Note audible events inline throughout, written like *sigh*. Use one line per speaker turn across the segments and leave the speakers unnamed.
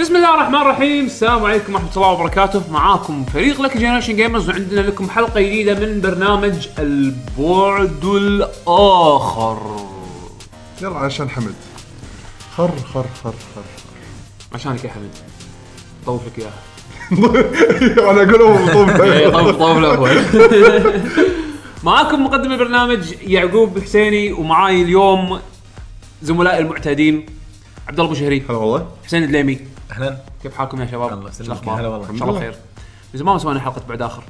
بسم الله الرحمن الرحيم السلام عليكم ورحمه الله وبركاته معاكم فريق لك جنريشن جيمرز وعندنا لكم حلقه جديده من برنامج البعد الاخر
يلا عشان حمد خر خر خر *laughs* خر
عشانك يا حمد طوف لك اياها
انا اقول هو *laughs*
إيه،
مطوف
طوف طوف الاول *laughs* معاكم مقدم البرنامج يعقوب حسيني ومعاي اليوم زملائي المعتادين عبد الله ابو شهري
هلا والله
حسين الدليمي
اهلا
كيف حالكم يا شباب؟
الله
شو
يسلمك.
الأخبار؟
هلا والله.
ان شاء الله خير من زمان ما سوينا حلقه بعد اخر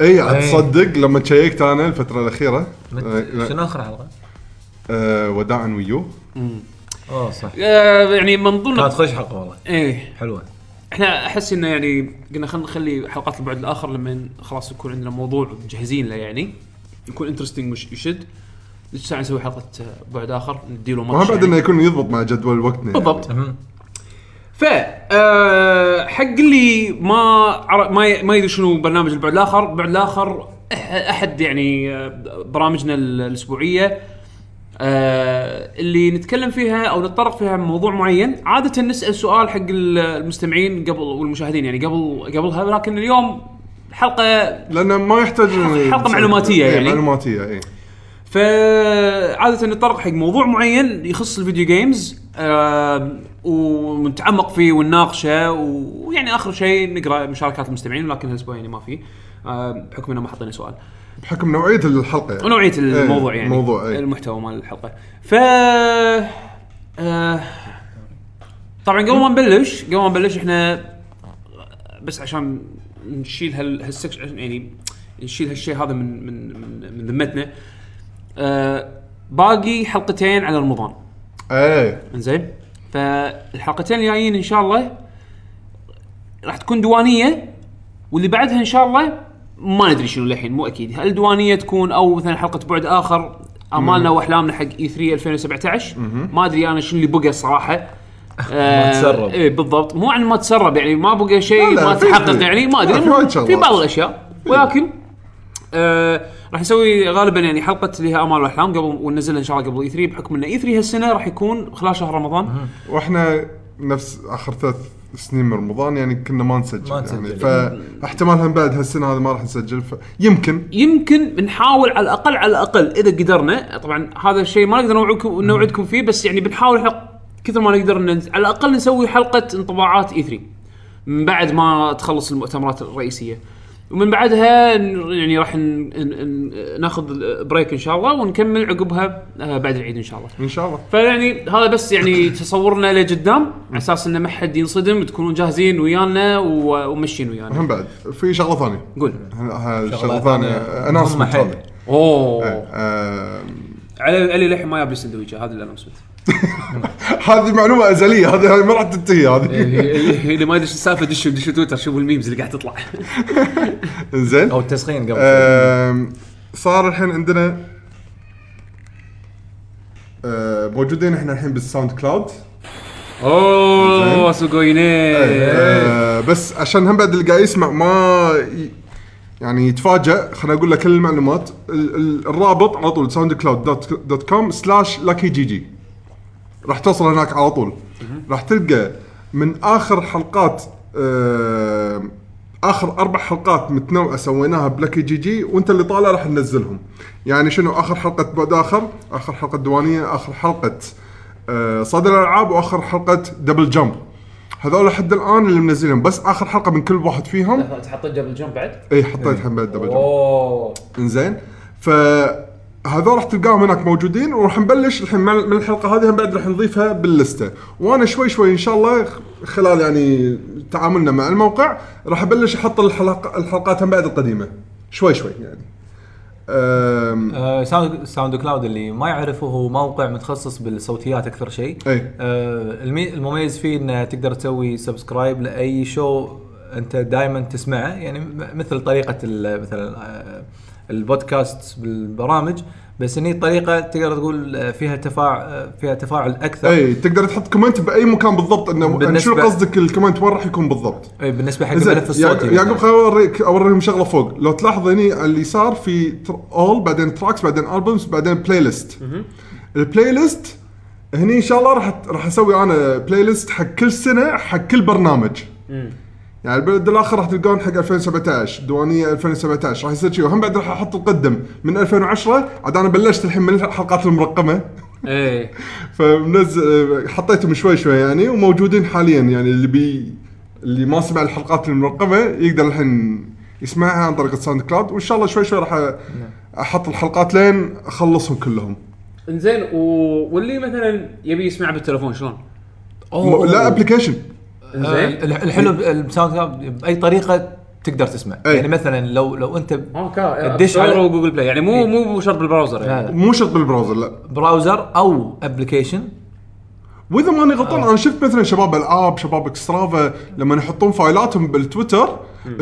اي عاد إيه، تصدق لما تشيكت انا الفتره الاخيره آه،
شنو اخر حلقه؟
آه، وداعا ويو
اوه صح
آه، يعني من ضمن
كانت خوش حلقه والله
ايه
حلوه
احنا احس انه يعني قلنا خلينا نخلي حلقات البعد الاخر لما خلاص يكون عندنا موضوع مجهزين له يعني يكون انترستنج مش يشد نص ساعه نسوي حلقه آه، بعد اخر نديله
ما
ماتش
بعد
يعني.
انه يكون يضبط مع جدول وقتنا يعني.
بالضبط
مهم.
ف آه، حق اللي ما عر- ما ي- ما يدري شنو برنامج البعد الاخر، البعد الاخر أح- احد يعني آه، برامجنا ال- الاسبوعيه آه، اللي نتكلم فيها او نتطرق فيها موضوع معين، عاده نسال سؤال حق ال- المستمعين قبل والمشاهدين يعني قبل قبلها ولكن اليوم حلقه
لانه ما يحتاج إنه
حلقة
يصير-
معلوماتية
إيه،
يعني.
معلوماتيه اي
فعادة نتطرق حق موضوع معين يخص الفيديو جيمز آم، ونتعمق فيه ونناقشه ويعني اخر شيء نقرا مشاركات المستمعين ولكن هالاسبوع يعني ما في آم، بحكم انه ما حطينا سؤال
بحكم نوعيه الحلقه يعني.
ونوعيه الموضوع
إيه،
يعني
الموضوع اي
المحتوى مال الحلقه ف آه، طبعا قبل ما نبلش قبل ما نبلش احنا بس عشان نشيل هال هالسكشن يعني نشيل هالشيء هذا من من من, من ذمتنا آه، باقي حلقتين على رمضان
اي
انزين فالحلقتين الجايين ان شاء الله راح تكون دوانيه واللي بعدها ان شاء الله ما ندري شنو للحين مو اكيد هل دوانيه تكون او مثلا حلقه بعد اخر امالنا واحلامنا حق E اي 3 2017 ما ادري انا شنو اللي بقى الصراحه آه،
تسرب.
ايه بالضبط مو عن ما تسرب يعني ما بقى شيء
لا لا،
ما
في-
تحقق
في-
يعني ما
لا، في وايد
ادري
شغلات.
في بعض الاشياء ولكن آه راح نسوي غالبا يعني حلقه لها امال واحلام قبل وننزلها ان شاء الله قبل اي 3 بحكم ان اي 3 هالسنه راح يكون خلال شهر رمضان
واحنا نفس اخر ثلاث سنين من رمضان يعني كنا ما نسجل
ما
يعني
نسجل.
فاحتمال هم بعد هالسنه هذه ما راح نسجل فيمكن
يمكن بنحاول على الاقل على الاقل اذا قدرنا طبعا هذا الشيء ما نقدر نوعدكم نوعدكم فيه بس يعني بنحاول حق كثر ما نقدر إن على الاقل نسوي حلقه انطباعات اي 3 من بعد ما تخلص المؤتمرات الرئيسيه ومن بعدها ن- يعني راح ن- ن- ن- ناخذ بريك ان شاء الله ونكمل عقبها آه، بعد العيد ان شاء الله
ان شاء الله
فيعني هذا بس يعني تصورنا لقدام على اساس انه ما حد ينصدم تكونون جاهزين ويانا و- ومشين ويانا
هم بعد في شغله ثانيه
قول
شغله ثانيه
مهمة
اناونسمنت
حيل.
هذا
اوه
آه،
علي علي للحين ما جاب لي سندويشه هذا اللي انا *laughs* مسويته
هذه معلومه ازليه هذه هذه ما راح تنتهي
إيه،
هذه
اللي ما يدري شو السالفه دشوا دشوا تويتر شوفوا الميمز اللي قاعد *laughs* تطلع
زين
او التسخين قبل
آم، صار الحين عندنا آه، موجودين احنا الحين بالساوند كلاود
اوه إيه، سوغويني
آه، بس عشان هم بعد اللي قاعد يسمع ما ي- يعني يتفاجئ خليني اقول له كل المعلومات ال- ال- الرابط على طول ساوند كلاود دوت- دوت كوم سلاش لاكي جي جي راح توصل هناك على طول راح تلقى من اخر حلقات آه، اخر اربع حلقات متنوعه سويناها بلاكي جي جي وانت اللي طالع راح ننزلهم يعني شنو اخر حلقه بعد اخر اخر حلقه دوانيه اخر حلقه آه، صدر الالعاب واخر حلقه دبل جمب هذول لحد الان اللي منزلهم بس اخر حلقه من كل واحد فيهم
تحط دبل جمب بعد؟
اي إيه، حطيت حمد دبل جمب
اوه
انزين فهذول راح تلقاهم هناك موجودين وراح نبلش الحين مع- من الحلقه هذه هم بعد راح نضيفها باللسته وانا شوي شوي ان شاء الله خ- خلال يعني تعاملنا مع الموقع راح ابلش احط الحلق الحلقات هم بعد القديمه شوي شوي يعني أم...
آه، ساوند ساوند كلاود اللي ما يعرفه هو موقع متخصص بالصوتيات اكثر شيء
اي
آه، المي- المميز فيه انه تقدر تسوي سبسكرايب لاي شو انت دائما تسمعه يعني م- مثل طريقه ال- مثلا آه، البودكاست بالبرامج بس هني طريقه تقدر تقول آه، فيها تفاعل فيها تفاعل اكثر
اي إيه، تقدر تحط كومنت باي مكان بالضبط انه إنه شنو
بالنسبة-
قصدك الكومنت وين راح يكون بالضبط
اي بالنسبه حق يعني.
زين
الملف الصوتي
يعقوب- يعقوب خليني اوريك اوريهم شغله فوق لو تلاحظ هني على اليسار في اول بعدين تراكس بعدين البومز بعدين بلاي ليست البلاي ليست هني ان شاء الله راح راح اسوي انا بلاي ليست حق كل سنه حق كل برنامج يعني البلد الاخر راح تلقون حق 2017 ديوانيه 2017 راح يصير شيء وهم بعد راح احط القدم من 2010 عاد انا بلشت الحين من الحلقات المرقمه
ايه
فمنزل حطيتهم شوي شوي يعني وموجودين حاليا يعني اللي بي اللي ما سمع الحلقات المرقمه يقدر الحين يسمعها عن طريق الساوند كلاود وان شاء الله شوي شوي راح أ- احط الحلقات لين اخلصهم كلهم
انزين و... واللي مثلا يبي يسمع بالتليفون شلون؟
م- لا ابلكيشن
آه،
انزين
الح- الحلو ب- الساوند كلاود باي طريقه تقدر تسمع
أي.
يعني مثلا لو لو انت
اوكي
الدش
دش
على-
على جوجل بلاي يعني مو
إيه.
مو مو شرط بالبراوزر يعني
لا، لا.
مو شرط بالبراوزر لا
آه، براوزر او ابلكيشن
واذا ماني غلطان انا شفت مثلا شباب العاب شباب اكسترافا لما يحطون فايلاتهم بالتويتر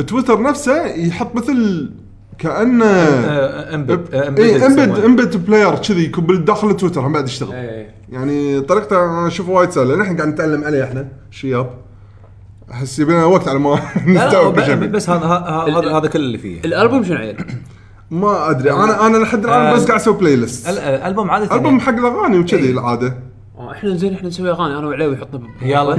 تويتر نفسه يحط مثل إيه، كانه
آه، امبد
اي امبد امبد بلاير كذي يكون بالداخل تويتر هم بعد يشتغل
ايه
يعني طريقته انا اشوفه وايد سهله نحن قاعد نتعلم عليه احنا شياب احس يبينا وقت على ما *laughs* نستوعب كل شيء.
بس هذا ه-
ال-
هذا هذا كل اللي فيه
الالبوم شنو عيل؟
ما ادري انا انا لحد الان
آه، يعني- إيه.
بس قاعد اسوي بلاي ليست
ال- الالبوم عاده
البوم حق الاغاني وكذي العاده
آه، احنا زين احنا نسوي اغاني انا وعليوي يحطنا ب-
يعني. يلا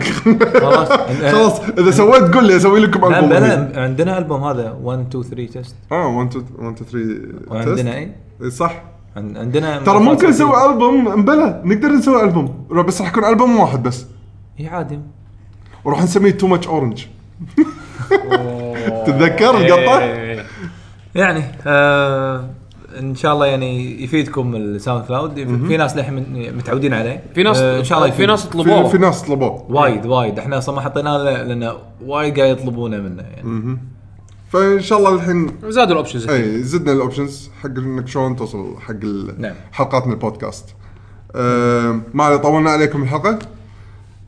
خلاص
خلاص اذا سويت قول لي اسوي لكم
آه. لا
البوم هني.
بلا عندنا البوم هذا 1 2 3 تيست
اه 1 2 3
وعندنا
تيست
اي
إي إيه، صح
عن- عندنا
ترى ممكن نسوي البوم بلا نقدر نسوي البوم بس راح يكون البوم واحد بس
اي عادي
وراح نسميه تو ماتش اورنج تتذكر
آه،
القطه؟
إيه.
يعني آه ان شاء الله يعني يفيدكم الساوند كلاود يف- في ناس للحين من- متعودين عليه
في ناس
آه ان شاء الله
في
يفيد.
ناس
في, في
طلبوه
ناس طلبوه
وايد وايد احنا اصلا ما حطيناه ل- لان وايد قاعد يطلبونه منه يعني
فان شاء الله الحين
زادوا الاوبشنز
اي إيه، زدنا الاوبشنز حق انك شلون توصل حق ال-
نعم.
حلقات من البودكاست. أم، ما علي طولنا عليكم الحلقه.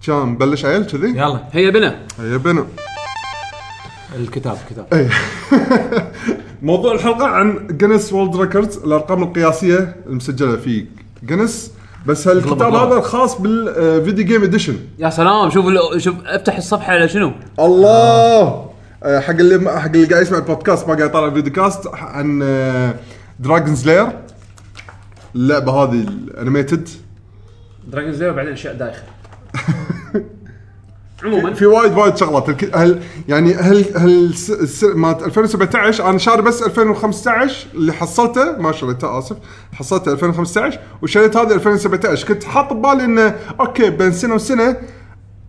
كان نبلش عيل كذي؟
يلا
هيا بنا
يا بنا
الكتاب كتاب
إيه. موضوع الحلقه عن جنس وولد ريكوردز الارقام القياسيه المسجله في جنس بس هالكتاب
بالضبط.
هذا الخاص بالفيديو جيم اديشن
يا سلام شوف ال- شوف افتح الصفحه على شنو؟
الله آه، حق اللي حق اللي قاعد يسمع البودكاست ما قاعد يطالع فيديو كاست عن آه، دراجونز لاير اللعبه هذه الانيميتد
دراجون زيرو بعدين اشياء *laughs* دايخه عموما
في وايد وايد شغلات الك- هل يعني هل هل س- س- مالت 2017 انا شاري بس 2015 اللي حصلته ما شريته اسف حصلته 2015 وشريت هذه 2017 كنت حاط ببالي انه اوكي بين سنه وسنه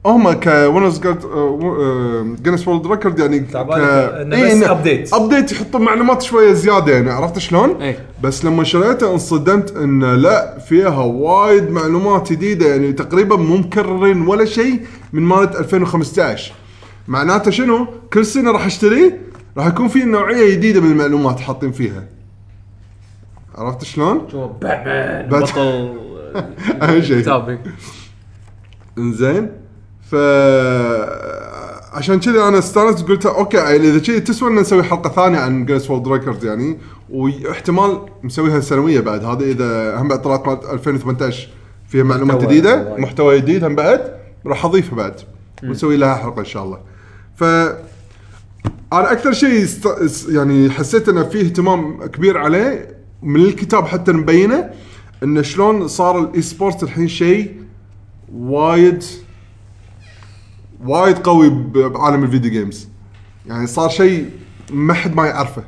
هم كونز جينيس وورلد ريكورد يعني ك-
تعبان إنه
إيه،
بس
إنه
update.
ابديت يحطون معلومات شويه زياده يعني عرفت شلون؟
إيه.
بس لما شريته انصدمت ان لا فيها وايد معلومات جديده يعني تقريبا مو مكررين ولا شيء من مالت 2015 معناته شنو؟ كل سنه راح اشتريه راح يكون في نوعيه جديده من المعلومات حاطين فيها عرفت
إيه،
شلون؟
باتمان
بات- *laughs*
بطل
اهم شيء
كتاب إيه.
انزين ف عشان كذا انا استانست قلت اوكي يعني اذا كذي تسوى ان نسوي حلقه ثانيه عن جريس وولد ريكورد يعني واحتمال مسويها سنويه بعد هذا اذا هم بعد طلعت مالت 2018 فيها معلومات
محتوى يعني
جديده
وايد.
محتوى جديد هم بعد راح اضيفه بعد ونسوي لها حلقه ان شاء الله ف انا اكثر شيء است... است- يعني حسيت انه فيه اهتمام كبير عليه من الكتاب حتى مبينه انه شلون صار الاي سبورت الحين شيء وايد وايد قوي ب- بعالم الفيديو جيمز يعني صار شيء ما حد ما يعرفه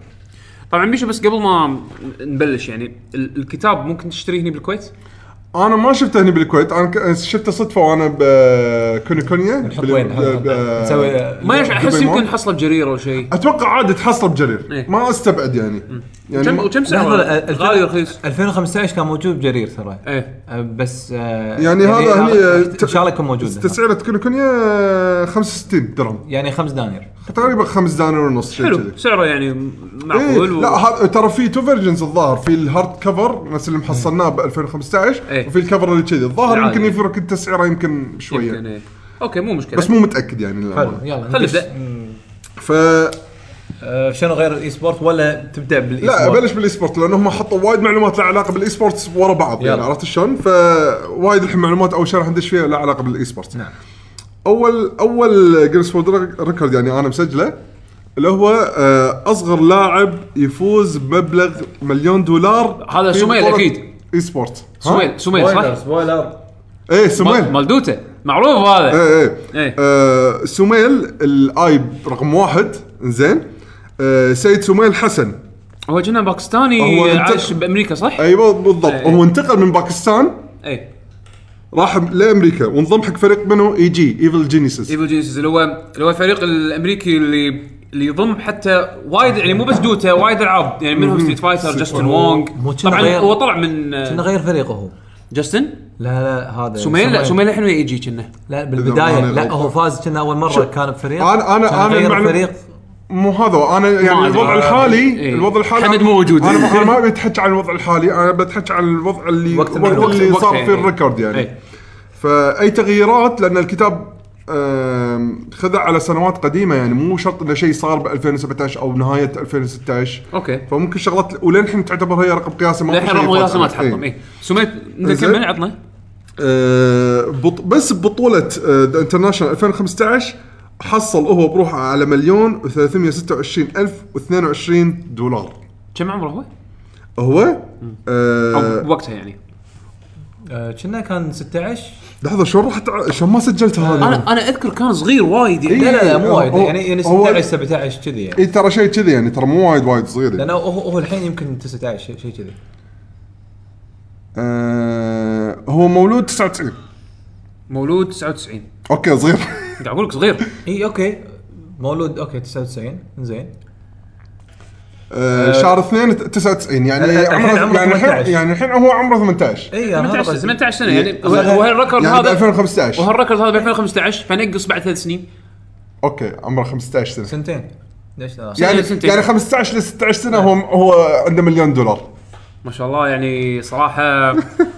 طبعا بيشو بس قبل ما نبلش يعني ال- الكتاب ممكن تشتريه هنا بالكويت
انا ما شفته هنا بالكويت انا ك- شفته صدفه وانا بكونيكونيا
نحط وين نسوي
ما يش- احس
دبي مول؟
يمكن حصله بجريره او شيء
اتوقع عادي تحصله بجرير
إيه.
ما استبعد يعني يعني
كم
ما-
كم سعره؟
لحظه ال-
غالي رخيص
2015 كان موجود بجرير ترى
ايه
آه، بس يعني,
يعني هذا هني-
ان شاء الله يكون موجود هنا.
تسعيره كونيكونيا 65 درهم
يعني خمس دنانير
تقريبا 5 دنانير ونص شيء كذي
حلو سعره يعني معقول
إيه
و-
لا هذا ترى في تو فيرجنز الظاهر في الهارد كفر نفس اللي محصلناه ب 2015
إيه.
وفي الكفر اللي كذي الظاهر
العادي.
يمكن يفرق التسعيره يمكن شويه
يمكن إيه. اوكي مو مشكله
بس مو متاكد يعني
حلو
للأمانة.
يلا
خلي
ندش.
نبدأ.
مم.
ف
آه، شنو غير الاي سبورت ولا تبدا بالاي
لا
سبورت؟
بلش بالاي سبورت لان هم حطوا وايد معلومات لها علاقه بالاي سبورتس ورا بعض يعني
يلا.
عرفت شلون؟ فوايد الحين معلومات اول شيء راح ندش فيها لها علاقه بالاي سبورتس
نعم.
اول اول جينيس وورد ريكورد يعني انا مسجله اللي هو آه، اصغر لاعب يفوز بمبلغ مليون دولار
هذا
في
سميل
بطولة
أكيد.
اي سبورت
سميل سميل صح؟
سبويلر سبويلر
ايه سميل
مال- مال دوته معروف هذا
ايه ايه,
إيه.
آه سميل الايب رقم واحد زين آه سيد سميل حسن
هو كنا باكستاني
هو انت-
عايش بامريكا صح؟
ايوه بالضبط
إيه.
هو انتقل من باكستان
اي
راح لامريكا وانضم حق فريق منه اي جي ايفل جينيسيس
ايفل جينيسيس اللي هو اللي هو الفريق الامريكي اللي اللي يضم حتى وايد يعني مو بس دوتا وايد العاب يعني منهم ستريت فايتر جاستن وونج
مو كنا
طبعا
غير-
هو طلع من آه،
كنا غير فريقه هو
جاستن
لا لا هذا
سميل لا سميل الحين ويا يجي كنا
لا
إذا
بالبدايه
أنا-
لا هو فاز كنا اول مره
شوف،
كان بفريق
أنا- أنا-
كان
أنا
غير
المعلوم-
فريق
مو هذا انا
ما
يعني
أدري.
الوضع الحالي
إيه.
الوضع الحالي
حمد مو موجود.
انا ما- أنا
*laughs*
ما ابي اتحكى عن الوضع الحالي انا بتحكى عن الوضع اللي
وقت
وقت
الوقت-
اللي
وقتها
صار
يعني.
فيه الريكورد يعني
إيه.
فاي تغييرات لان الكتاب آم، خذ على سنوات قديمه يعني مو شرط انه شيء صار ب 2017 او نهايه 2016
اوكي
فممكن شغلات وللحين تعتبر هي رقم قياسي ما في
للحين
شيء
رقم قياسي ما
يطلع.
تحطم
إيه.
اي سميل انت
زين.
كمل عطنا
آه، بط... بس آه، ببطولة ذا انترناشونال 2015 حصل هو بروحه على مليون و326 الف و22 دولار
كم عمره هو؟
هو
او
آه
بوقتها يعني
آه، كنا كان 16
لحظه شلون رحت ع- شلون ما سجلت هذا؟
انا انا اذكر كان صغير وايد يعني
لا لا لا
إيه، هو-
مو وايد
هو-
يعني يعني
هو-
16 17 كذي يعني
اي ترى شيء كذي يعني ترى مو وايد وايد صغير يعني.
لانه هو هو الحين يمكن 19 شيء شيء كذي
آه هو مولود 99
مولود 99
اوكي صغير
قاعد اقول لك صغير
اي اوكي مولود اوكي 99 زين
آه شهر 2 99 يعني
الحين عمره
يعني الحين
18.
يعني الحين هو عمره 18
اي أنا هذا
18
قصدي.
18 سنه يعني هو-
يعني
هو هالركورد
يعني ب
هذا
2015
وهالركورد هذا ب 2015 فنقص بعد ثلاث سنين
اوكي عمره 15 سنه
سنتين ليش لا
يعني
سنتين.
يعني 15 ل 16 سنه هو هو عنده مليون دولار
ما شاء الله يعني *laughs* صراحه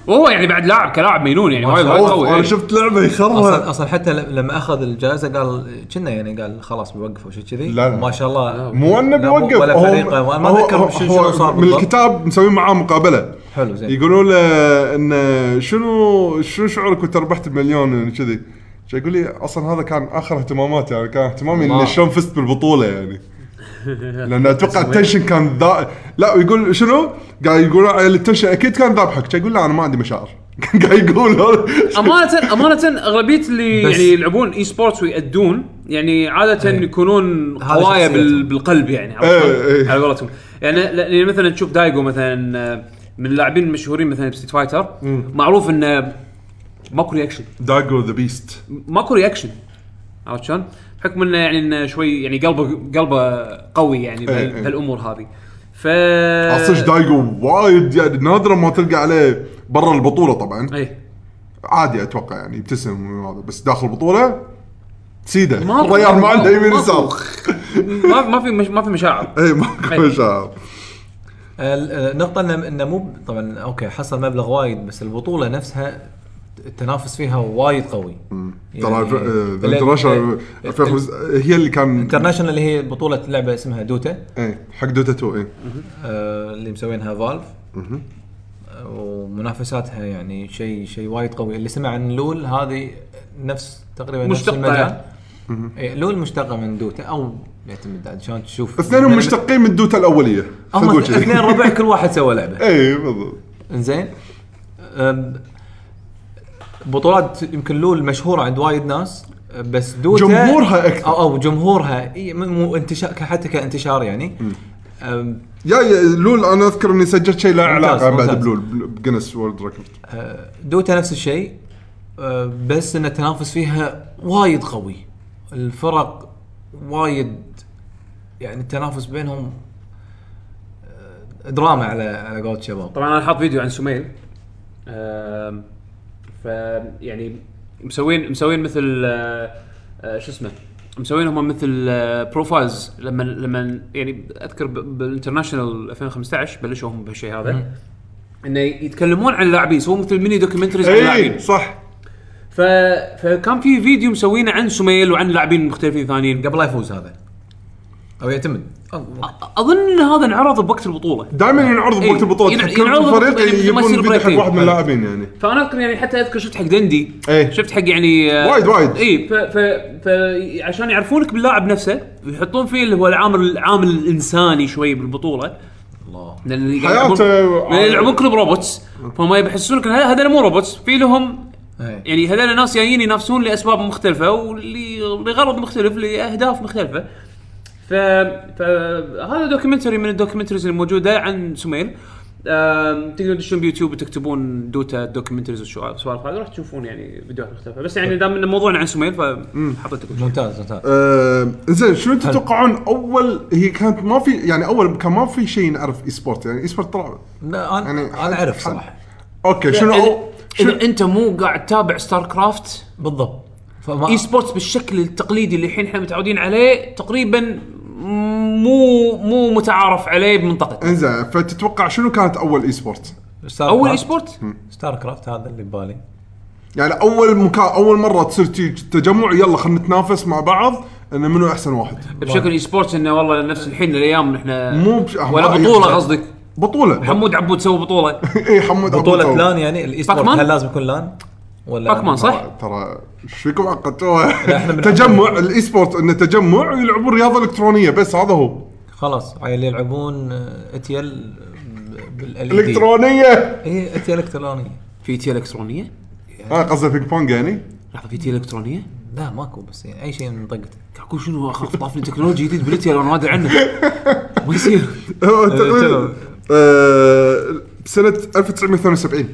وهو يعني بعد لاعب كلاعب مينون يعني وايد وايد
أوف،
قوي
انا
إيه.
شفت لعبه
اصلا
يخرها
اصلا حتى ل- لما اخذ الجائزه قال كنا يعني قال خلاص بيوقف او شيء كذي
لا، لا.
ما شاء الله
مو انه
لا، مو-
بيوقف
ولا
هو-
فريقه وأنا ما
هو-
أذكر
هو-
شنو-
هو
شنو صار
من
بالضبط.
الكتاب مسويين معاه مقابله
حلو زين
يقولوا له انه شنو شنو شعورك وانت ربحت بمليون يعني كذي شو يقول لي اصلا هذا كان اخر اهتماماتي يعني كان اهتمامي
الله.
اني شلون فزت بالبطوله
*laughs*
يعني لان
إيه؟
اتوقع التنشن كان ذا لا ويقول شنو؟ قاعد يقول على التنشن اكيد كان ذابحك شو يقول لا انا ما عندي مشاعر *laughs* قاعد يقول هذا.
امانه امانه اغلبيه اللي
بس-
يعني يلعبون اي سبورتس ويأدون يعني عاده يكونون
هذا
قوايا بال...
شخصيتهم.
بالقلب يعني
إيه،
عرفت؟
إيه.
على قولتهم يعني ل- يعني مثلا تشوف دايجو مثلا آه، من اللاعبين المشهورين مثلا بستيت فايتر معروف انه ماكو رياكشن
داجو ذا بيست
ماكو رياكشن عرفت شلون؟ بحكم انه يعني انه شوي يعني قلبه قلبه قوي يعني
إيه، إيه.
بهال- بهالامور هذه ف
اصج دايجو وايد يعني نادرا ما تلقى عليه برا البطوله طبعا
ايه
عادي اتوقع يعني يبتسم وهذا بس داخل البطوله سيده
ما-
الريال ما عنده يمين
ما-
يسار
ما ما في مش ما في مشاعر
اي ماكو
إيه.
مشاعر
ال- آه، النقطة انه انه مو طبعا اوكي حصل مبلغ وايد بس البطولة نفسها التنافس فيها وايد قوي
ترى إيه،
يعني-
ذا
ال-
آه، انترناشونال
ال-
هي اللي كان
انترناشونال اللي هي بطولة لعبة اسمها دوتا
اي حق دوتا 2 اي
آه، اللي مسوينها فالف آه، ومنافساتها يعني شيء شيء وايد قوي اللي سمع عن لول هذه نفس تقريبا نفس
مشتقة.
المجال إيه، لول مشتقة من دوتا او يعتمد عاد شلون تشوف
اثنينهم مشتقين من دوتا الاوليه
هم
خذوا شي.
اثنين
*laughs*
ربع كل واحد سوى لعبة
اي بالضبط
انزين أم، بطولات يمكن لول مشهوره عند وايد ناس بس دوتا
جمهورها أكثر.
او, أو جمهورها إي، م- مو انتشار حتى كانتشار يعني أم،
يا يا لول انا اذكر اني سجلت شيء لا
ممتاز،
علاقه بعد
ممتاز.
بلول بل- بجنس وورلد ريكورد
أه، دوتا نفس الشيء أه، بس ان التنافس فيها وايد قوي الفرق وايد يعني التنافس بينهم أه، دراما على على قولة الشباب
طبعا انا حاط فيديو عن سميل آم، ف يعني مسوين مسوين مثل آه، آه، شو اسمه مسوين هم مثل آه، بروفايلز لما لما يعني اذكر ب- بالانترناشنال 2015 بلشوا هم بهالشيء هذا انه يتكلمون عن اللاعبين يسوون مثل ميني دوكيومنتريز عن اللاعبين
اي صح
ف... فكان في فيديو مسوينه عن سميل وعن لاعبين مختلفين ثانيين
قبل لا يفوز هذا او يعتمد الله
أ- اظن ان هذا انعرض بوقت البطوله
دائما ينعرض
إيه،
بوقت البطولات
ينع-
كل
ينعرض
فريق
يعني مثل ما
يبون
يصير
فيديو حق
بريكنج.
واحد من اللاعبين يعني
فانا اذكر يعني حتى اذكر شفت حق دندي
إيه.
شفت حق يعني آه،
وايد- وايد.
اي ف, ف, ف عشان يعرفونك باللاعب نفسه ويحطون فيه اللي هو العامل العامل الانساني شوي بالبطوله
الله
لان قاعد
حياته
يلعبون- لأن
عادي.
يلعبون كلهم روبوتس فهم يحسونك ان هذول مو روبوتس في لهم
إيه.
يعني هذول ناس جايين ينافسون لاسباب مختلفه ولي- لغرض مختلف لاهداف مختلفه ف... فهذا دوكيومنتري من الدوكيومنتريز الموجوده عن سميل آم، تقدرون تدشون بيوتيوب وتكتبون دوتا دوكيومنتريز والسوالف هذه راح تشوفون يعني فيديوهات مختلفه بس يعني دام انه موضوعنا عن سميل فحطيت لكم شيء.
ممتاز ممتاز
آه، زين شنو تتوقعون اول هي كانت ما في يعني اول كان ما في شيء نعرف اي سبورت يعني اي سبورت طلع
لا انا
يعني
انا
حد-
اعرف
حد-
صراحه
اوكي شنو
إيه،
أو-
إذا-
شنو
اذا انت مو قاعد تتابع ستار كرافت
بالضبط
آه.
فما
اي سبورتس بالشكل التقليدي اللي الحين احنا متعودين عليه تقريبا مو مو متعارف عليه بمنطقتنا
انزين فتتوقع شنو كانت اول اي سبورت؟
ستار
اول
كرافت-
آه.
اي سبورت
ستار كرافت هذا اللي ببالي
يعني اول مكان اول مره تصير تي- تجمع يلا خلينا نتنافس مع بعض انه منو احسن واحد
بشكل اي سبورتس انه والله نفس الحين الايام احنا
مو بش-
ولا
آه،
بطوله
يعني-
قصدك
بطوله *laughs*
حمود عبود سوى بطوله
اي حمود إيه، أبو
بطولة
ثور.
لان يعني الاي سبورت
باكمان؟
هل لازم يكون لان؟ ولا
باكمان صح؟
ترى ايش فيكم
إحنا
عقدتوها
بنعمل-
تجمع الاي سبورت انه تجمع يلعبون رياضه الكترونيه بس هذا هو
إيه. خلاص عيال يلعبون آه، اتيل بالالكترون
الكترونيه
اي اتيل الكتروني
في تي الكترونيه؟
إيه.
اه قصده بينج بونج يعني
لحظه في تي الكترونيه؟
لا ماكو بس يعني اي شيء من طقته
قاعد اقول شنو اخاف طافني تكنولوجيا جديد بالتي انا ما ادري عنه ما يصير
هو تقريبا
تمام.
آه، بسنه 1972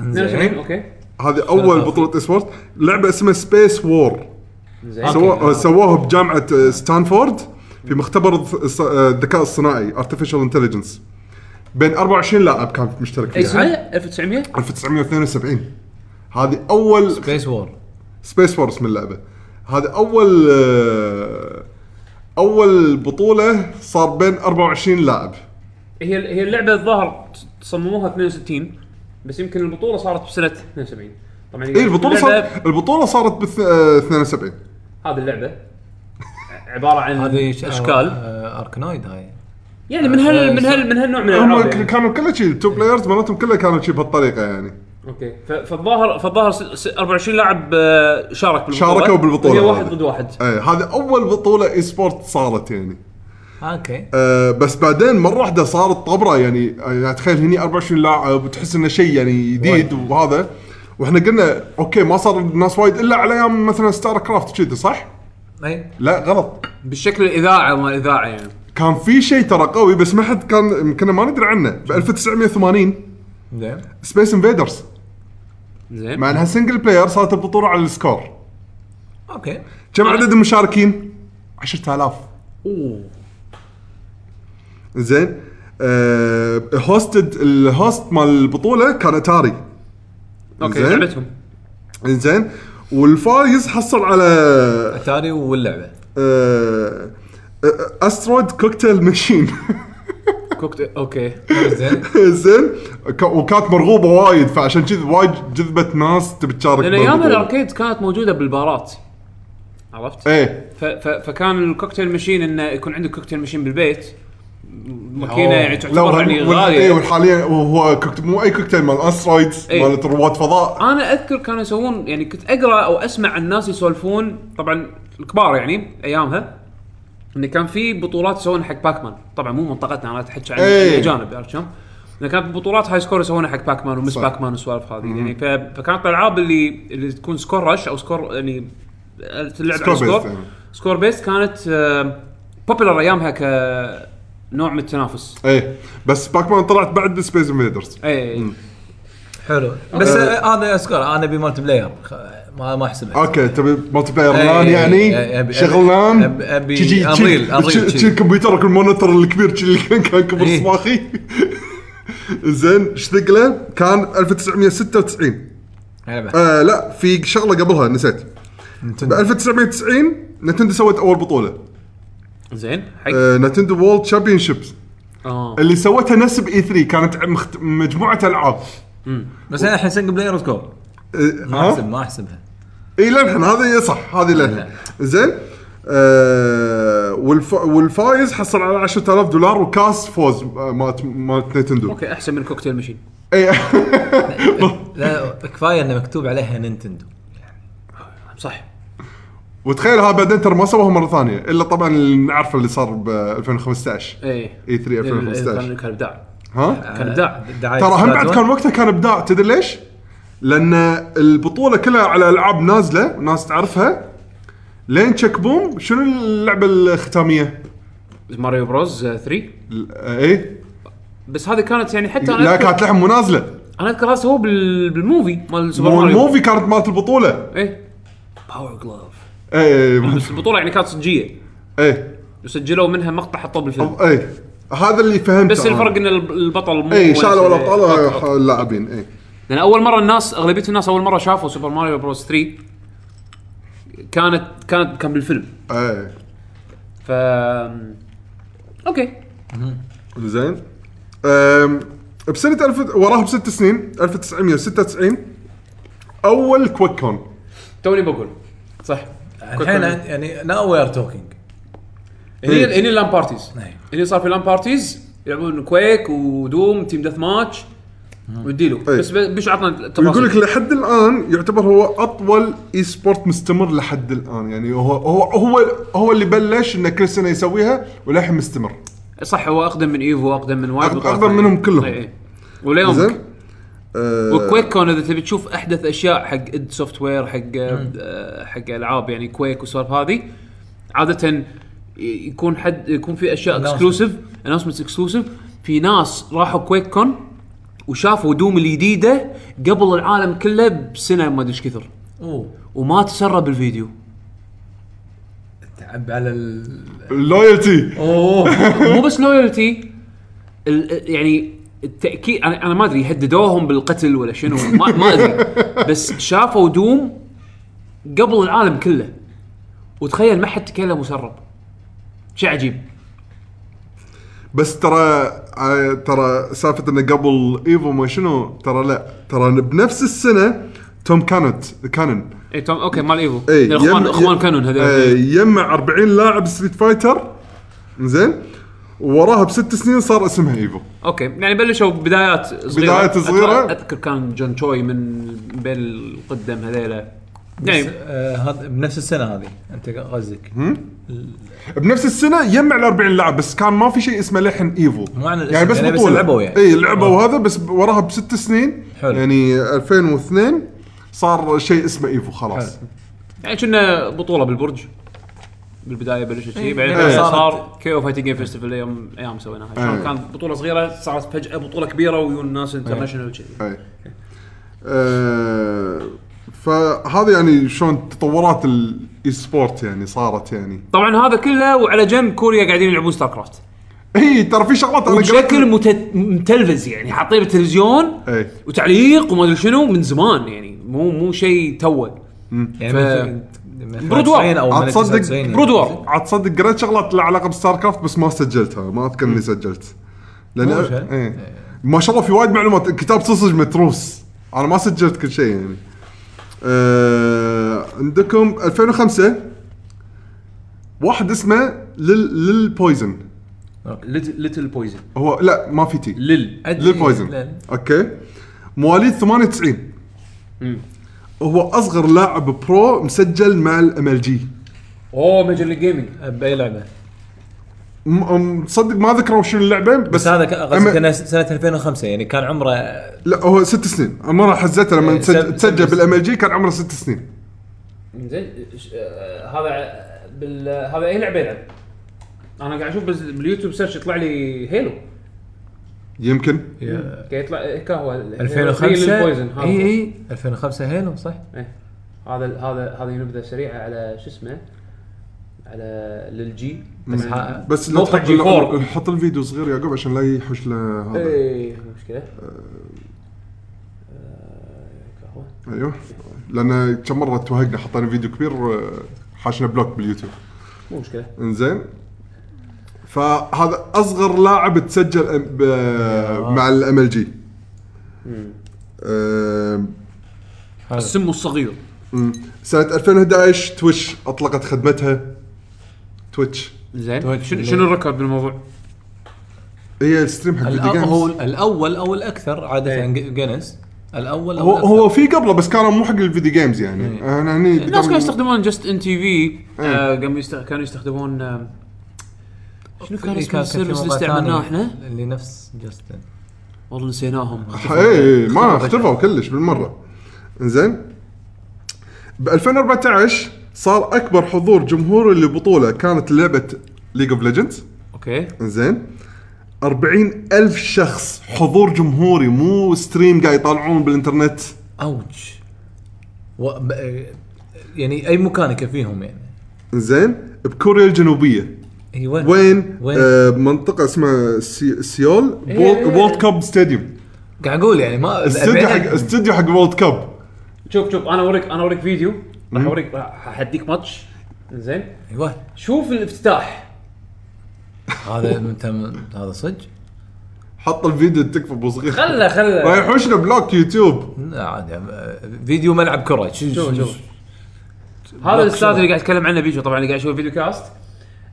زين
اوكي
هذه اول بطوله اي سبورت لعبه اسمها سبيس وور
زين
سووه سووه بجامعه آه، ستانفورد في مختبر الذ- الص- آه، الذكاء الصناعي ارتفيشال انتليجنس بين 24 لاعب كانت مشترك
اي
فيها
سنه 1900
1972 هذه اول
سبيس وور
سبيس وور اسم اللعبه هذا اول آه، اول بطوله صار بين 24 لاعب إيه،
هي هي اللعبه الظاهر صمموها 62 بس يمكن البطوله صارت بسنه 72 طبعا
اي البطوله إيه، صارت البطوله صارت آه، ب 72
هذه اللعبه عباره عن
هذه ش-
اشكال
آه، اركنويد هاي
يعني من هال من هال من هالنوع من
هم
الالعاب
ك-
يعني.
كانوا كله شيء التوب بلايرز مالتهم كلها كانوا شيء بهالطريقه يعني
اوكي ف- فالظاهر فالظاهر س- س- 24 لاعب آه، شارك بالبطوله
شاركوا بالبطولة
هي
هذه.
واحد ضد واحد
اي إيه، هذه اول بطوله اي سبورت صارت يعني
آه، اوكي
أه بس بعدين مره واحده صارت طبره يعني يعني تخيل هني 24 لاعب وتحس انه شيء يعني جديد وهذا واحنا قلنا اوكي ما صار الناس وايد الا على ايام مثلا ستار كرافت كذي صح؟
اي
لا غلط
بالشكل الاذاعه ما الاذاعه يعني
كان في شيء ترى قوي بس ما حد كان كنا ما ندري عنه ب 1980
زين
سبيس انفيدرز
زين
مع انها سنجل بلاير صارت البطوله على السكور
اوكي
كم عدد المشاركين؟ 10000
اوه
زين آه هوستد الهوست مال البطوله كان اتاري
اوكي
زين.
لعبتهم
زين والفايز حصل على
اتاري واللعبه
آه استرويد كوكتيل ماشين
كوكتيل اوكي
زين
*laughs* زين ك- وكانت مرغوبه وايد فعشان كذي وايد جذبت ناس تبي تشارك
لان
بالبطولة.
ايام الاركيد كانت موجوده بالبارات عرفت؟
ايه
ف- ف- فكان الكوكتيل ماشين انه يكون عندك كوكتيل ماشين بالبيت ماكينه
أوه.
يعني
لا
تعتبر يعني
وحاليا اي
غاليه
وحاليا إيه، هو كوكت مو اي كوكتيل مال استرويدز
إيه.
مال رواد
آه.
فضاء
انا اذكر كانوا يسوون يعني كنت اقرا او اسمع عن ناس يسولفون طبعا الكبار يعني ايامها انه كان في بطولات يسوونها حق باكمان طبعا مو منطقتنا انا اتحكى عن
إيه.
الاجانب عرفت شلون؟ انه كانت بطولات هاي سكور يسوونها حق باكمان ومس
صح.
باكمان والسوالف هذه يعني ف- فكانت الالعاب اللي اللي تكون سكور رش او سكور يعني تلعب على سكور
سكور بيست يعني.
سكور بيست كانت آه، بوبيلر ايامها كنوع من التنافس إيه.
ايه بس باك مان طلعت بعد سبيس انفيدرز
اي
حلو بس آه، هذا اسكار انا ابي مالتي بلاير خ- ما ما احسبها
اوكي تبي مالتي بلاير
إيه،
لان
إيه،
يعني
أبي-
شغلان
أبي- أبي
تجي- تجي-
أنريل- أنريل
تجي-
تجي.
تجي كمبيوترك المونيتور الكبير تجي اللي كان كان كبر
إيه.
صباخي *laughs* زين ايش ثقله؟ كان 1996
لعبه
آه لا في شغله قبلها نسيت ب
نتندو.
1990 نتندو سوت اول بطوله
زين حق
آه نتندو وولد تشامبيون شيبس
اه
اللي سوتها نفس باي 3 كانت مخت... مجموعه العاب
بس انا الحين سنجل بلاير وسكور ما احسب
ها؟
ما احسبها
اي للحين هذه صح هذه للحين زين آه والف... والفايز حصل على 10000 دولار وكاس فوز آه، مالت مالت نينتندو
اوكي احسن من كوكتيل ماشين
اي
لا كفايه انه مكتوب عليها نينتندو
صح
*laughs* وتخيل ها بعدين ترى ما سووها مره ثانيه الا طبعا اللي نعرفه اللي صار ب E 2015
ايه
اي 3
كان
2015
كان ابداع
ها
كان ابداع
دعاية
ترى هم بعد
Splatoon.
كان وقتها كان ابداع تدري ليش؟ لان البطوله كلها على العاب نازله ناس تعرفها لين تشيك بوم شنو اللعبه الختاميه؟
ماريو بروز آه، 3
ال- آه، ايه
بس هذه كانت يعني حتى انا
لا
اذكر
كانت لحم مو نازله
انا اذكر هذا هو بال- بالموفي مال سوبر ماريو
والموفي كانت مالت البطوله
ايه باور جلوف
ايه إيه،
بس البطوله يعني كانت صجيه
ايه
وسجلوا منها مقطع حطوه بالفيلم
ايه هذا اللي فهمته
بس
أنا. إيه،
الفرق ان الب- البطل مو
اي شالوا الابطال اللاعبين إيه. اي
لان اول مره الناس اغلبيه الناس اول مره شافوا سوبر ماريو بروز 3 كانت كانت كان بالفيلم
اي
ف اوكي
زين أم، بسنه الف وراها بست سنين 1996 اول كويك كون
توني بقول صح
الحين يعني ناو وي ار توكينج
هني
إيه.
هني اللان بارتيز هني صار في لان بارتيز يلعبون كويك ودوم تيم دث ماتش وديلو
إيه.
بس ب- بيش عطنا التفاصيل
يقول لك لحد الان يعتبر هو اطول اي سبورت مستمر لحد الان يعني هو هو هو هو اللي بلش انه كل سنه يسويها وللحين مستمر
صح هو اقدم من ايفو واقدم من وايد
أقدم
بطولات
أقدم
ثانية.
منهم كلهم.
إيه، إيه. وليوم
زين أه،
وكويك كون اذا تبي تشوف احدث اشياء حق اد سوفت وير حق آه، حق العاب يعني كويك والسوالف هذه عاده ي- يكون حد يكون في اشياء
Announcement.
اكسكلوسيف اناونسمنت اكسكلوسيف في ناس راحوا كويك كون وشافوا دوم الجديده قبل العالم كله بسنه ما ادري ايش كثر
اوه
وما تسرب الفيديو
تعب على ال
اللويالتي
Oh.
اوه
*laughs* مو بس لويالتي يعني التاكيد انا انا ما ادري هددوهم بالقتل ولا شنو ما, ما ادري بس شافوا دوم قبل العالم كله وتخيل ما حد تكلم وسرب شيء عجيب
بس ترى آه، ترى سالفه انه قبل ايفو ما شنو ترى لا ترى بنفس السنه توم كانت كانن
اي إيه، توم اوكي مال ايفو
اي
الاخوان اخوان كانون هذول
إيه، يجمع 40 لاعب ستريت فايتر زين وراها بست سنين صار اسمها ايفو
اوكي يعني بلشوا بدايات صغيره
بدايات صغيرة.
أتوقع- اذكر كان جون تشوي من بين القدم هذيلا
بس،
يعني
آه، هذا بنفس السنه هذه انت قصدك
بنفس السنه يجمع ال 40 لاعب بس كان ما في شيء اسمه لحن ايفو
مو عن الاسم،
يعني بس
يعني بس
بطوله
لعبوا يعني.
اي لعبوا وهذا بس وراها بست سنين
حلو.
يعني 2002 صار شيء اسمه ايفو خلاص
يعني كنا بطوله بالبرج بالبدايه بلشت شيء بعدين
إيه.
صار كيو فايتنج جيم فيستيفال يوم ايام سويناها شلون
إيه.
كانت بطوله صغيره صارت فجاه بطوله كبيره ويون ناس انترناشونال وكذي
اي إيه. آه فهذا يعني شلون تطورات الاي سبورت يعني صارت يعني
طبعا هذا كله وعلى جنب كوريا قاعدين يلعبون ستار كرافت
اي إيه، ترى في شغلات انا
بشكل مت- متلفز يعني حاطين بالتلفزيون
اي
وتعليق وما ادري شنو من زمان يعني مو مو شيء توه
يعني
ف-
من- من
برود وور.
90 او من
عاد تصدق
99 يعني.
برود وور
عاد تصدق قريت شغلات لها علاقه بستار كرافت بس ما سجلتها ما اذكر اني سجلت لان
مو مشكلة.
إيه. ما شاء الله في وايد معلومات كتاب صصج متروس انا ما سجلت كل شيء يعني آه عندكم 2005 واحد اسمه لل للبويزن
ليتل بويزن
هو لا ما في تي
لل
أدري.
للبويزن
لل-
اوكي مواليد 98 هو اصغر لاعب برو مسجل مع الام ال جي
اوه ميجر ليج جيمنج
باي لعبه
م- م- تصدق ما ذكروا شنو اللعبه بس,
بس هذا ك- قصدك
أما-
انه سنه 2005 يعني كان عمره
لا هو ست سنين مرة حزتها لما
إيه،
تسج-
سب-
تسجل
سب-
بالام ال جي كان عمره ست سنين
زين إيش- آه، هذا ع- بال هذا إيه اي لعبه يلعب؟ انا قاعد اشوف بز- باليوتيوب سيرش يطلع لي هيلو
يمكن
يا- إيه،
قاعد يطلع إيه، كهوه
2005
اي
اي
اي
اي 2005 هيلو صح؟
إيه. هذا ال- هذا هذه نبذه سريعه على شو اسمه على للجي
مم.
ح-
بس لا
موقع
تحط
جي 4
لا- حط الفيديو صغير يا يعقوب عشان لا يحوش له
إيه.
هذا
اي مشكله آه، كهوة.
ايوه لان كم مره توهقنا حطينا فيديو كبير آه، حاشنا بلوك باليوتيوب
مو مشكله
انزين فهذا اصغر لاعب تسجل ب-
آه.
مع الام ال جي
هذا.
السم الصغير
سنه 2011 تويتش اطلقت خدمتها تويتش
زين
12
شنو
بالليل.
شنو الركب بالموضوع؟
هي الستريم حق الفيديو
الأ- هو
جيمز
الاول او الاكثر عاده
إيه.
جنس الاول
هو
او
هو
الأكثر.
في قبله بس كان مو حق الفيديو جيمز يعني
إيه.
انا هني
الناس كانوا يستخدمون جاست ان تي في
إيه.
آه، قاموا يست- كانوا يستخدمون آه، شنو كان
في-
اسم
في
السيرفس اللي
موقع
استعملناه
ثاني
احنا؟
اللي نفس جاستن
والله نسيناهم
اي إيه، ما اختفوا كلش بالمره زين ب 2014 صار اكبر حضور جمهوري للبطوله كانت لعبه ليج اوف ليجندز
اوكي
زين 40 ألف شخص حضور جمهوري مو ستريم قاعد يطالعون بالانترنت
اوج و... ب... يعني اي مكان يكفيهم يعني
زين بكوريا الجنوبيه
اي وين؟
وين,
وين؟
آه بمنطقه اسمها سي... سيول
إيه.
وولد كاب ستاديوم
قاعد اقول يعني ما
استوديو
بعدين-
حق استوديو حق وولد كاب
شوف شوف انا اوريك انا اوريك فيديو راح اوريك راح احديك ماتش زين
ايوه
شوف الافتتاح
هذا انت هذا صدق؟
حط الفيديو تكفى ابو صغير
خله
راح
خله
يحوشنا بلوك يوتيوب
لا عادي آه، فيديو ملعب كره
شوف شوف هذا الاستاذ اللي قاعد يتكلم عنه بيجو طبعا اللي قاعد يشوف فيديو كاست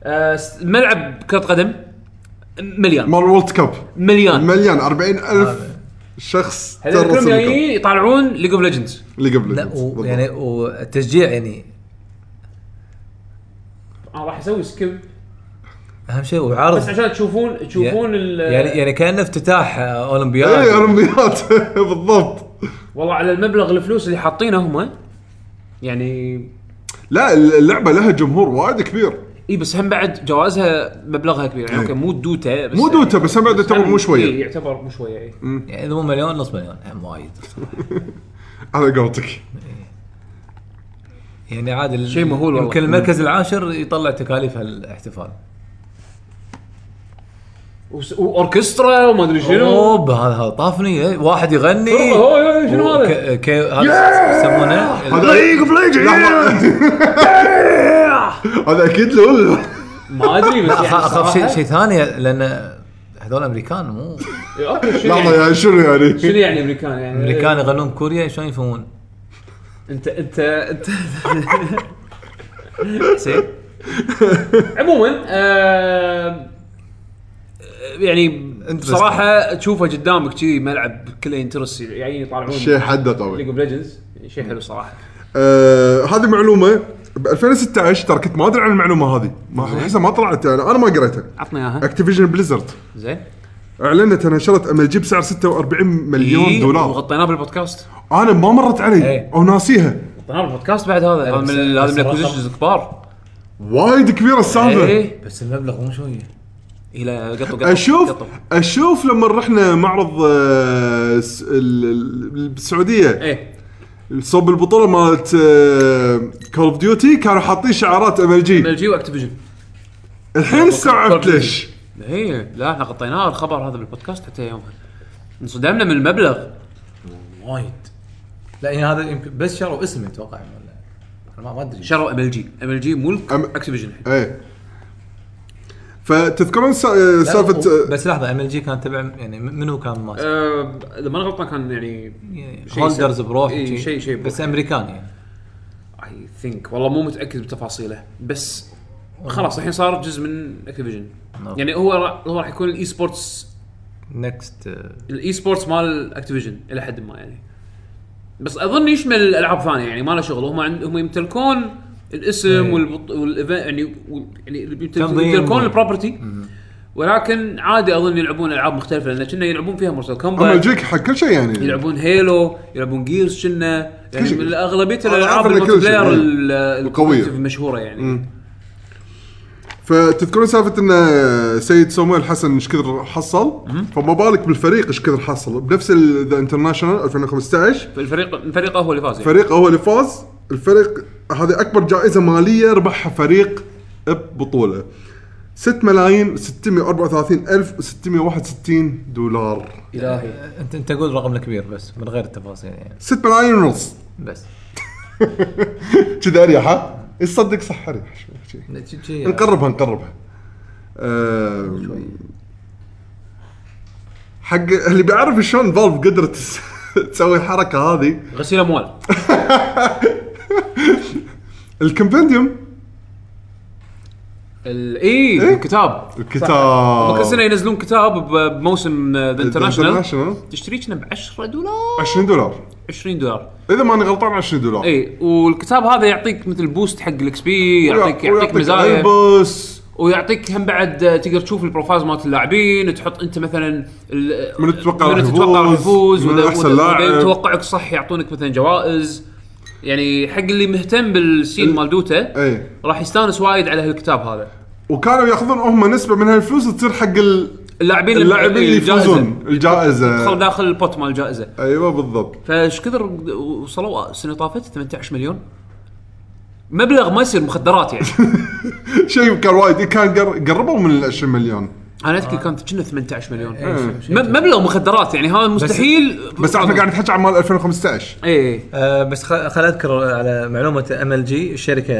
آه، س- ملعب كره قدم مليان
مال وولد كاب
آه.
مليان
مليان 40 ألف شخص
هذول
ترسم
كلهم
لكم.
جايين يطالعون ليج اوف ليجندز
اللي قبل
يعني؟ لا و... يعني والتشجيع يعني
انا راح اسوي سكيب
اهم شيء وعرض
بس عشان تشوفون تشوفون ال
يعني يعني كان افتتاح آه، اولمبياد
اي اولمبياد إيه، *laughs* بالضبط
والله على المبلغ الفلوس اللي حاطينه هم يعني
لا اللعبه لها جمهور وايد كبير
اي بس هم بعد جوازها مبلغها كبير يعني
إيه.
اوكي مو دوتا بس
مو دوتا بس هم بعد يعتبر
هم-
مو شويه
إيه، يعتبر مو شويه اي
يعني اذا مو مليون نص مليون هم وايد
على قولتك
يعني عادي
شيء مهول والله.
يمكن المركز العاشر يطلع تكاليف هالاحتفال
وس- واوركسترا وما ادري شنو
اوب هذا هذا طافني إيه. واحد يغني
فرقة، هو- هو- شنو
وك-
هذا؟
كي- هذا يسمونه ال-
ليج اوف
*laughs*
هذا اكيد لول
ما ادري بس
*laughs*
يعني
أخ- اخاف شيء
صراحة-
شيء ثاني لان هذول امريكان مو
إيه، اوكي شنو
لحظه
يعني
يعني شنو
شنو
يعني
يعني امريكان يعني
امريكان يغنون كوريا شلون يفهمون؟
انت انت *laughs* انت حسين عموما آه يعني صراحه تشوفه قدامك كذي ملعب كله انترست يعني يطالعون
شيء حده
ليج
قوي
اوف ليجندز يعني شيء حلو صراحه
آه، هذه معلومه ب 2016 ترى كنت ما ادري عن المعلومه هذه ما احسها ما طلعت يعني انا ما قريتها
عطنا اياها
اكتيفيجن بليزرد
زين
اعلنت انها شرت ام ال جي بسعر 46 مليون
إيه،
دولار
وغطيناه بالبودكاست
انا ما مرت علي
إيه.
او ناسيها
غطيناه بالبودكاست بعد هذا هذا
بس-
من هذا
بس
من
الرقم-
الاكوزيشنز الكبار
وايد كبيره السالفه
ايه
بس المبلغ مو شويه
الى قطو قطو
اشوف
قطو.
اشوف لما رحنا معرض آه، س- ال- ال- السعوديه
ايه
صوب البطوله مالت آه، كول اوف ديوتي كانوا حاطين شعارات ام ال جي
ام جي واكتيفيجن
الحين استوعبت ليش
ايه لا احنا غطيناه الخبر هذا بالبودكاست حتى يومها انصدمنا من المبلغ
وايد لا يعني هذا يمكن بس شروا اسمه اتوقع ولا أنا ما ما ادري
شروا ام ال جي ام ال جي ملك
أم-
اكتيفيجن الحين
ايه فتذكرون سا- آه،
لا،
سالفه
و- بس لحظه ام ال جي كان تبع يعني م- منو كان ماسك؟
أه، اذا ما أنا غلطان كان يعني
يعني
شيء
هولدرز
سب-
بروح
إيه،
وشي.
شيء- شيء بروح.
بس امريكان يعني
اي ثينك والله مو متاكد بتفاصيله بس خلاص الحين صار جزء من اكتيفيجن
نعم.
يعني هو را- هو راح يكون الاي سبورتس
نكست
الاي سبورتس مال اكتيفيجن الى حد ما يعني بس اظن يشمل العاب ثانيه يعني ما له شغل هم عند هم يمتلكون الاسم
إيه.
والبط... والايفنت يعني وال- يعني يمتلك-
تنظيم.
يمتلكون البروبرتي ولكن عادي اظن يلعبون العاب مختلفه لان كنا يلعبون فيها مرسل
ام ال
كومبات
جي حق كل شيء يعني
يلعبون هيلو يلعبون جيرز كنا يعني
شيء.
من اغلبيه
أنا
الالعاب
عارف إن كل
الملتي بلاير
شيء.
ال-
القوية.
الكومبتيتيف المشهوره يعني
فتذكرون سالفه ان سيد سمويل حسن ايش كثر حصل فما بالك بالفريق ايش كثر حصل بنفس ذا انترناشونال 2015
فالفريق الفريق هو اللي فاز يعني.
فريق هو اللي فاز الفريق هذه اكبر جائزه ماليه ربحها فريق ببطوله 6 ملايين 634 الف دولار
الهي
انت انت آه، قول رقم الكبير بس من غير التفاصيل يعني
6 ملايين ونص
بس
كذا اريح ها؟ يصدق صح اريح شوي- شوي.
إيه.
نقربها نقربها آم، حق اللي بيعرف شلون فالف قدرت تسوي الحركه هذه
غسيل اموال
الكمبنديوم
ال- اي
إيه؟
الكتاب
الكتاب
كل سنه ينزلون كتاب ب- بموسم ذا انترناشونال
انترناشونال
تشتريه كنا ب 10 دولار
20 دولار
20 دولار
اذا ماني غلطان 20 دولار
اي والكتاب هذا يعطيك مثل بوست حق الاكس بي
ويع-
يعطيك يعطيك
ويعطيك
مزايا
البس
ويعطيك هم بعد آه، تقدر تشوف البروفايلز مالت اللاعبين تحط انت مثلا ال-
من تتوقع راح
من تتوقع راح يفوز
يفوز، من
وإذا-
أحسن
وإذا-
لاعب.
وإذا توقعك صح يعطونك مثلا جوائز يعني حق اللي مهتم بالسين مال دوتا
اي
راح يستانس وايد على هالكتاب هذا
وكانوا ياخذون هم نسبه من هالفلوس تصير حق ال-
اللاعبين
اللاعبين اللي
الجائزة.
يفوزون
دخل
الجائزه
داخل البوت مال الجائزه
ايوه بالضبط
فايش كثر وصلوا السنه طافت 18 مليون مبلغ ما يصير مخدرات
*laughs*
يعني
شيء كان وايد كان قر- قربوا من ال 20 مليون
انا اذكر كانت كنا 18 مليون
إيه.
م- مبلغ مخدرات يعني هذا مستحيل
بس احنا قاعد نحكي عن مال 2015
ايه
آه بس خل خل اذكر على معلومه ام ال جي الشركه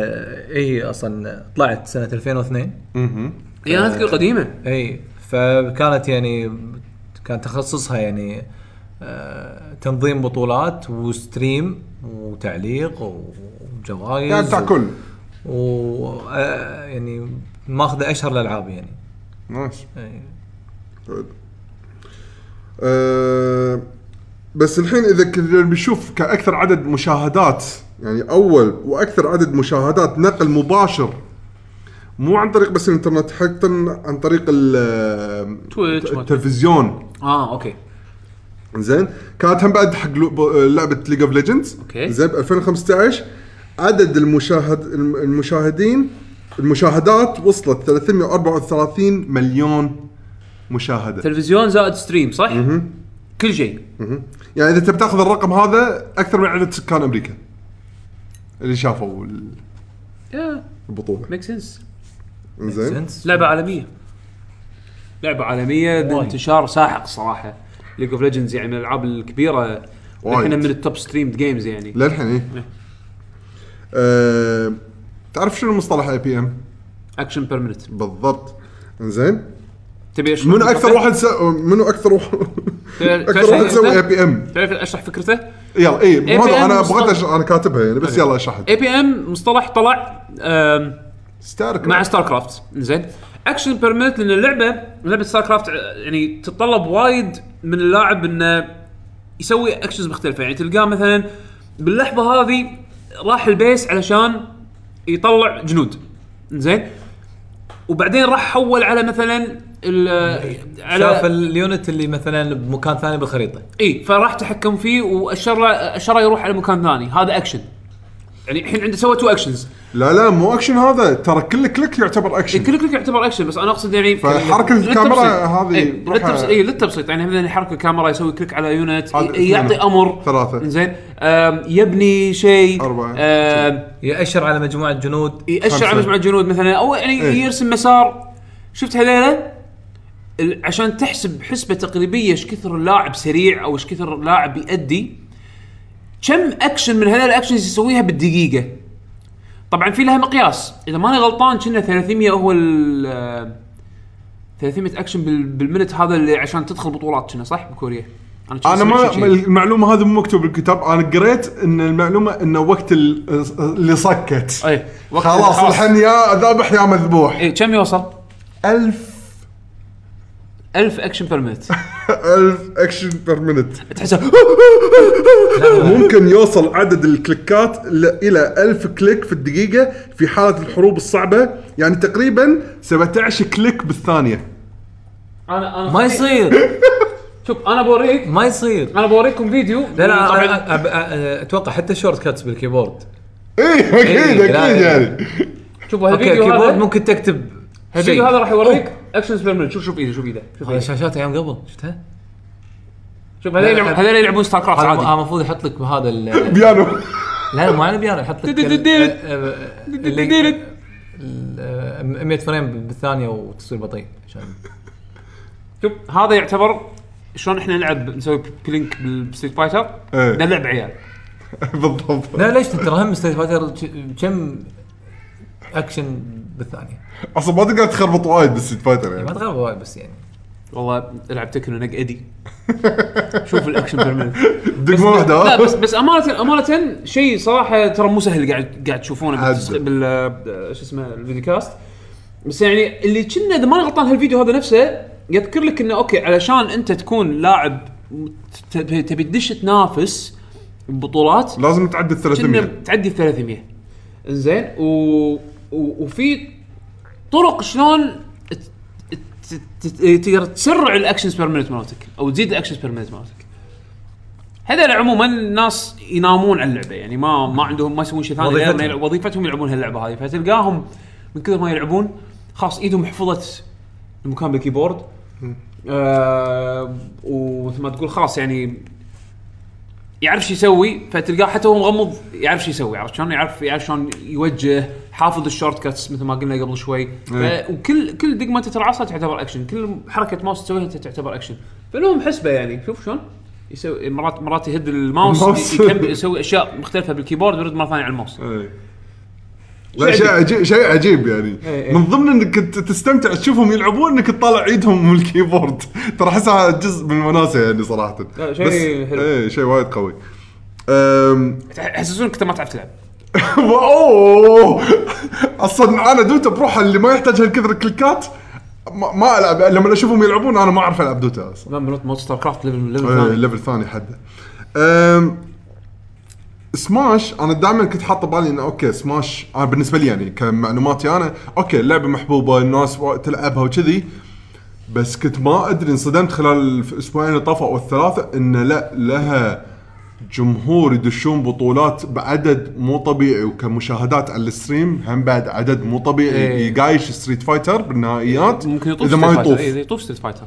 هي اصلا طلعت سنه 2002
اها
يعني انا
آه.
اذكر قديمه
اي فكانت يعني كان تخصصها يعني آه، تنظيم بطولات وستريم وتعليق وجوائز
يعني تاكل
و آه، يعني ماخذه اشهر الالعاب يعني
نايس
إي.
أه، بس الحين اذا كنا بنشوف كاكثر عدد مشاهدات يعني اول واكثر عدد مشاهدات نقل مباشر مو عن طريق بس الانترنت حتى عن طريق ال-
تويتش، ما-
التلفزيون
اه اوكي
زين كانت هم بعد حق لو- لعبه ليج اوف ليجندز
أوكي.
زين ب 2015 عدد المشاهد الم- المشاهدين المشاهدات وصلت 334 مليون مشاهده
تلفزيون زائد ستريم صح؟ كل شيء
مهم. يعني اذا تبي تاخذ الرقم هذا اكثر من عدد سكان امريكا اللي شافوا ال- البطوله
ميك سنس
زين
Sense.
لعبه عالميه لعبه عالميه بانتشار ساحق صراحه ليج اوف ليجندز يعني من الالعاب الكبيره
وايد.
احنا من التوب ستريمد جيمز يعني
للحين إيه. أه تعرف شنو مصطلح اي بي ام
اكشن بيرمننت
بالضبط زين
تبي اشرح
منو اكثر
فكرته؟
واحد س... منو اكثر واحد
تعرف
اكثر واحد
شنو
يسوي اي
اسمه؟
بي ام
تعرف اشرح فكرته؟
يلا اي مو
APM
هذا انا
مصطلح.
بغيت أش... انا كاتبها يعني بس يلا اشرح
اي بي ام مصطلح طلع آم،
ستارك
مع ستار كرافت زين اكشن بيرمنت لان اللعبه لعبه ستار كرافت آه، يعني تتطلب وايد من اللاعب انه يسوي اكشنز مختلفه يعني تلقاه مثلا باللحظه هذه راح البيس علشان يطلع جنود زين وبعدين راح حول على مثلا ال- على
شاف اليونت اللي مثلا بمكان ثاني بالخريطه
اي فراح تحكم فيه واشر له اشر له يروح على مكان ثاني هذا اكشن يعني الحين عنده سوى تو اكشنز
لا لا مو اكشن هذا ترى كل كليك يعتبر اكشن
كل كليك يعتبر اكشن بس انا اقصد يعني
فحركة الكاميرا هذه بروحها-
اي للتبسيط يعني مثلا يحرك الكاميرا يسوي كليك على يونت
هذا
ي- يعطي
اثنين.
امر
ثلاثة.
زين آم، يبني شيء
أربعة.
آم،
ياشر على مجموعه جنود
ياشر
خمسة.
على مجموعه جنود مثلا او يعني
إيه.
يرسم مسار شفت هذيلا ال- عشان تحسب حسبه تقريبيه ايش كثر اللاعب سريع او ايش كثر اللاعب يأدي كم اكشن من هذول الاكشنز يسويها بالدقيقه طبعا في لها مقياس اذا ماني غلطان كنا 300 هو ال آه، 300 اكشن بال- بالمنت هذا اللي عشان تدخل بطولات كنا صح بكوريا كنا
انا
سمعت
ما
شي- شي.
المعلومه هذه مو مكتوب بالكتاب انا قريت ان المعلومه انه وقت ال- اللي صكت
اي وقت-
خلاص الحين يا ذابح يا مذبوح
اي إيه، كم يوصل؟
1000
1000 اكشن بير منت *laughs*
1000 اكشن بير مينت *laughs*
تحسب
ممكن يوصل عدد الكليكات ل- الى 1000 كليك في الدقيقه في حاله الحروب الصعبه يعني تقريبا 17 كليك بالثانيه
انا انا
ما يصير
شوف انا بوريك
ما يصير
انا بوريكم فيديو
لا لا
طبعاً-
أنا- أب- أ- اتوقع حتى الشورت كاتس بالكيبورد
ايه اكيد
إيه، لا،
اكيد
لا.
يعني
شوفوا
اوكي
هالفيديو
الكيبورد
هذا
ممكن تكتب
هالفيديو
شيء.
هذا راح يوريك اكشن سبيرمنت شوف شوف ايده شوف ايده شوف
هذا
ايده
شاشات ايام قبل شفتها؟
شوف هذول يلعب- هذول يلعبون ستار كرافت
هذا
عادي
المفروض يحط لك بهذا ال-
بيانو
لا لا مو على بيانو يحط لك ال-
ديرت.
آه، آه، اللي-
ديرت.
ال- آه، 100 فريم بالثانيه وتصير بطيء عشان
شوف هذا يعتبر شلون احنا نلعب نسوي بلينك بالستريت فايتر
إيه.
ده لعب عيال
*laughs* بالضبط
لا ليش انت هم ستريت فايتر ج- كم اكشن بالثانيه
اصلا ما تقدر تخربط وايد بالستيت فايتر
ما
يعني
تغاب وايد بس يعني
والله العب تكنو نق ايدي شوف الاكشن بيرمنت
دقمه واحده
لا بس بس امانه امانه شيء صراحه ترى مو سهل قاعد قاعد تشوفونه
عاد.
بالتس- بال آه، شو اسمه الفيديو كاست بس يعني اللي كنا اذا ماني غلطان هالفيديو هذا نفسه يذكر لك انه اوكي علشان انت تكون لاعب تبي تبي تدش تنافس ببطولات
لازم تعدي ال
كنا
300
تعدي 300 زين و... و... وفي طرق شلون ت- ت- ت- تقدر تسرع الاكشنز بير مينت مالتك او تزيد الاكشنز بير مينت مالتك هذول عموما الناس ينامون على اللعبه يعني ما ما عندهم ما يسوون شيء ثاني غير
وظيفتهم.
إنه يلعب- وظيفتهم يلعبون هاللعبه هذه فتلقاهم من كثر ما يلعبون خاص ايدهم حفظت المكان بالكيبورد آه ومثل ما تقول خلاص يعني يعرف شو يسوي فتلقاه حتى وهو مغمض يعرف شو يسوي عرفت شلون يعرف يعرف شلون يوجه حافظ الشورت كاتس مثل ما قلنا قبل شوي ف...
إيه.
وكل كل دقمه انت ترعصها تعتبر اكشن كل حركه ماوس تسويها انت تعتبر اكشن فلهم حسبه يعني شوف شلون يسوي مرات مرات يهد الماوس
الماوس.
يكمل يسوي اشياء مختلفه بالكيبورد ويرد مره ثانيه على الماوس
إيه. لا شيء عجيب شيء عجيب يعني
إيه، إيه.
من ضمن انك ت- تستمتع تشوفهم يلعبون انك تطالع ايدهم من الكيبورد *laughs* ترى احسها جزء من الوناسه يعني صراحه
لا، شيء
بس-
حلو.
ايه شيء وايد قوي أم... *laughs*
يحسسونك انت ما تعرف تلعب
اوه اصلا انا دوتا بروحها اللي ما يحتاج هالكثر كليكات ما, ما العب لما اشوفهم يلعبون انا ما اعرف العب دوتا اصلا
لا مرات مود ستار كرافت ليفل ليفل
إيه،
ثاني
ليفل ثاني حده أم... سماش انا دائما كنت حاطه بالي انه اوكي سماش انا بالنسبه لي يعني كمعلوماتي انا اوكي لعبه محبوبه الناس وا- تلعبها وكذي بس كنت ما ادري انصدمت خلال الاسبوعين اللي طافوا او الثلاثه ان لا لها جمهور يدشون بطولات بعدد مو طبيعي وكمشاهدات على الستريم هم بعد عدد مو طبيعي
إيه.
يقايش ستريت فايتر بالنهائيات
ممكن يطوف
اذا ما
ستريت فايتر.
يطوف
إيه، يطوف ستريت فايتر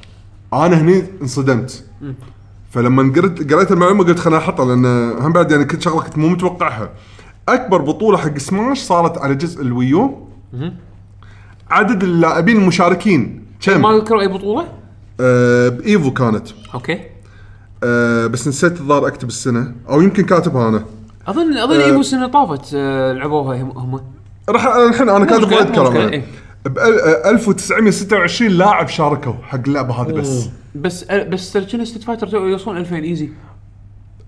انا هني انصدمت فلما قريت قريت المعلومه قلت خليني احطها لان هم بعد يعني كنت شغله كنت مو متوقعها اكبر بطوله حق سماش صارت على جزء الويو عدد اللاعبين المشاركين
ما
كم؟
اذكر اي بطوله
آه بايفو كانت
اوكي
آه بس نسيت الظاهر اكتب السنه او يمكن كاتبها انا
اظن اظن
آه.
ايفو السنه طافت آه، لعبوها هم- هم
راح الحين انا كاتب
مشكلة،
وايد
مو
كلام آه،
مشكلة،
أنا.
إيه.
ب ال- 1926 لاعب شاركوا حق اللعبه هذه بس
بس بس ترجن ستيت فايتر تو- يوصلون 2000 ايزي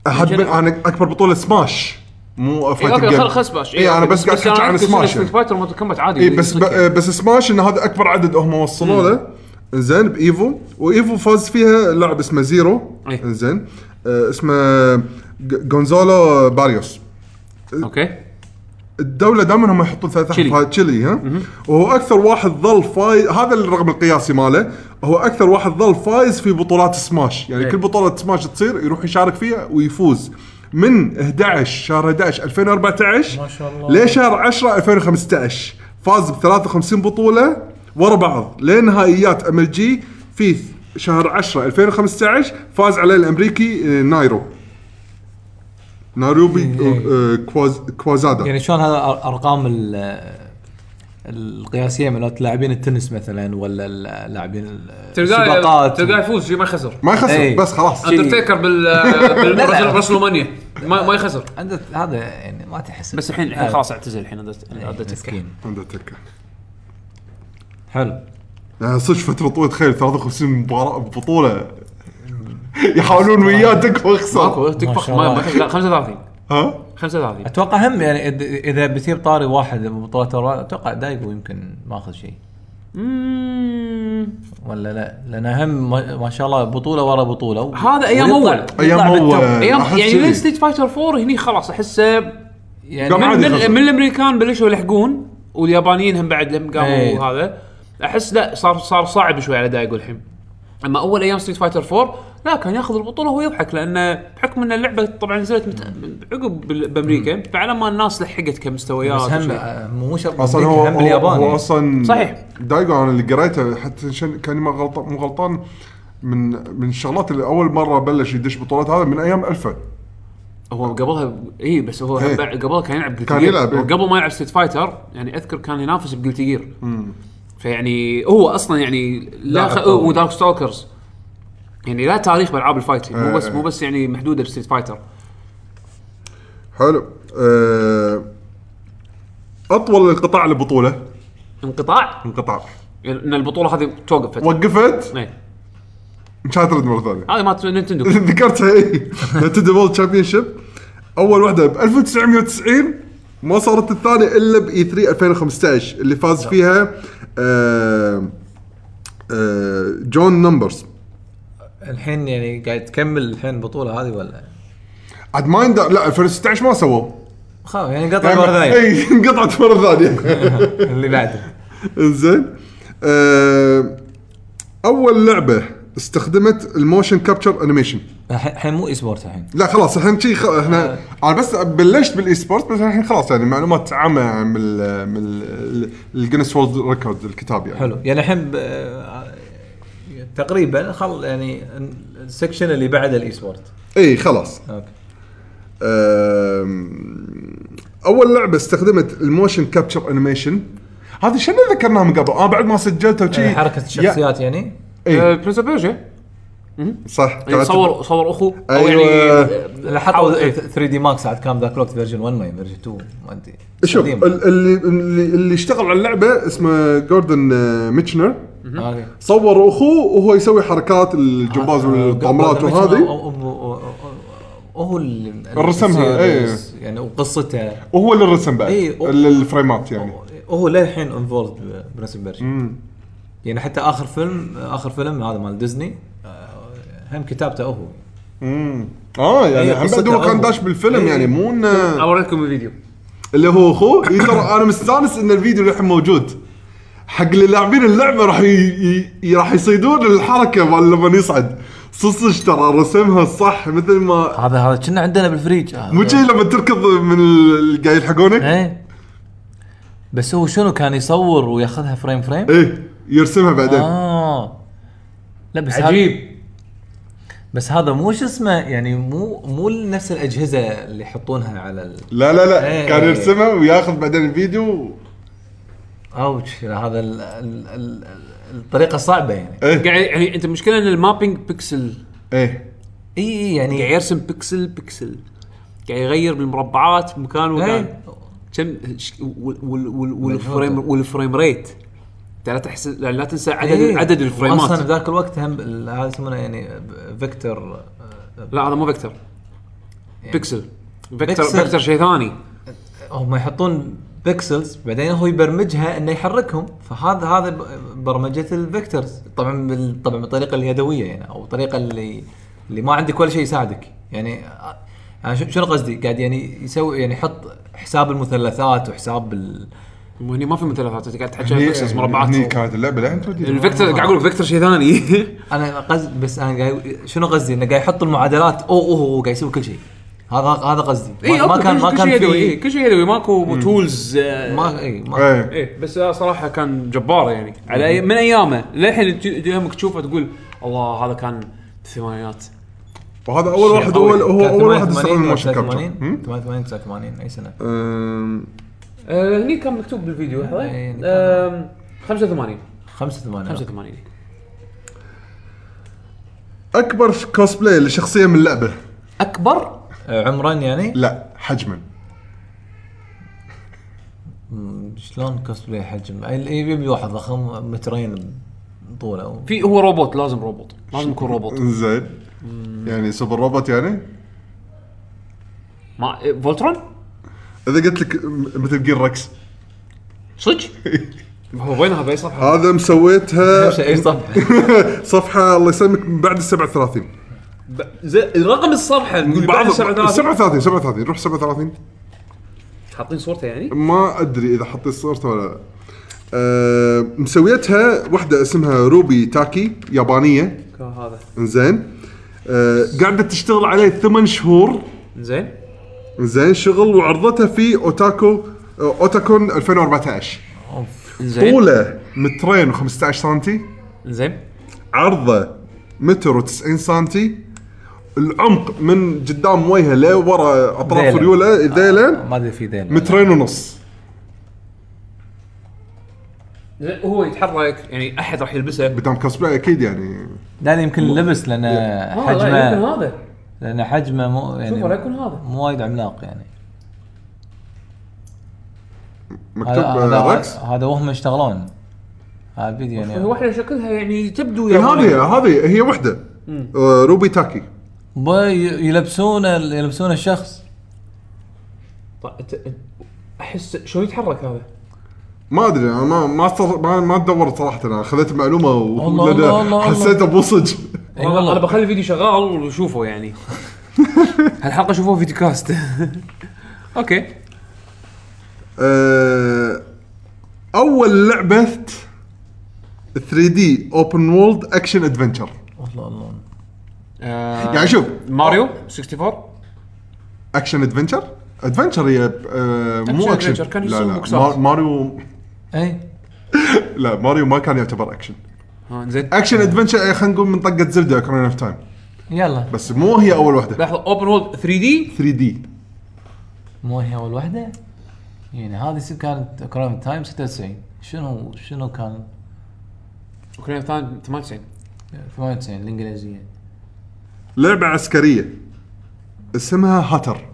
أحد من-
جنة.
انا اكبر بطوله سماش مو
إيه،
فايتر
اوكي
جيم
خل خل سباش
اي انا إيه، بس قاعد احكي عن سماش يعني.
ستيت فايتر مالت كومبات عادي
اي بس ب...
يطلق يعني.
بس سماش ان هذا اكبر عدد هم وصلوا له زين بايفو وايفو فاز فيها لاعب اسمه زيرو
إيه.
زين آه اسمه ج- جونزالو باريوس
اوكي
الدوله دائما هم يحطون ثلاث
تشيلي.
احرف تشيلي ها وهو اكثر واحد ظل فايز هذا الرقم القياسي ماله هو اكثر واحد ظل فايز في بطولات سماش يعني كل بطوله سماش تصير يروح يشارك فيها ويفوز من 11 شهر 11 2014 ما
شاء الله.
لشهر 10 2015 فاز ب 53 بطوله ورا بعض لنهائيات ام ال جي في شهر 10 2015 فاز عليه الامريكي آه، نايرو ناروبي آه، كواز كوازادا
يعني شلون هذا أر- ارقام ال- القياسيه مالت لاعبين التنس مثلا ولا ال- لاعبين ال-
تلقاه
السباقات
تلقاه يفوز شي ما يخسر
ما يخسر
إيه.
بس خلاص
اندرتيكر *laughs* بال
لا.
بالرسلمانيا ما ما يخسر
عندك هذا يعني ما تحس
بس الحين الحين خلاص اعتزل الحين أندرت- اندرتيكر
مسكين
اندرتيكر
حلو
يعني صدق فتره طويله تخيل 53 مباراه بطوله
*laughs*
يحاولون وياه تكفى خسر
ماكو تكفى
ما
خ-
شاء
ما-
الله.
ما- لا، 35
ها
35
اتوقع هم يعني إذا- اذا بتجيب طاري واحد ببطولات الرابعة، اتوقع دايجو يمكن ماخذ شيء
أمم،
ولا لا لان هم ما ما شاء الله بطوله ورا بطوله
هذا أيام
ويطلع-
أول.
يطلع
ايام
بالتوب.
هو
ايام
أحس
يعني
كذي.
لين ستيت فايتر 4 هني خلاص احسه
يعني
قام
من-
من,
عادي خلاص.
من, من الامريكان بلشوا يلحقون واليابانيين هم بعد لم قاموا
إيه.
هذا احس لا صار صار صعب شوي على دايجو الحين اما اول ايام ستريت فايتر 4 لا كان ياخذ البطوله وهو يضحك لانه بحكم ان اللعبه طبعا نزلت مت... عقب بال- بامريكا فعلى ما الناس لحقت كمستويات
بس هم
وشي.
آه، مو شرط
اصلا
أمريكا،
هو
هم
هو,
باليابان
هو
يعني.
اصلا
صحيح.
دايجو انا اللي قريته حتى شن كاني ما غلطان مو غلطان من من الشغلات اللي اول مره بلش يدش بطولات هذا من ايام الفا
هو قبلها اي بس هو
إيه.
هم بعد- قبلها كان يلعب
كان
Guilty Gear.
يلعب، إيه.
وقبل ما يلعب ستريت فايتر يعني اذكر كان ينافس بجلتي جير فيعني هو اصلا يعني لا
لاعب
خ...
قوي.
ودارك ستوكرز يعني لا تاريخ بالعاب الفايت
إيه،
مو بس
إيه.
مو بس يعني محدوده بستريت فايتر
حلو أه اطول انقطاع للبطوله
انقطاع
انقطاع
يعني ان البطوله هذه توقف فتره
وقفت
إيه.
مش هترد مره ثانيه
هذه مالت نينتندو
*laughs* إيه؟ ذكرتها اي نتندو وورلد شيب اول واحده ب 1990 ما صارت الثانيه الا باي 3 2015 اللي فاز فيها آه آه جون نمبرز
الحين يعني قاعد تكمل الحين البطوله هذه ولا
عاد ما يندر لا 2016 ما سووه
خلاص يعني قطع مره ثانيه
اي انقطعت مره *laughs* ثانيه
اللي بعده
انزين آه، اول لعبه استخدمت الموشن كابتشر انيميشن
الحين الحين مو اي سبورت الحين
لا خلاص الحين شي خ...
آه.
احنا انا بس بلشت بالاي سبورت بس الحين خلاص يعني معلومات عامه يعني من ال... من ال- الجينيس وورد ريكورد الكتاب يعني
حلو يعني الحين ب- آه، تقريبا خل يعني السكشن اللي بعد الاي سبورت
اي خلاص
اوكي
آم، اول لعبه استخدمت الموشن كابتشر انيميشن هذه شنو ذكرناها من قبل؟ اه بعد ما سجلته وشي
آه، حركه الشخصيات يعني
آه،
اي
برنس اوف بيرجيا
صح
يعني صور صور اخوه او
أيوة.
يعني
لا
آه،
حطوا
حاول- إيه.
3 دي ماكس عاد كان ذاك الوقت فيرجن 1 ما فيرجن 2 ما ادري
شوف
قديم.
ال- اللي اللي اللي اشتغل على اللعبه اسمه جوردن آه، ميتشنر
آه، أوكي.
صور اخوه وهو يسوي حركات الجمباز
آه،
والطامرات
قبل-
وهذه
هو- هو- هو- هو اللي اللي
رسمها،
يصير- يعني وقصته
وهو اللي رسم بعد
إيه،
إي، و-
ال- الفريمات يعني
هو للحين انفولد برنس برج يعني حتى اخر فيلم اخر فيلم هذا مال ديزني آه، هم كتابته هو
امم اه يعني
إيه،
هي
هم بعد
قصته
هو كان
أول.
داش بالفيلم يعني مو انه
اوريكم الفيديو
اللي هو اخوه إي
*coughs*
ترى انا مستانس ان الفيديو للحين موجود حق اللي لاعبين اللعبه راح ي... ي... ي- راح يصيدون الحركه مال لما يصعد صصش ترى رسمها صح مثل ما
هذا هذا كنا عندنا بالفريج آه.
مو شي لما تركض من ال- قاعد
إيه.
يلحقونك
إيه.
ايه بس هو شنو كان يصور وياخذها فريم فريم؟
ايه يرسمها بعدين
آه.
آه.
اه لا بس هذا
عجيب
بس هذا مو شو اسمه يعني مو مو نفس الاجهزه اللي يحطونها على ال...
لا لا لا
إيه.
كان يرسمها وياخذ بعدين الفيديو
اوتش هذا ال... ال... ال... الطريقه صعبه يعني
ايه
قاعد يعني انت المشكله ان المابينج بيكسل
ايه
اي اي يعني
قاعد يرسم بيكسل بيكسل قاعد يغير بالمربعات مكان ومكان
إيه.
كم ش- وال- وال- وال- والفريم والفريم ريت انت لا تحس لا لا تنسى عدد
إيه.
عدد الفريمات
اصلا بذاك الوقت هم ال- هذا يسمونه يعني فيكتور يعني
لا هذا مو فيكتور بيكسل فيكتور
بيكسل.
فيكتور شيء ثاني
هم يحطون بيكسلز بعدين هو يبرمجها انه يحركهم فهذا هذا ب- برمجه الفيكتورز طبعا بال- طبعا بالطريقه اليدويه يعني او الطريقه اللي اللي ما عندك ولا شيء يساعدك يعني آه، أنا شو- شنو قصدي؟ قاعد يعني يسوي يعني يحط حساب المثلثات وحساب ال...
وهني ما في مثلثات انت قاعد تحكي عن
هني-
بيكسلز مربعات
هني كانت اللعبه لين تودي
الفيكتور قاعد اقول فيكتور شيء ثاني
انا قصد بس انا قاعد شنو قصدي؟ انه قاعد يحط المعادلات او او هو قاعد يسوي كل شيء هذا هذا قصدي *laughs* ما-
اي
ما كان ما كان
يدوي إيه،
في
كل شيء يدوي ماكو آه، تولز
ما اي ما
ايه
ايه بس آه، صراحه كان جبار يعني على أي- من ايامه للحين تج- يومك تشوفه تقول الله هذا كان بالثمانينات
وهذا اول
شيء
واحد
قوي.
اول هو
كان
اول واحد
88
استخدم الموشن كابتشر
89 88 89 اي سنه
أم،
آه، هني كان مكتوب بالفيديو آه، لحظة.
إيه، كان-
آم، 85
85 أوكي.
85
اكبر كوسبلاي لشخصيه من اللعبه
اكبر
آه، عمرا يعني
لا حجما
مم، شلون كوسبلاي حجم؟ أي- أي- يبي واحد ضخم مترين طوله أو-
في هو روبوت لازم روبوت لازم يكون روبوت
زين يعني سوبر روبوت يعني
ما إيه، فولترون
اذا قلت لك مثل جير ركس
صدق *laughs* هو وينها باي صفحه
هذا مسويتها
أهم شيء
*laughs*
اي صفحه
صفحه الله يسلمك من بعد ال 37
رقم الصفحه نقول بعد
بعض-
*laughs* السبع
37 37 روح 37
حاطين صورته يعني
ما ادري اذا حطيت صورته ولا لا أه مسويتها واحده اسمها روبي تاكي يابانيه
كان هذا
انزين أه قاعده تشتغل عليه ثمان شهور
زين
زين شغل وعرضته في أه، اوتاكو اوتاكون 2014
زين
طوله مترين و15 سم
زين
عرضه متر و90 سم العمق من قدام وجهه لورا اطراف
ذيلة.
ريوله ذيله
ما ادري في دين
مترين ونص
زين، هو يتحرك يعني احد راح يلبسه
بدام كوسبلاي اكيد يعني
داني يمكن لبس لان
آه، لا، يمكن
حجمه
هذا
لان حجمه مو يعني
شوفه لا يكون هذا.
مو وايد عملاق يعني
مكتوب
هذا
آه،
هذا,
ركس
هذا وهم يشتغلون هذا الفيديو يعني
واحده شكلها يعني تبدو
إيه،
يابانية.
هذه هذه هي وحده آه، روبي تاكي
بي- يلبسون ال- يلبسون الشخص
طيب، أنت-
احس شلون يتحرك هذا؟
إيه،
ما ادري انا ما ما صر- ما, ما دورت صراحه انا خذيت معلومه و-
الله،
لأن
الله، الله،
حسيت ابو صج
اي والله انا بخلي الفيديو شغال
*laughs*
وشوفه يعني
هالحلقه شوفوها فيديو كاست
اوكي
آه، اول لعبه 3 دي اوبن وولد اكشن ادفنتشر
والله الله
آه،
يعني شوف
ماريو 64
اكشن ادفنتشر ادفنتشر هي آه،
أكشن
مو اكشن
أدفنتشر، كان
لا
يسوون
لا
بوكسات.
مار- ماريو
اي
لا ماريو ما كان يعتبر اكشن
ها زين
اكشن ادفنتشر إيه، خلينا نقول من طقه زلده كمان اوف تايم
يلا
بس مو هي اول واحده
لحظه اوبن وولد 3 دي
3 دي
مو هي اول واحده يعني هذه س- كانت كرام تايم 96 شنو شنو كان
اوكرين 98
98 الانجليزيه
لعبه عسكريه اسمها هاتر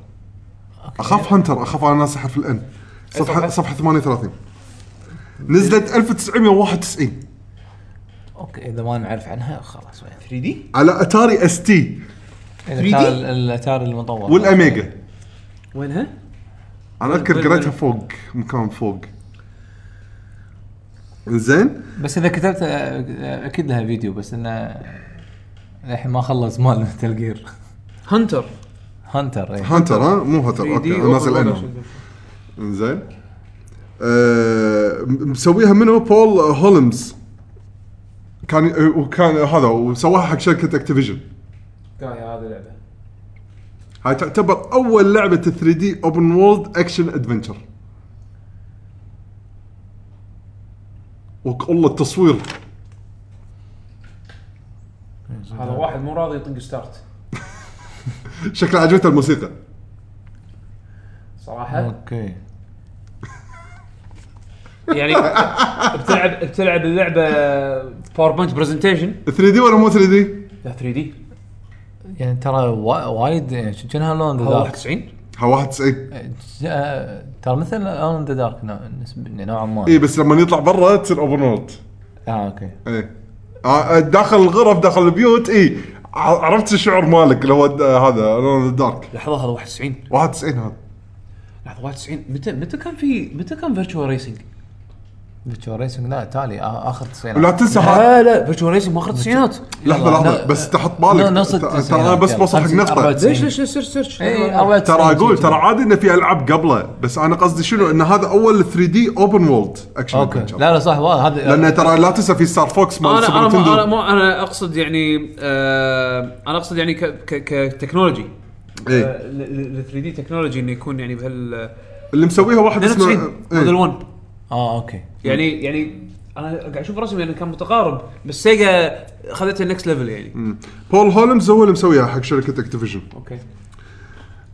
اخاف هانتر اخاف انا ناصحه في الان
إيه،
صفحه صفحه 38 نزلت 1991
اوكي اذا ما نعرف عنها خلاص وين
3 دي
على اتاري اس تي
اذا كان ال- الاتار المطور
والاميجا
وينها؟
انا اذكر
وال-
قريتها فوق مكان فوق زين
بس اذا كتبت أ- اكيد لها فيديو بس انه للحين ما خلص مال *laughs* مثل جير
هانتر
هانتر إيه. اي
هانتر ها مو هانتر
3
اوكي
دي
انا نازل الان زين آه، م- مسويها منو بول هولمز كان آه، وكان هذا وسواها حق شركه اكتيفيجن
هذه لعبه
هاي تعتبر اول لعبه 3 دي اوبن وولد اكشن ادفنتشر والله التصوير
هذا واحد مو راضي يطق ستارت
شكله عجبته الموسيقى
صراحه
اوكي
*laughs*
يعني بتلعب بتلعب اللعبه
باور بانش برزنتيشن
3 دي ولا مو 3 دي؟
لا 3 دي
يعني ترى وا- وايد يعني ش- شنها لون ذا
هو
دارك
91
ها 91
آه، ترى مثل لون ذا دارك نوع- نسب- نوعا ما
اي إيه، بس لما يطلع برا تصير اوبن وورلد
اه اوكي
اي آه، داخل الغرف داخل البيوت اي ع- عرفت الشعور مالك اللي هو د- هذا لون الدارك
لحظه هذا 91
91 هذا
لحظه 91 متى متى كان في متى كان فيرتشوال ريسنج؟
فيرتشوال ريسنج لا تالي آه، آ- اخر
ولا
تصوير
تنسى ها-
لا لا فيرتشوال ريسنج ما اخر التسعينات
لحظه
يلا،
لحظه
لا،
بس تحط
لا،
بالك
نص
ت- ترى انا
التسعينات،
بس
يلا،
بوصل حق
خمسة-
نقطه
أربعة.
ليش ليش ليش سيرش سيرش
إيه،
ترى اقول ترى عادي انه في العاب قبله بس انا قصدي شنو ان هذا اول 3 دي اوبن وولد اكشن
اوكي
ادفنتشر
لا لا صح وا- هذا
لان ترى لا تنسى في ستار فوكس مال
انا
سوبر
انا ما انا
نتندو
ما انا اقصد يعني آه انا اقصد يعني ك ك آه، كتكنولوجي
إيه.
ال 3 دي تكنولوجي انه يكون يعني بهال
اللي مسويها واحد اسمه
92
إيه.
موديل 1
اه اوكي
يعني يعني انا قاعد اشوف رسمي انه كان متقارب بس سيجا خذته النكست ليفل يعني
بول هولمز هو اللي مسويها حق شركه اكتيفيجن
اوكي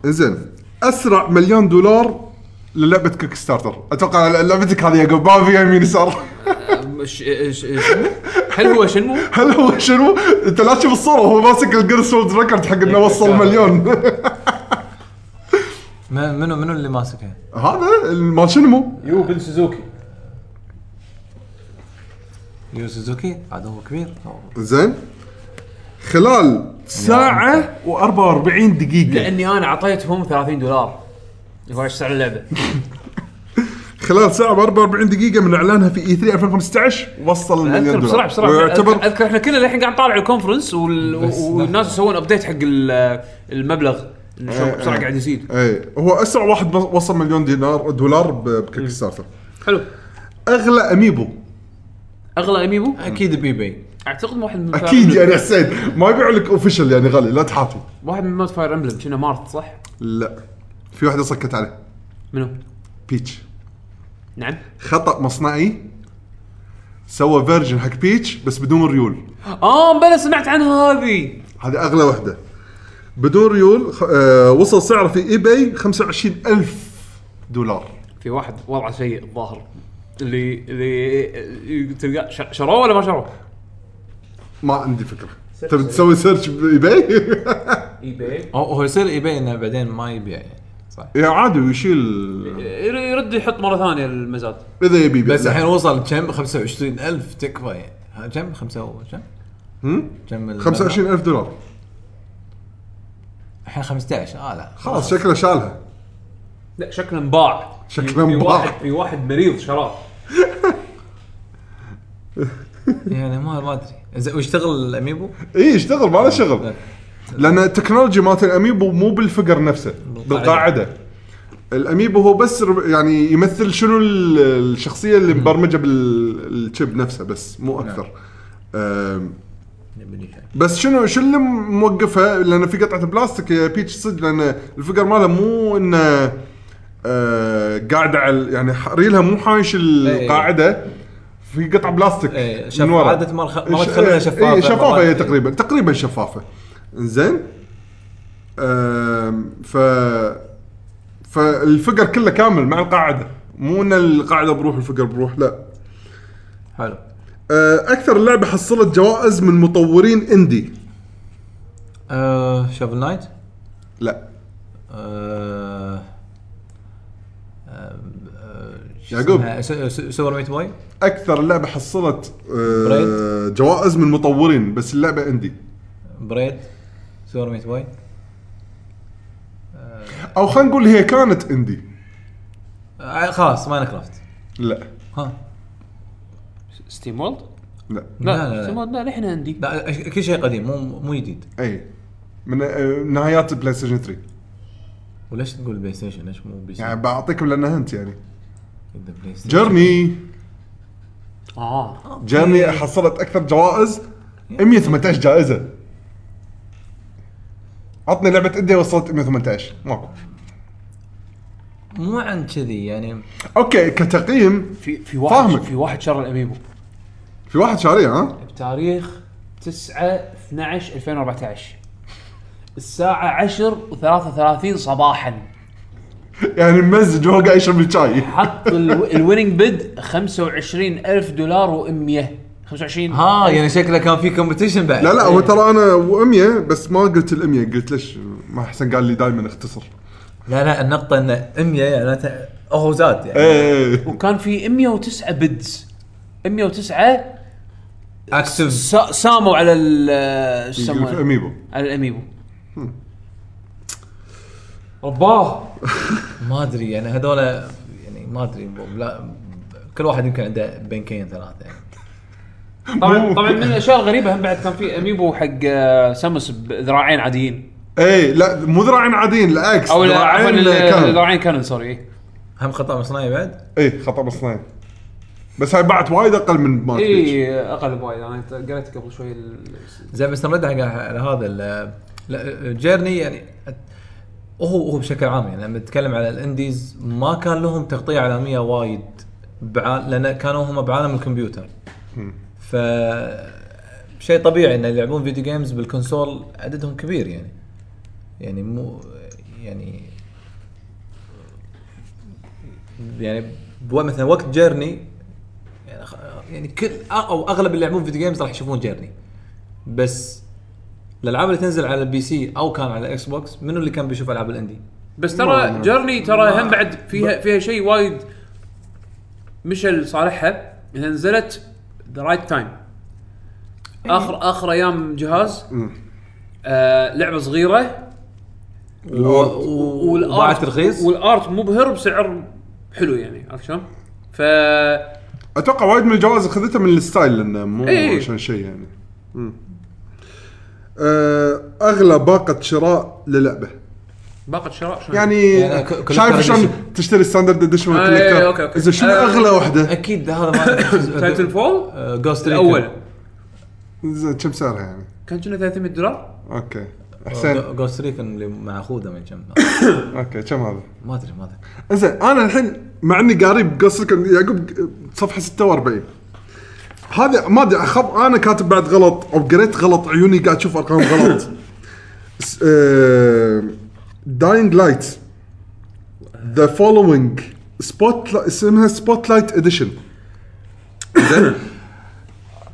زين اسرع مليون دولار للعبه كيك ستارتر اتوقع لعبتك هذه يا قبل ما فيها يمين يسار *laughs*
أم، ش- ش- شنمو؟ هل هو شنمو؟
هل هو شنو انت لا تشوف الصوره هو ماسك الجينيس وولد ريكورد حق انه وصل مليون *laughs*
م- منو منو اللي ماسكها؟
هذا مال شنو
يو بن سوزوكي
يو سوزوكي عاد هو كبير
زين خلال ساعة و44 دقيقة
لاني انا اعطيتهم 30 دولار هو ايش سعر اللعبه؟
خلال ساعة و44 دقيقة من اعلانها في اي 3 2015 وصل
اذكر
المليون دولار
بسرعه بسرعه
ويعتبر
أذكر- اذكر احنا كنا الحين قاعد نطالع الكونفرنس وال- والناس يسوون ابديت حق ال- المبلغ إنه شلون بسرعه قاعد يزيد
اي إيه، هو اسرع واحد وصل مليون دينار دولار بكيك ستارتر
حلو
اغلى اميبو
اغلى اميبو
اكيد بيبي
اعتقد واحد من
اكيد
Fire Emblem-
يعني حسين ما يبيعوا لك اوفيشال يعني غالي لا تحاتي
واحد من مود فاير امبلم كنا مارت صح؟
لا في واحده صكت عليه
منو؟
بيتش
نعم
خطا مصنعي سوى فيرجن حق بيتش بس بدون ريول
اه بلا سمعت عنها هذه
هذه اغلى واحده بدون ريول خ... آه وصل سعره في اي باي 25000 دولار
في واحد وضعه سيء الظاهر اللي اللي تلقاه ش- شروه ولا ما شروه؟
ما عندي فكره تبي تسوي سيرش باي باي
اي باي
هو هو يصير يبي انه بعدين ما يبيع يعني صح
*laughs* يا عادي ويشيل
ير- يرد يحط مره ثانيه المزاد
اذا يبي يبيع.
بس
لا.
الحين وصل كم 25000 تكفى يعني ها، كم خمسة كم؟
هم؟
كم ال-
25000 دولار
الحين 15 اه لا
خلاص شكله شالها
لا شكله انباع
شكله
في- في
انباع.
واحد- في واحد مريض شراب
يعني ما ما ادري إذا- ويشتغل الاميبو
اي اشتغل إيه، ما له شغل لان التكنولوجي مالت الاميبو مو بالفقر نفسه بالقاعده الاميبو هو بس رب- يعني يمثل شنو ال- الشخصيه اللي مبرمجه بالشيب نفسه بس مو اكثر أم، بس شنو شو اللي موقفها لان في قطعه بلاستيك يا بيتش صدق لان الفقر ماله مو انه آه، قاعد على يعني ح- ريلها مو حايش القاعده في قطعه بلاستيك
إيه، شف-
من ورا.
عادة مرخ- مرات
إيش-
خلوها
إيه،
شفافة،
إيه، شفافه
مرات-
هي تقريبا تقريبا شفافه زين آم، ف فالفقر كله كامل مع القاعده مو ان القاعده بروح الفقر بروح لا
حلو
آه، اكثر لعبه حصلت جوائز من مطورين اندي
آه شافل نايت
لا
آه آه، شو
يعقوب.
اسمها؟ س- س- سوبر ميت بوي
اكثر لعبه حصلت آه،
بريد.
جوائز من مطورين بس اللعبه اندي
بريد سوبر ميت بوي
او خلينا نقول هي كانت اندي
آه خلاص ماين كرافت
لا
ها
ستيم وولد؟
لا
لا، لا، لا.
ستيم وولد لا لحنا عندي
لا أش- كل شيء قديم مو مو جديد
اي من آه، نهايات بلاي ستيشن 3
وليش تقول بلاي ستيشن ليش مو بي سي؟
يعني بعطيكم لانها هنت يعني
إذا بلاي ستيشن.
جيرني
اه
جيرني حصلت اكثر جوائز 118 جائزه عطني لعبه اندي وصلت 118 ماكو
مو عن كذي يعني
اوكي كتقييم
في في واحد
فاهمك.
في واحد شر الاميبو
في واحد شاريه ها
بتاريخ 9 12 2014 الساعة 10 و33 صباحا
يعني ممزج وهو قاعد يشرب الشاي
حط *laughs* الويننج بيد 25000 دولار و100 25
ها يعني شكله كان في كومبتيشن بعد
لا لا هو ترى انا وامية بس ما قلت الامية قلت ليش ما حسن قال لي دائما اختصر
لا لا النقطة ان 100 يعني ت- هو زاد يعني
ايه
وكان في 109 بيدز 109
اكتف
سا- ساموا على ال شو
يقول في
يسمونه
اميبو
على الاميبو رباه
ما ادري يعني هذول يعني ما ادري ب- لا كل واحد يمكن عنده بنكين ثلاثة يعني
طبعا
مو-
طبعا من الاشياء الغريبه هم بعد كان في اميبو حق آه، سامس بذراعين عاديين
ايه لا مو ذراعين عاديين العكس
او لا، عفوا ال-
كان
الذراعين كانون إيه، سوري
هم خطأ مصنعي بعد
ايه خطر اصنعين بس هاي باعت وايد اقل من مالت بيتش.
اي اقل إيه، بوايد انا قريت قبل شوي ال-
زي مستمر على على هذا ال- لا، جيرني يعني هو هو بشكل عام يعني لما نتكلم على الانديز ما كان لهم تغطيه اعلاميه وايد بع... لان كانوا هم بعالم الكمبيوتر ف شيء طبيعي ان اللي يلعبون فيديو جيمز بالكونسول عددهم كبير يعني يعني مو يعني يعني بو مثلا وقت جيرني يعني خ- يعني كل او اغلب اللي يلعبون فيديو جيمز راح يشوفون جيرني بس الالعاب اللي تنزل على البي سي او كان على الاكس بوكس منو اللي كان بيشوف العاب الاندي؟
بس ترى جيرني ترى هم بعد فيها فيها شيء وايد مشل صالحها انها نزلت ذا رايت تايم اخر اخر ايام جهاز آه لعبه صغيره
الأورد.
و-
وباعت رخيص
والارت مبهر بسعر حلو يعني عرفت شلون؟ ف
اتوقع وايد من الجوائز اخذتها من الستايل لانه مو
إيه.
عشان شيء يعني مم. آه، اغلى باقه شراء للعبه
باقه شراء شلون؟
يعني
يعني ك- collector
شايف
edition.
شلون تشتري ستاندرد اديشن
آه، إيه، إيه، أوكي، أوكي.
اذا شنو
آه،
اغلى وحده؟
اكيد هذا ما آه،
تايتن فول
جوست
الاول
زين، كم سعرها يعني؟
كان كنا 300 دولار
اوكي حسين
جوست ريكن اللي معخوذه من كم
اوكي كم هذا؟
ما ادري ما ادري
زين انا الحين مع اني قريب قصرك يعقوب صفحه 46 هذا ما ادري أخب... انا كاتب بعد غلط او قريت غلط عيوني قاعد اشوف ارقام غلط آه، داينج لايت ذا فولوينج سبوت اسمها سبوت لايت اديشن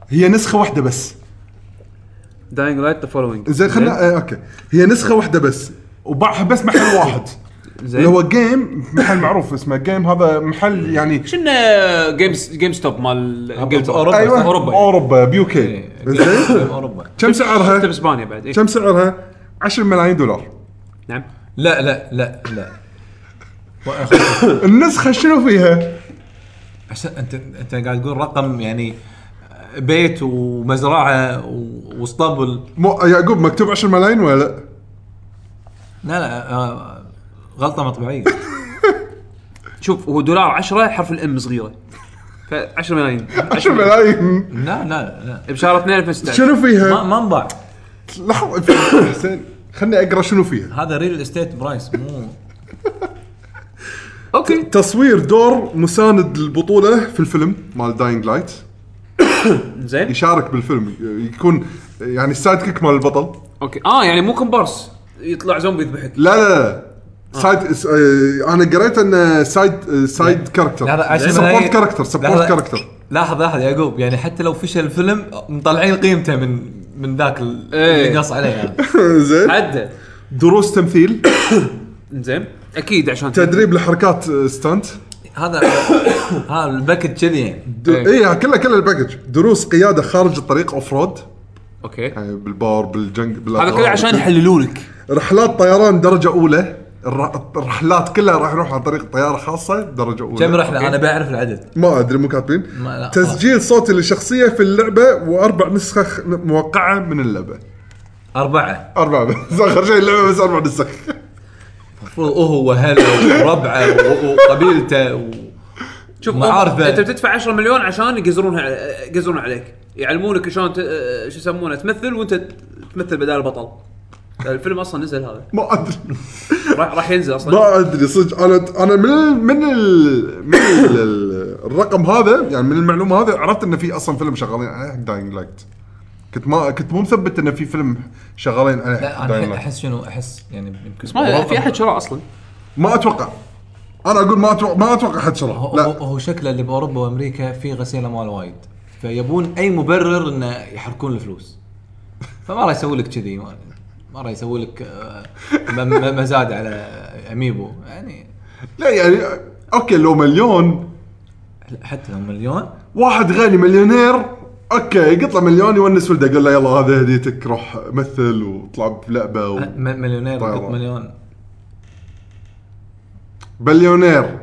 هي نسخه واحده بس
داينج لايت ذا فولوينج
زين خلنا آه اوكي هي نسخه واحده بس وباعها بس محل واحد
زين.
اللي هو جيم محل معروف اسمه جيم هذا محل
إيه.
يعني
كنا جيمز جيم ستوب مال انجلترا
أوروبا،
ايوه
أوروبا. إيه.
اوروبا بيوكي
*laughs*
زين
اوروبا
كم
شفته
سعرها؟
باسبانيا بعد إيه.
كم سعرها؟ 10 ملايين دولار
نعم
*laughs* لا لا لا لا
النسخه شنو فيها؟
عشان انت انت قاعد تقول رقم يعني بيت ومزرعه و- واسطبل
مو يعقوب مكتوب 10 ملايين ولا لا؟
لا لا آه، غلطه مطبعيه
شوف هو دولار 10 حرف الام صغيره ف 10
*laughs*
ملايين
10 ملايين
لا لا لا
بشهر 2 2016
شنو
ما
فيها؟
ما انباع
لحظه حسين خلني اقرا شنو فيها
هذا ريل استيت برايس مو
اوكي
تصوير دور مساند البطوله في الفيلم مال داينج لايت
زين
يشارك بالفيلم يكون يعني السايد كيك مال البطل
اوكي اه يعني مو كومبارس يطلع زومبي يذبحك
لا لا لا سايد س- آه، انا قريت آه، انه سايد سايد كاركتر
لا، إيه. لا، عشان
سبورت
ملايين.
كاركتر
لا،
سبورت
لا. *laughs*
كاركتر
لاحظ لاحظ يا يعقوب يعني حتى لو فشل الفيلم مطلعين قيمته من من ذاك ال-
إيه.
اللي قص عليه يعني.
زين
عدى
دروس تمثيل
زين اكيد عشان
تدريب لحركات آه، ستانت
هذا هذا الباكج كذي يعني
د- ايه كله كله الباكج دروس قياده خارج الطريق اوف رود
اوكي
يعني بالبار بالجنك
هذا كله عشان يحللونك
رحلات طيران درجه اولى الر- الرحلات كلها راح نروح عن طريق طياره خاصه درجه اولى
كم رحله انا بعرف العدد
ما ادري مو كاتبين
ما- لا.
تسجيل صوتي للشخصيه في اللعبه واربع نسخ موقعه من اللعبه
اربعه
اربع بس اخر شيء اللعبه بس اربع نسخ
المفروض هو واهله وربعه و- وقبيلته و...
شوف
معارفة.
انت بتدفع 10 مليون عشان يقزرونها ع- يقزرون عليك يعلمونك شلون ت- شو يسمونه تمثل وانت تمثل بدال البطل الفيلم اصلا نزل هذا
ما ادري
راح راح ينزل اصلا
ما ادري صدق انا انا من ال من ال من ال الرقم هذا يعني من المعلومه هذا عرفت انه في اصلا فيلم شغالين عليه داينج لايت كنت ما كنت مو مثبت انه في فيلم شغالين عليه
لا
Dying
انا
Light.
احس شنو احس يعني
*laughs*
يمكن
ما في احد شراه اصلا
ما اتوقع انا اقول ما اتوقع ما اتوقع حد شراه
هو, هو,
لا
هو شكله اللي باوروبا وامريكا في غسيل اموال وايد فيبون اي مبرر انه يحركون الفلوس فما راح يسوي لك كذي ما ما راح يسوي لك آه، م- م- مزاد على اميبو يعني
لا يعني اوكي لو مليون
حتى لو مليون
واحد غني مليونير اوكي قط له مليون يونس ولده يقول له يلا هذا هديتك روح مثل واطلع بلعبه و...
م- مليونير
طيب.
قط مليون
بليونير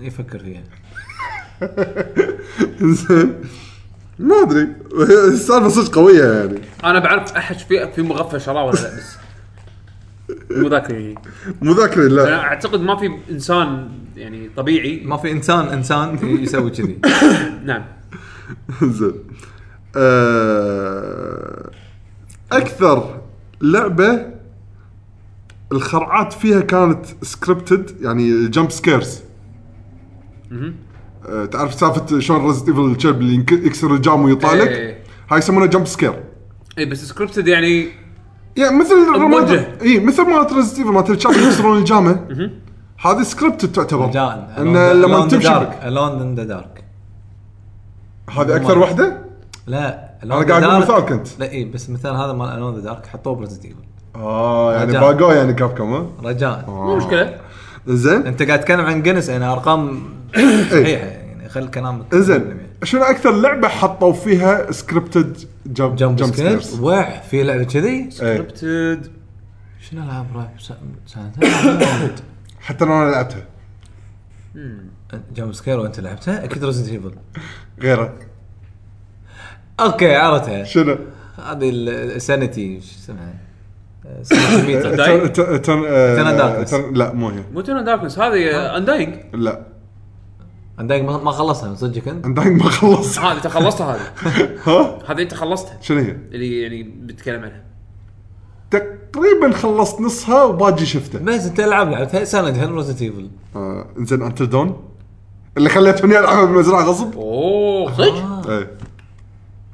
يفكر فيها
زين ما ادري هي السالفه صدق قويه يعني
انا بعرف احد في في مغفى شراه ولا لا بس مو ذاك اللي-
مو ذاكر
انا
لا
اعتقد ما في انسان يعني طبيعي
ما في انسان انسان
*laughs*
يسوي كذي
نعم
زين آه، اكثر لعبه الخرعات فيها كانت سكريبتد يعني جمب سكيرز تعرف سالفه شلون ريزنت ايفل الشب اللي ينك- يكسر الجام ويطالك
إيه.
هاي يسمونها جمب سكير
اي إيه، بس سكريبتد يعني
يعني مثل
الموجه.
اي مثل ما تريزنت ايفل ما تلشاب يكسرون الجامه هذه سكريبتد تعتبر انه لما تمشي
الون ان ذا دارك
هذه اكثر
ما-
واحده؟
لا
أنا قاعد أقول مثال كنت.
لا اي بس مثال هذا مال الون ذا دارك حطوه بريزنت ايفل
اه يعني
رجاء.
باقوا يعني كاب كم آه.
رجاء
مو مشكله
*laughs*
زين
انت قاعد تتكلم عن جنس يعني *coughs* ارقام صحيحه يعني خل كلامك
زين شنو اكثر لعبه حطوا فيها سكريبتد جمب
جمب سكيرز وح في لعبه كذي
إيه. سكريبتد
شنو العاب رعب س- سنة
حتى لو انا لعبتها
*coughs* جمب سكير وانت لعبتها اكيد ريزنت ايفل
غيره
اوكي عرفتها
شنو؟
هذه السانيتي شو اسمها سانيتي
*laughs*
ميتر
داي؟
تن- تن- تن- آه،
تن داركنس.
تن- لا مو هي
مو تون داركنس هذه انداينج
لا
عندك ما ما خلصها صدقك انت
انداينج ما
*laughs*
خلص
هذه انت خلصتها هذه
ها
هذه انت خلصتها
شنو هي؟
اللي يعني بتكلم عنها
تقريبا خلصت نصها وباجي شفته
بس انت العاب لعبتها سايلنت هيل ريزنت ايفل
آه، انزين انتل دون اللي خليتهم يلعبوا بالمزرعه غصب
اوه صدق؟
إيه.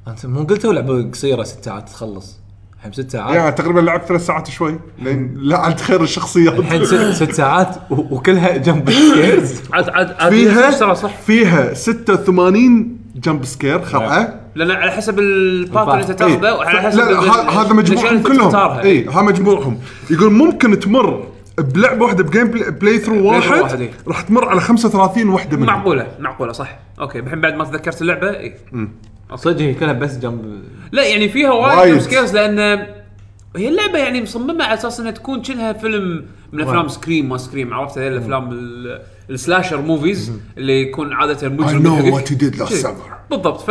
انت مو قلتوا لعبه قصيره ست ساعات تخلص الحين ست ساعات
يعني تقريبا لعبت ثلاث ساعات شوي لين لعنت خير الشخصيات
الحين ست, ست ساعات و- وكلها جنب السكيرز
عاد عاد عاد
فيها
ترى صح
فيها 86 جمب سكير خرعه
لان على حسب الباث اللي انت
إيه.
تاخذه وعلى
لا
حسب
لا
ال-
ه- هذا
الأشياء
مجموعهم
اللي أنت
كلهم إيه.
تختارها.
اي هذا مجموعهم يقول ممكن تمر بلعبه واحده بجيم بلاي, بلاي ثرو واحد,
واحد، إيه.
راح تمر على 35 وحده منهم
معقوله معقوله صح اوكي الحين بعد ما تذكرت إيه. اللعبه اي
صدق هي كلها بس جنب
لا يعني فيها
وايد.
وايد سكيلز لان هي اللعبه يعني مصممه على اساس انها تكون شنها فيلم من افلام
واو.
سكريم ما سكريم عرفت هذي الافلام ال- السلاشر موفيز اللي يكون عاده
I
مجرم
know
يحقق.
what you did last
شي.
summer
بالضبط ف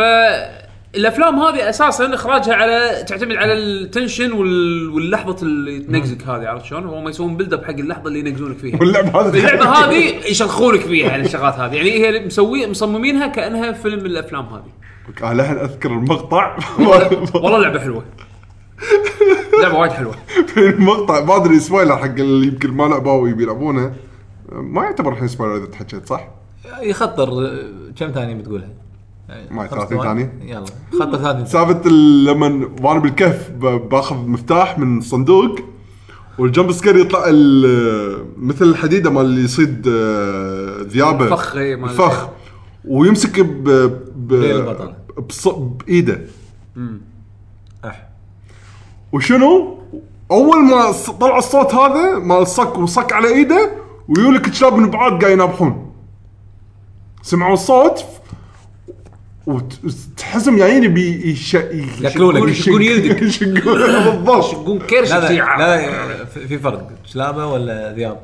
الافلام هذه اساسا اخراجها على تعتمد على التنشن وال... واللحظه اللي تنقزك هذه عرفت شلون؟ هم يسوون بيلد اب حق اللحظه اللي ينقزونك فيها
واللعبه هذه
اللعبه هذه يشلخونك فيها يعني الشغلات هذه يعني هي مسوي مصممينها كانها فيلم من الافلام هذه
آه، لحن اذكر المقطع
*laughs* والله لعبه حلوه لعبه وايد حلوه
في *laughs* المقطع ما ادري سبويلر حق اللي يمكن ما لعبوه ويبي يلعبونه ما يعتبر الحين سبويلر اذا تحكيت صح؟
يخطر آه، كم ثانيه بتقولها؟ يعني
معي
خمس
30
ثواني؟
ثانية؟
يلا خطر 30 ثانيه
سالفه ال- لما وانا بالكهف ب- باخذ مفتاح من صندوق والجمب سكير يطلع ال- مثل الحديده مال اللي يصيد آه، ذيابه
الفخ، إي، مال-
الفخ ويمسك ب ب
البطل.
بص- بايده
أح.
وشنو؟ اول ما ص- طلع الصوت هذا مال الصك وصك على ايده ويولك كلاب من بعاد قاعد ينابحون سمعوا الصوت وت- وتحسهم جايين بي يش- يش-
ياكلونك،
يشق-
يشقون يدك.
*laughs* يشقون بالضبط
قوم كرش
لا
شي.
لا, لا في في فرق شلابه ولا ذياب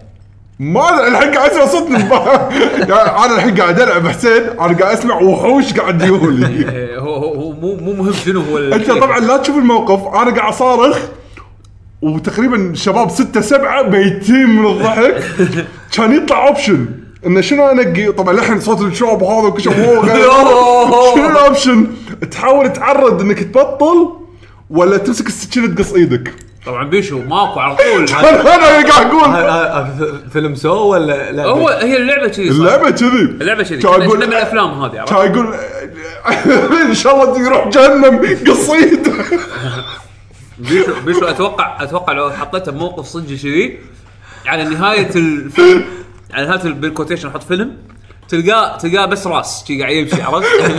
ما أدري، الحين قاعد اسمع صوت نباح. يعني انا الحين قاعد العب حسين انا قاعد اسمع وحوش
*laughs*
قاعد يهولي
إيه، هو هو هو مو مو مهم شنو هو ال-
انت طبعا لا تشوف الموقف انا قاعد اصارخ وتقريبا شباب ستة سبعة بيتين من *laughs* الضحك كان يطلع اوبشن انه شنو انقي طبعا لحن صوت الشوب هذا وكل شيء هو *laughs* قاعد- شنو الاوبشن تحاول تعرض انك تبطل ولا تمسك السكينه تقص ايدك
طبعا بيشو ماكو على طول
انا أنا قاعد اقول
فيلم سو ولا لا
هو هي اللعبه كذي صار.
اللعبه كذي
اللعبه كذي
كان
كنا
أقول-
كنا من الافلام هذه عرفت؟
كان يقول *laughs* ان شاء الله يروح جهنم قص ايده
بيشو بيشو اتوقع اتوقع لو حطيته بموقف صدق كذي على نهايه الفيلم على نهايه ال- بالكوتيشن احط فيلم تلقاه تلقاه بس راس شي قاعد يمشي عرفت؟ *laughs*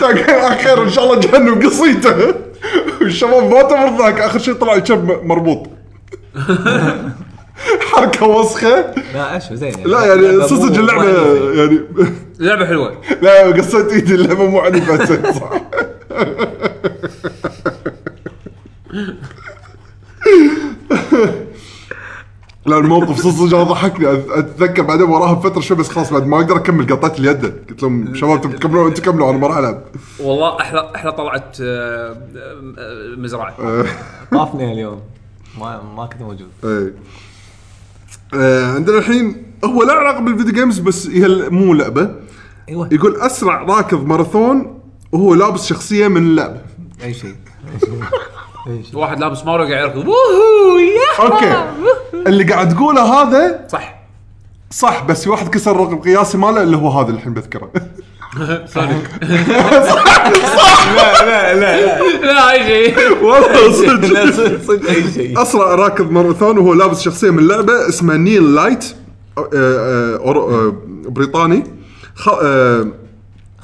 كان قايل اخيرا ان شاء الله جهنم قصيته والشباب ما تمر ذاك اخر شيء طلع الشب مربوط *laughs* حركه وسخه
لا اشوف زين
لا يعني صدق اللعبه يعني *laughs*
لعبه حلوه
لا قصيت ايدي اللعبه مو عنيفه صح *laughs* لا الموقف صدق أنا ضحكني أت- اتذكر بعدين وراها بفتره شوي بس خلاص بعد ما اقدر اكمل قطعت اليد قلت لهم شباب تبون تكملون انتم كملوا انا ما راح العب
والله احلى احلى طلعت آه، آه، مزرعه
طافني اليوم ما ما كنت موجود
ايه آه، عندنا الحين هو لا علاقه بالفيديو جيمز بس هي ال- مو لعبه
ايوه
يقول اسرع راكض ماراثون وهو لابس شخصيه من اللعبه
اي
*laughs*
شيء
واحد لابس ماريو قاعد يركض ووهو يا
اوكي اللي قاعد تقوله هذا
صح
صح بس في واحد كسر الرقم قياسي ماله اللي هو هذا اللي الحين بذكره
لا اي
*laughs*
شيء
والله صدق
صدق اي شيء
اسرع راكض ماراثون وهو لابس شخصيه من لعبه اسمها نيل لايت آه، آه، أور- آه، بريطاني خ- آه،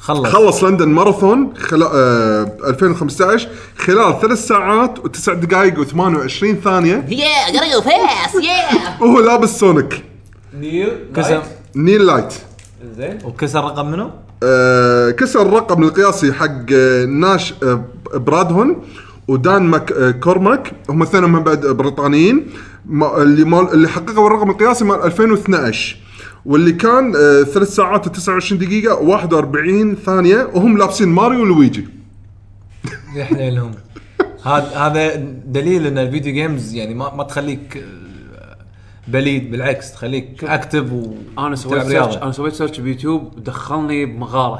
طيب.
خلص
خلص لندن ماراثون خلال آه 2015 خلال ثلاث ساعات وتسع دقائق و28 ثانيه
Yeah, gotta go fast. Yeah.
وهو لابس سونيك
نيل
كسر
نيل لايت
زين
وكسر رقم منو؟
آه كسر الرقم القياسي حق آه، ناش آه برادهون ودان ماك آه كورماك هم الاثنين من بعد بريطانيين ما اللي ما اللي حققوا الرقم القياسي مال 2012 واللي كان آه ثلاث ساعات و29 دقيقه و41 ثانيه وهم لابسين ماريو ولويجي
يا حليلهم هذا هذا دليل ان الفيديو جيمز يعني ما ما تخليك آه، بليد بالعكس تخليك اكتف و
انا سويت
تلعب
سيرش
رياضه
انا سويت سيرش بيوتيوب دخلني بمغاره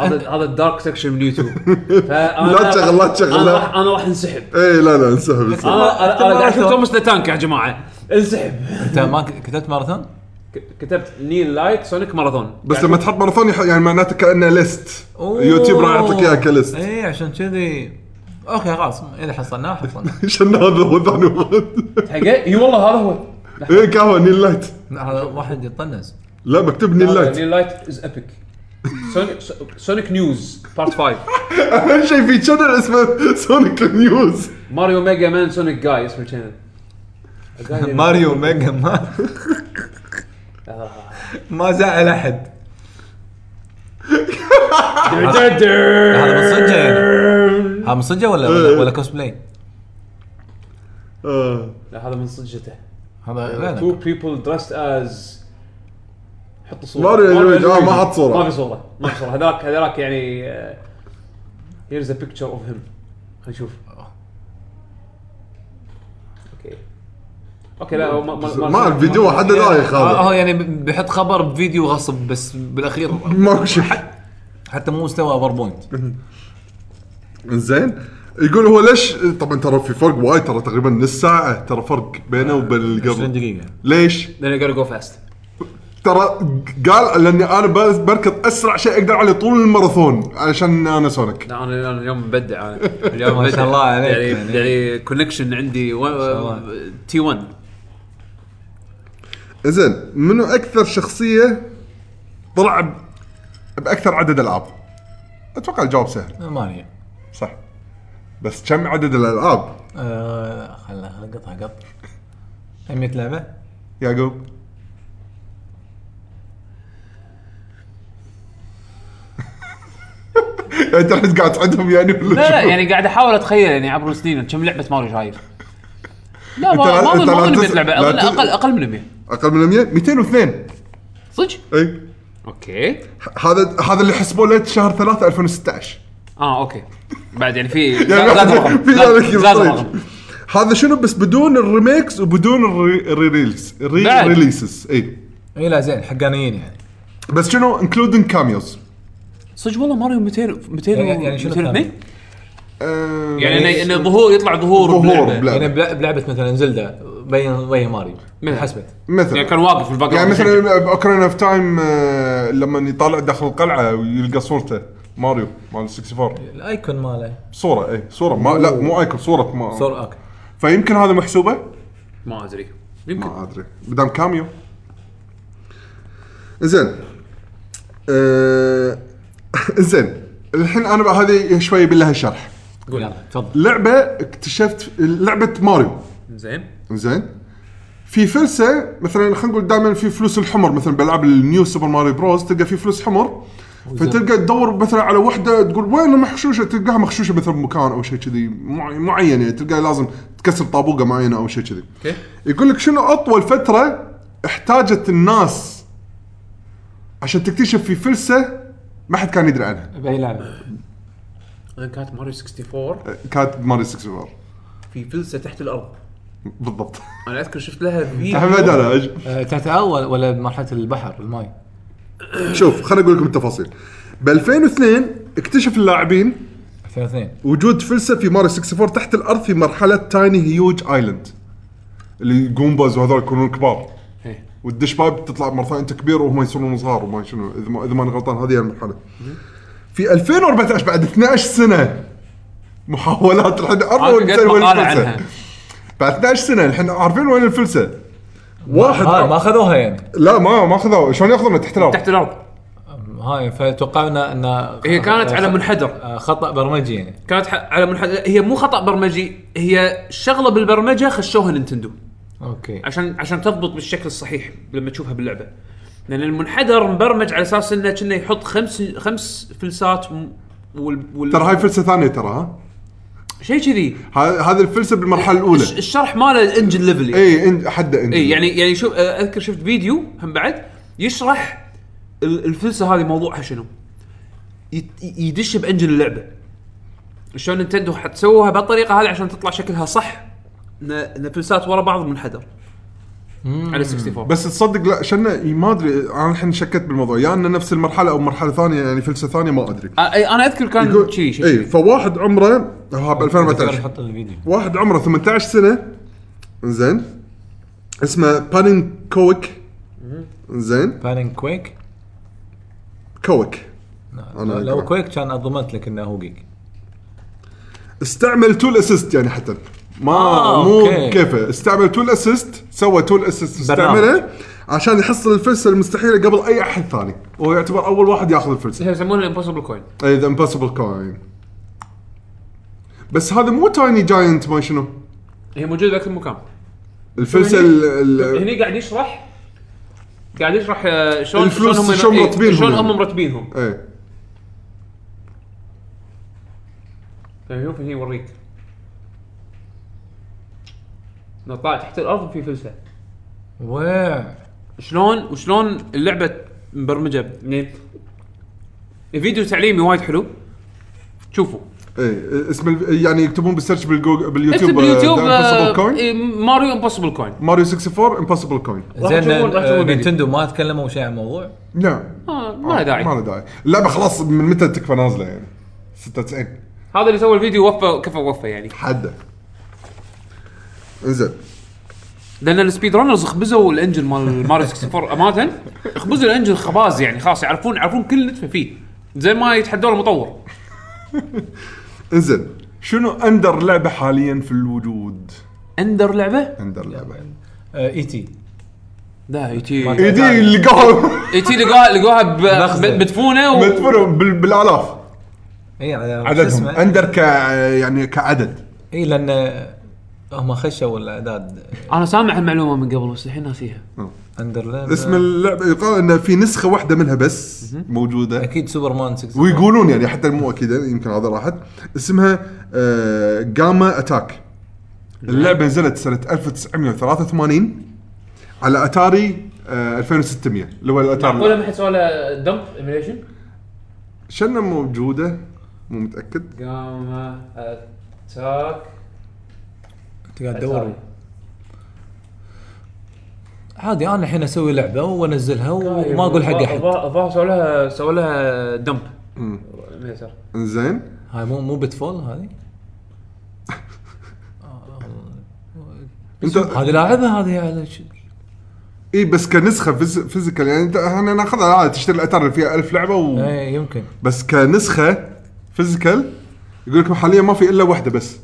هذا هذا الدارك سكشن من
*laughs*
يوتيوب
لا تشغل، لا تشغل،
انا
لا.
راح انا راح
*laughs*
انسحب
اي إيه، لا لا انسحب
أنا-
انسحب
انا
أنت ما
انا قاعد اشوف
رحت-
توماس لتانك يا جماعه انسحب
انت ما ك- كتبت ماراثون؟
ك- كتبت نيل لايت سونيك ماراثون
بس لما تحط ماراثون يح- يعني معناته كانه ليست يوتيوب راح يعطيك اياها كليست
إيه.
اي إيه، عشان كذي اوكي خلاص اذا حصلناه حصلناه
*laughs* عشان هذا هو إيه، ثاني
*laughs*
واحد
حقه اي والله هذا هو
اي قهوه نيل لايت
هذا واحد يطنز
لا مكتوب نيل لايت
نيل لايت از ابيك سونيك نيوز بارت
*laughs*
5
اهم شيء في شانل اسمه سونيك نيوز
ماريو ميجا مان سونيك جاي اسمه الشانل طيب. *laughs*
ماريو ميجا ما ما زعل احد
*laughs*
هذا بالصدق يعني هذا
لا
من صجه ولا
إيه.
ولا, ولا كوسبلاي؟
آه.
لا هذا من صجته
هذا
تو
لا
بيبل درست از حط صوره
ماريو يويج، آه،
يويج.
ما حط صورة.
ما في صوره ما في صوره هذاك هذاك يعني هيرز ا بيكتشر اوف هيم خلينا نشوف اوكي اوكي لا هو ما ما-
ما الفيديو حد دايخ
آه،
هذا
هو يعني بيحط خبر بفيديو غصب بس بالاخير
ماكو شيء
حتى مو مستوى باوربوينت
زين يقول هو ليش طبعا ترى في فرق وايد ترى تقريبا نص ساعه ترى فرق
آه.
بينه وبين اللي
20
قبل
دقيقه
ليش؟
then I gotta go fast
ترى قال لاني انا بس- بركض اسرع شيء اقدر عليه طول الماراثون علشان انا سونيك
لا انا أنا اليوم مبدع *laughs* انا اليوم
ما شاء
مبدع.
الله عليك
يعني
يعني.
يعني كونكشن عندي
الله.
تي 1
زين منو اكثر شخصيه طلع ب- باكثر عدد العاب؟ اتوقع الجواب سهل
ماني
صح بس كم عدد الالعاب
آه، خلنا خلنا نقطها قط 100 لعبه
يعقوب؟ *laughs* انت الحين قاعد تعدهم يعني ولا
لا لا
شو؟
يعني قاعد احاول اتخيل يعني عبر السنين كم لعبه ماريو شايف لا
أنت
ما
لا-
ما اظن
أنت
ما
لا
اظن 100
تز-
لعبه
لا
اظن
تز-
اقل اقل من 100
اقل من 100 202
صدق؟
اي
اوكي
هذا هذا اللي حسبوه له شهر 3 2016
اه اوكي بعد يعني في
يعني
لازم رقم
*laughs* في ذلك
لازم- لازم
الطريق.
رقم
هذا شنو بس بدون الريميكس وبدون الري- الريليز الري
بعد.
ريليسز اي
اي لا زين حقانيين يعني
بس شنو انكلودينج كاميوز
صدق والله ماريو 200 200
يعني- يعني شنو
202 يعني
يعني
انه إنه ظهور يطلع ظهور
ظهور
بلعبة.
يعني بلع-
بلعبة.
بلعبه مثلا زلدا بين بين ماريو
من
حسبت
يعني
مثلا
كان واقف في الباك
يعني
جراوند يشجع.
مثلا اوكرين اوف تايم آه، لما يطالع داخل القلعه ويلقى صورته ماريو مال 64
الايكون ماله
صوره اي صوره إيه، ما لا مو ايكون صوره ما
صور اوكي
فيمكن هذا محسوبه
ما ادري يمكن
ما ادري مدام كاميو زين آه، *laughs* زين الحين انا بقى هذه شوي بالله شرح
يلا تفضل
لعبه اكتشفت لعبه ماريو
زين
زين في فلسه مثلا خلينا نقول دائما في فلوس الحمر مثلا بالعاب النيو سوبر ماريو بروز تلقى في فلوس حمر فتلقى تدور مثلا على وحده تقول وين محشوشه تلقاها مخشوشه مثلا بمكان او شيء كذي مع- معين يعني تلقاها لازم تكسر طابوقه معينه او شيء كذي
اوكي
يقول لك شنو اطول فتره احتاجت الناس عشان تكتشف في فلسه ما حد كان يدري عنها
باي لعبه
أظن كانت ماريو 64
كانت ماري 64
في فلسه تحت الارض
بالضبط
انا اذكر شفت لها
احمد
فيديو
انا أج-
آه، تحت اول ولا مرحله البحر الماي
شوف خليني اقول لكم التفاصيل ب 2002 اكتشف اللاعبين
2002
وجود فلسه في ماري 64 تحت الارض في مرحله تايني هيوج ايلاند اللي جومباز وهذول يكونون كبار
إيه.
والدش بايب تطلع مره ثانيه انت كبير وهم يصيرون صغار وما شنو اذا ما اذا ماني غلطان هذه هي المرحله في 2014 بعد 12 سنه محاولات الحين
أنا
عرفوا
قريت
الإنسان وين
مقاله
الفلسة.
آه، عنها
بعد 12 سنه الحين عارفين وين الفلسه واحد
هاي ما اخذوها يعني
لا ما ما اخذوا شلون ياخذون تحت الارض
تحت الارض
هاي فتوقعنا ان
هي كانت على منحدر
آه، خطا برمجي يعني
كانت ح- على منحدر هي مو خطا برمجي هي شغله بالبرمجه خشوها نينتندو
اوكي
عشان عشان تضبط بالشكل الصحيح لما تشوفها باللعبه لان المنحدر مبرمج على اساس انه كنا يحط خمس خمس فلسات م- وال, وال...
ترى هاي فلسه ثانيه ترى ها
شيء كذي
ه- هذه الفلسه بالمرحله الاولى
الش- الشرح ماله انجن ليفل يعني.
اي إن- حده انت
اي يعني يعني شوف آه، اذكر شفت فيديو هم بعد يشرح ال- الفلسه هذه موضوعها شنو يت- يدش بانجن اللعبه شلون نتندو حتسووها بهالطريقه هذه عشان تطلع شكلها صح إن- ان فلسات ورا بعض منحدر على 64
بس تصدق لا شنا ما ادري انا الحين شكيت بالموضوع يا يعني نفس المرحله او مرحله ثانيه يعني فلسه ثانيه ما ادري
آه، أي، انا اذكر كان شيء شيء
اي إيه، فواحد عمره ها ب
تقدر
2014
تحط الفيديو
واحد عمره 18 سنه زين اسمه بانين كويك زين
فانين كويك
كويك أنا
نعم. لو
أقرأ.
كويك كان ضمنت لك انه هو جيك
استعمل تول اسيست يعني حتى ما
آه،
مو
أوكي.
كيفه استعمل تول اسيست سوى تول اسيست
برنامج.
استعمله عشان يحصل الفلسه المستحيله قبل اي احد ثاني وهو يعتبر اول واحد ياخذ إيه، الفلسه
يسمونها الامبوسيبل كوين
إيه.
اي ذا امبوسيبل كوين بس هذا مو تايني جاينت ما شنو
هي موجوده بكل مكان
الفلسه
يعني
هني-
ال- ال-
هني قاعد يشرح قاعد يشرح آه، شلون
الفلوس
شلون هم
شلون يعني.
إيه،
مرتبينهم
شلون
يعني.
هم مرتبينهم
ايه
طيب،
لما يشوف شيء يوريك انه طالع تحت الارض وفي فلسه
واع
شلون وشلون اللعبه مبرمجه يعني الفيديو تعليمي وايد حلو شوفوا
اي اسم الف... يعني يكتبون بالسيرش بالجوجل باليوتيوب
اكتب باليوتيوب آه،
كوين
إيه، ماريو امبوسيبل كوين
ماريو 64 امبوسيبل كوين
راح
زين
تشوفون- راح
آه،
تشوفون فيديو.
نينتندو ما تكلموا شيء عن الموضوع
لا
آه، ما له داعي
ما له داعي اللعبه خلاص من متى تكفى نازله يعني 96
هذا اللي سوى الفيديو وفى كفى وفى يعني
حده انزين
لان السبيد رانرز خبزوا الانجن مال ماريو *laughs* 64 امانه خبزوا الانجن خباز يعني خلاص يعرفون يعرفون كل نتفه فيه زي ما يتحدون المطور
انزين شنو اندر لعبه حاليا في الوجود؟
اندر لعبه
اندر لعبه
اي تي
لا اي تي
اي إيه، دي اللي قالوا
اي تي لقاها لقاها ب-
مخزن.
ب- بدفونه و...
مدفونهم بال- بالالاف
اي على- شو
عددهم
اسمه؟
اندر ك يعني كعدد
اي لان هم خشوا الاعداد
انا سامع المعلومه من قبل بس الحين ناسيها
*laughs*
اندرلاند
اسم اللعبه يقال ان في نسخه واحده منها بس موجوده
اكيد آه، سوبرمان 6
ويقولون يعني حتى مو اكيد يمكن هذا راحت اسمها آه، جاما اتاك اللعبه نزلت سنه 1983 على اتاري آه، 2600 اللي هو
معقوله
الاتاري
ما حد سواله دمب ايميليشن؟
شنو موجوده مو متاكد
قام اتاك
انت قاعد تدور عادي انا الحين اسوي لعبه وانزلها وما اقول حق احد
الظاهر سووا لها سووا لها دمب
مم.
ميسر
انزين
هاي مو مو بتفول هذه
انت
هذه لاعبها هذه على ش-
اي بس كنسخه فيز- فيزيكال يعني انت احنا ناخذها عادي تشتري الاتاري اللي فيها 1000 لعبه و...
اي يمكن
بس كنسخه فيزيكال يقول لكم حاليا ما في الا واحده بس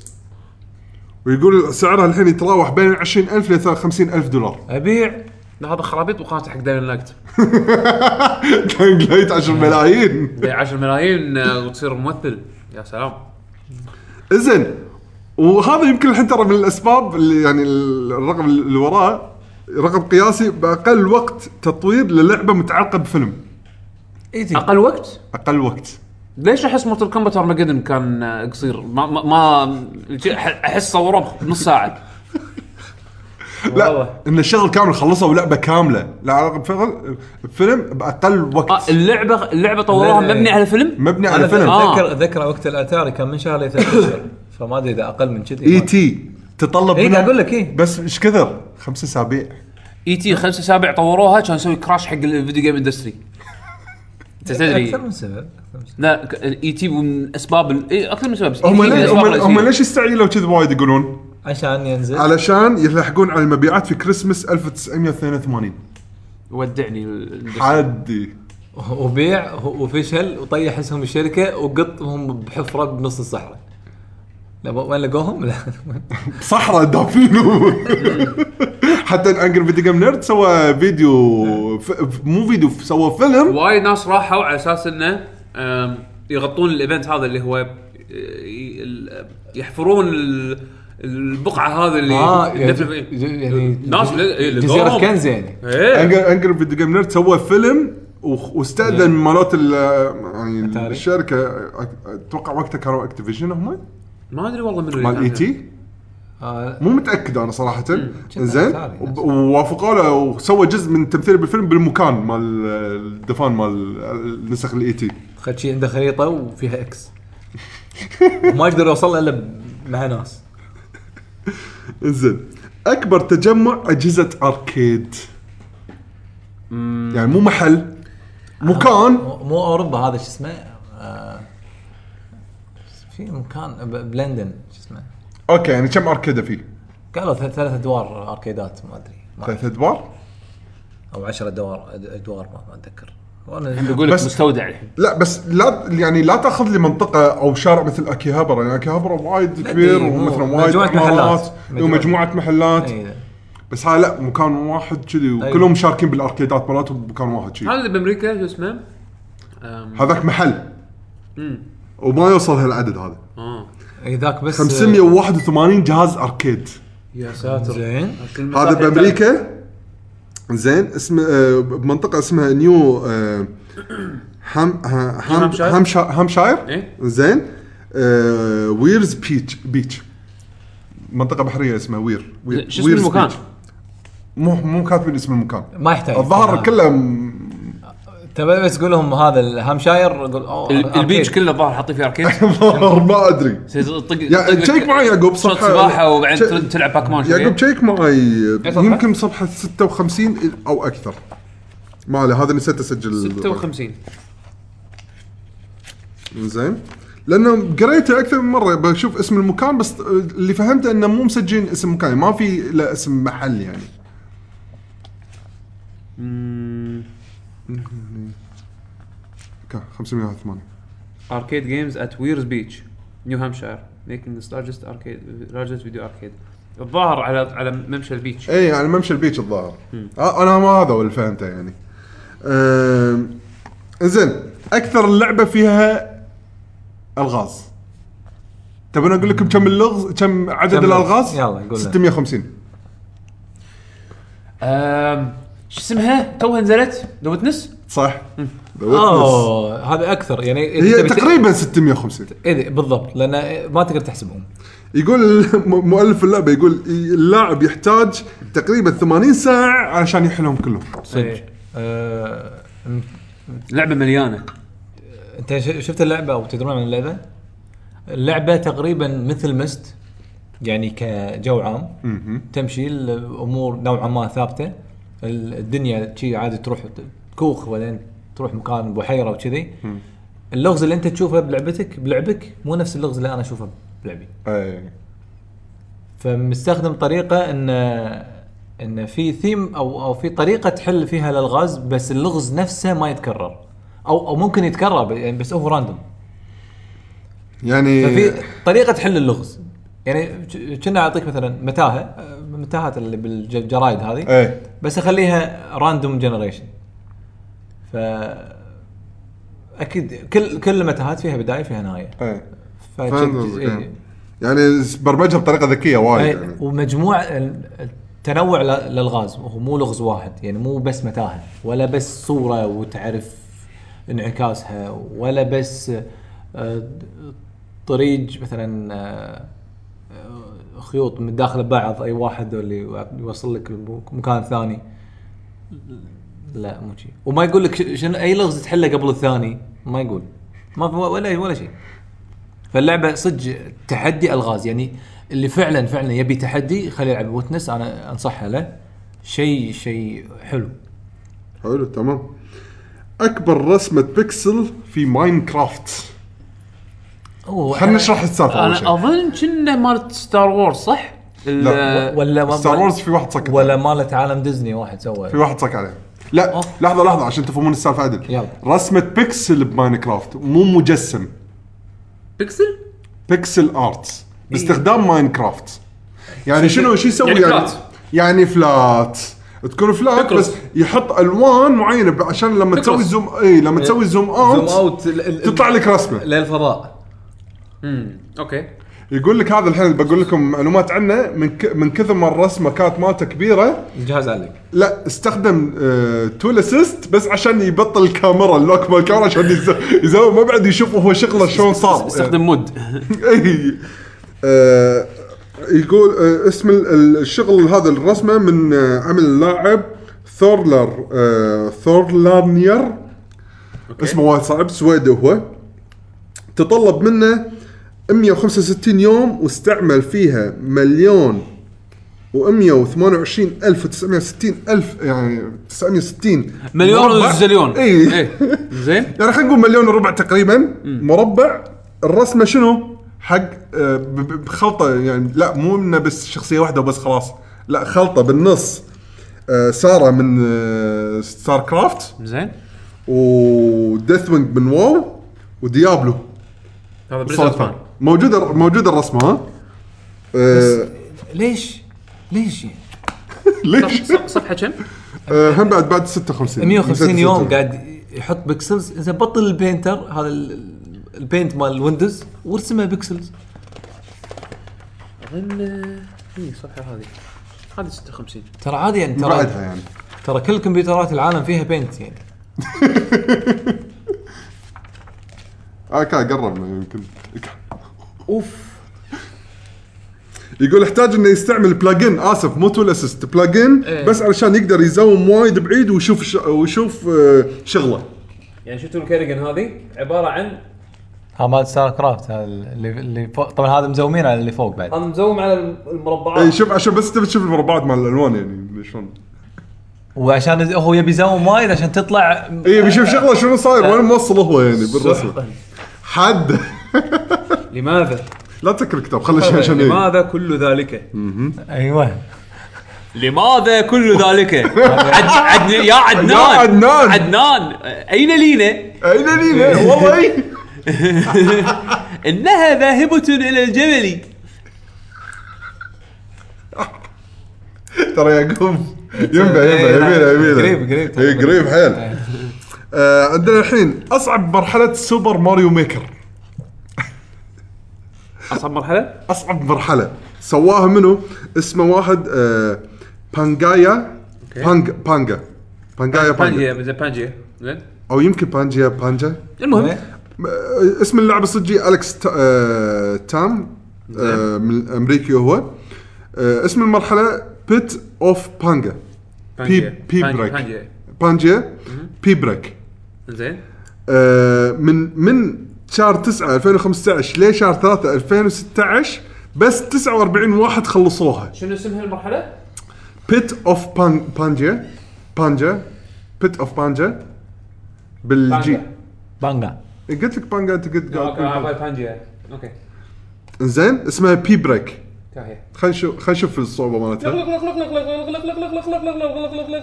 ويقول سعرها الحين يتراوح بين 20000 ل 50000 دولار
ابيع
لا هذا خرابيط وقناته حق دايرن لايت
*laughs* كان قايت 10 ملايين
10 ملايين آه، وتصير ممثل يا سلام
زين وهذا يمكن الحين ترى من الاسباب اللي يعني الرقم اللي وراه رقم قياسي باقل وقت تطوير للعبه متعلقه بفيلم
اي تي
اقل وقت
اقل وقت
ليش احس مورتل كومبات ارمجدن كان آه، قصير ما ما, ما احس صوروه بنص *laughs* ساعه
لا ان الشغل كامل خلصوا لعبه كامله لا علاقه بفيلم فيلم باقل
آه
وقت
اللعبه اللعبه طوروها
لا، لا.
مبني على فيلم
مبني
انا
على فيلم
آه.
اتذكر اتذكر وقت الاتاري كان من شهر لثلاث اشهر فما ادري اذا اقل من كذي
اي تي تطلب
اي
منها-
قاعد اقول لك اي
بس ايش كثر؟ خمس اسابيع
اي تي E خمسة سابع طوروها كان يسوي كراش حق الفيديو جيم *laughs* اندستري انت
اكثر
تدري
من سبب أكثر من سبب.
لا E اي تي من اسباب ال- إيه، اكثر من سبب بس
هم
ET من
ليش
الأسباب
هم, هم
الرئيسية.
ليش يستعجلوا كذي وايد يقولون؟
عشان ينزل
علشان يلحقون على المبيعات في كريسمس 1982
ودعني ال-
عادي
وبيع وفشل وطيح اسهم الشركه وقطهم بحفره بنص الصحراء لا و- وين لقوهم؟
*laughs*
لا
صحراء دافينو حتى الانجر فيديو جيم نيرد سوى فيديو ف... ف- مو فيديو سوى فيلم
وايد ناس راحوا على اساس انه آم، يغطون الايفنت هذا اللي هو آه، ي- ال- يحفرون ال- البقعه هذا اللي
آه،
اه يعني
الدفن فيه.
ج- يعني
ناس ل- إيه،
جزيره
لقوهم.
كنز يعني
إيه.
انجر انجر فيديو جيم نيرد سوى فيلم و- واستاذن مالات ال- يعني
أتاري. إيه،
الشركه أ- اتوقع وقتها كانوا اكتيفيجن هم
ما ادري والله منو اللي
مال
كان
اي
فيه.
تي
آه
مو متاكد انا صراحه زين
إيه. أتاري
وب-
نفسه.
ووافقوا له وسوى جزء من تمثيله بالفيلم بالمكان مال الدفان مال النسخ الاي تي
خد شيء عنده خريطه وفيها
*laughs*
اكس ما يقدر يوصل لها الا ب- مع ناس
زين اكبر تجمع اجهزه اركيد يعني مو محل مكان
مو مو اوروبا هذا شو اسمه؟ آه، في مكان ب- بلندن شو اسمه؟
اوكي يعني كم اركيده فيه؟
قالوا ثلاث ثلاث ادوار اركيدات ما ادري ما أعرف.
طيب.
ثلاث ادوار؟
او 10 ادوار ادوار ما ما اتذكر
اللي
وانا
يقول لك
بس-
مستودع الحين
لا بس لا يعني لا تاخذ لي منطقه او شارع مثل اكيهابرا يعني اكيهابرا وايد كبير
مو-
ومثلا وايد
إيه، مجموعة
عمارات
محلات.
ومجموعه محلات
إيه.
بس هاي لا مكان واحد كذي وكلهم شاركين بالاركيدات مالتهم بمكان واحد كذي
هذا اللي بامريكا شو اسمه؟ آم،
هذاك محل وما يوصل هالعدد هذا
آه.
اي ذاك بس
581 جهاز اركيد
يا ساتر
زين
هذا
طيب.
بامريكا زين اسم آه، بمنطقه اسمها نيو آه، هام ها- هام
هامشاير؟
هامشا- هامشاير
إيه.
زين آه ويرز بيتش بيتش منطقه بحريه اسمها وير, وير
شو اسم
ويرز
المكان؟
بيتش. مو مو كاتبين اسم المكان
ما يحتاج
الظاهر
آه.
كله م-
تبى بس تقول لهم هذا الهامشاير يقول اوه
آه،
ال- البيتش
أركيد.
كله الظاهر حاطين فيه
*laughs*
اركيد
الظاهر ما ادري
تطق
يا-
تطق
تشيك
لك
معي يعقوب
شوط
صفحة-
سباحه وبعدين
تشيك-
ترد تلعب باك مان شوية.
يعقوب شيك معي
إيه، صفحة؟
يمكن صفحه 56 او اكثر ما عليه هذا نسيت اسجل
56
زين لانه قريته اكثر من مره بشوف اسم المكان بس اللي فهمته انه مو مسجلين اسم مكان ما في لا اسم محل يعني كان 508
اركيد جيمز ات ويرز بيتش نيو هامشاير ميكينج لارجست اركيد لارجست فيديو اركيد الظاهر على على ممشى البيتش
إيه.
اي على إيه، يعني ممشى البيتش الظاهر آه، انا ما هذا هو اللي فهمته يعني آم، زين اكثر اللعبه فيها الغاز تبون اقول لكم كم اللغز كم عدد
كم-
الالغاز؟
يلا، قول لنا.
650
أم، شو اسمها توها نزلت ذا ويتنس
صح؟ The Witness.
اوه هذا اكثر يعني إذا
هي
تبي ت-
تقريبا 650
إذا- بالضبط لان ما تقدر تحسبهم
يقول *laughs* م- مؤلف اللعبه يقول اللاعب يحتاج تقريبا 80 ساعه علشان يحلهم كلهم
صدق آه،
لعبه مليانه
انت ش- شفت اللعبه او تدرون عن اللعبه؟ اللعبه تقريبا مثل مست يعني كجو عام تمشي الامور نوعا ما ثابته ال- الدنيا شي عادي تروح ت- كوخ وبعدين تروح مكان بحيره وكذي اللغز اللي انت تشوفه بلعبتك بلعبك مو نفس اللغز اللي انا اشوفه بلعبي
اي
فمستخدم طريقه ان ان في ثيم او او في طريقه تحل فيها الالغاز بس اللغز نفسه ما يتكرر او او ممكن يتكرر ب- يعني بس هو راندوم
يعني
ففي طريقه تحل اللغز يعني ج- كنا اعطيك مثلا متاهه آه، متاهات اللي بالجرايد هذه
اي
بس اخليها راندوم جنريشن ف اكيد كل كل المتاهات فيها بدايه فيها نهايه
اي
ف-
فاهم
إيه.
قصدك، إيه. يعني برمجها بطريقه ذكيه وايد
أي-
يعني
ومجموع ال- التنوع ل- للغاز وهو مو لغز واحد يعني مو بس متاهه ولا بس صوره وتعرف انعكاسها ولا بس آه، طريق مثلا آه، آه، خيوط من داخل بعض اي واحد اللي يوصل لك مكان ثاني لا مو شيء وما يقول لك ش- شنو اي لغز تحله قبل الثاني ما يقول ما في ولا ولا شيء فاللعبه صدق تحدي الغاز يعني اللي فعلا فعلا يبي تحدي خليه يلعب ويتنس انا انصحه له شيء شيء حلو
حلو تمام اكبر رسمه بيكسل في ماينكرافت
هو
خلينا نشرح السالفه اول
انا
شيء
اظن كنا مالت ستار وورز صح؟ ال-
لا.
ولا ما-
ستار وورز في واحد صك
آه، ولا مالت عالم ديزني واحد سوى
في واحد صك عليه لا
أوف.
لحظه لحظه عشان تفهمون السالفه عدل
يلا.
رسمه بيكسل بماينكرافت مو مجسم
بيكسل
بيكسل ارت باستخدام ماينكرافت يعني شنو شو يسوي
يعني
يعني
فلات.
يعني فلات تكون فلات
بيكروس.
بس يحط الوان معينه ب- عشان لما تسوي زوم اي لما تسوي زوم اوت تطلع لك رسمه
للفضاء
اوكي
يقول لك هذا الحين بقول لكم معلومات عنه من ك... من كثر ما الرسمه كانت مالته كبيره
الجهاز عليك
لا استخدم آه... تول اسيست بس عشان يبطل الكاميرا اللوك مال الكاميرا عشان يز- يزوم ما بعد يشوف هو شغله شلون صار
استخدم مود
اي آه، يقول آه، اسم ال- ال- الشغل هذا الرسمه من آه، عمل اللاعب ثورلر آه، ثورلارنير اسمه وايد صعب سويدي هو تطلب منه 165 يوم واستعمل فيها مليون و128 الف و960 الف يعني 960
مليون
مربع. إيه.
وزليون
إيه.
إيه.
*laughs* اي
زين
يعني خلينا نقول مليون وربع تقريبا مربع الرسمه شنو؟ حق آه، ب- ب- بخلطه يعني لا مو انه بس شخصيه واحده وبس خلاص لا خلطه بالنص آه، ساره من آه، ستار كرافت
زين
وديث وينج من واو وديابلو
هذا بريزنت
صدفه
مان
موجوده موجوده الرسمه ها؟ آه،
ليش؟ ليش يعني؟
ليش؟
صفحه كم؟
آه، هم بعد بعد 56
150 يوم
56.
قاعد يحط بيكسلز اذا بطل البينتر هذا ال- البينت مال ويندوز وارسمه بيكسلز
اظن هي الصفحه إيه، هذه هذه 56
ترى عادي يعني ترى
بعدها يعني
ترى كل كمبيوترات العالم فيها بينت يعني
آه، اه كان قربنا يمكن
اوف
يقول يحتاج انه يستعمل بلاجن اسف مو تول اسيست بلاجن
إيه.
بس علشان يقدر يزوم وايد بعيد ويشوف ش... ويشوف آه، شغله
يعني شفتوا الكيرجن هذه عباره عن
ها مال ستار كرافت هذا اللي اللي فوق طبعا هذا مزومين على اللي فوق بعد
انا مزوم على
اي
آه.
المربعات
يعني شوف عشان بس تبي تشوف المربعات مال الالوان يعني شلون
وعشان هو يبي يزوم وايد عشان تطلع
اي بيشوف إيه، شغله شنو صاير وين موصل هو يعني بالرسم حد *laughs*
لماذا؟
إيه.
لا تسكر الكتاب خلي شيء عشان إيه.
لماذا كل ذلك؟
ايوه
لماذا كل
*laughs*
ذلك؟ عد عد يا عدنان
يا عدنان. إيه،
عدنان اين لينا؟
اي لينا والله إيه. اي
انها ذاهبة الى الجبل
ترى يعقوب ينبع ينبع يميله يميله
قريب- قريب.
اي قريب حيل آه، عندنا الحين اصعب مرحله سوبر ماريو ميكر
اصعب مرحلة؟
اصعب مرحله سواها منو اسمه واحد آه بانجايا بانج بانجا بانجايا بانجا
بانجيا زين بانجيا زين
او يمكن بانجيا بانجا
المهم
آه، اسم اللاعب الصجي الكس تا آه تام آه من امريكي هو آه اسم المرحله بيت اوف بانجا
بانجيا.
بي- بي
بانجيا-
بريك.
بانجيا
بانجيا بي بريك
زين
آه، من من شهر 9 2015 لشهر 3 2016 بس 49 واحد خلصوها
شنو اسمها المرحله؟
بيت اوف بان بانجا بانجا بيت اوف بانجا بالجي إيه،
بانجا.
بانجا
قلت لك بانجا انت قلت
اوكي آه، بانجيا اوكي
زين اسمها بي بريك
تاهي
خلينا نشوف خلينا نشوف الصعوبه مالتها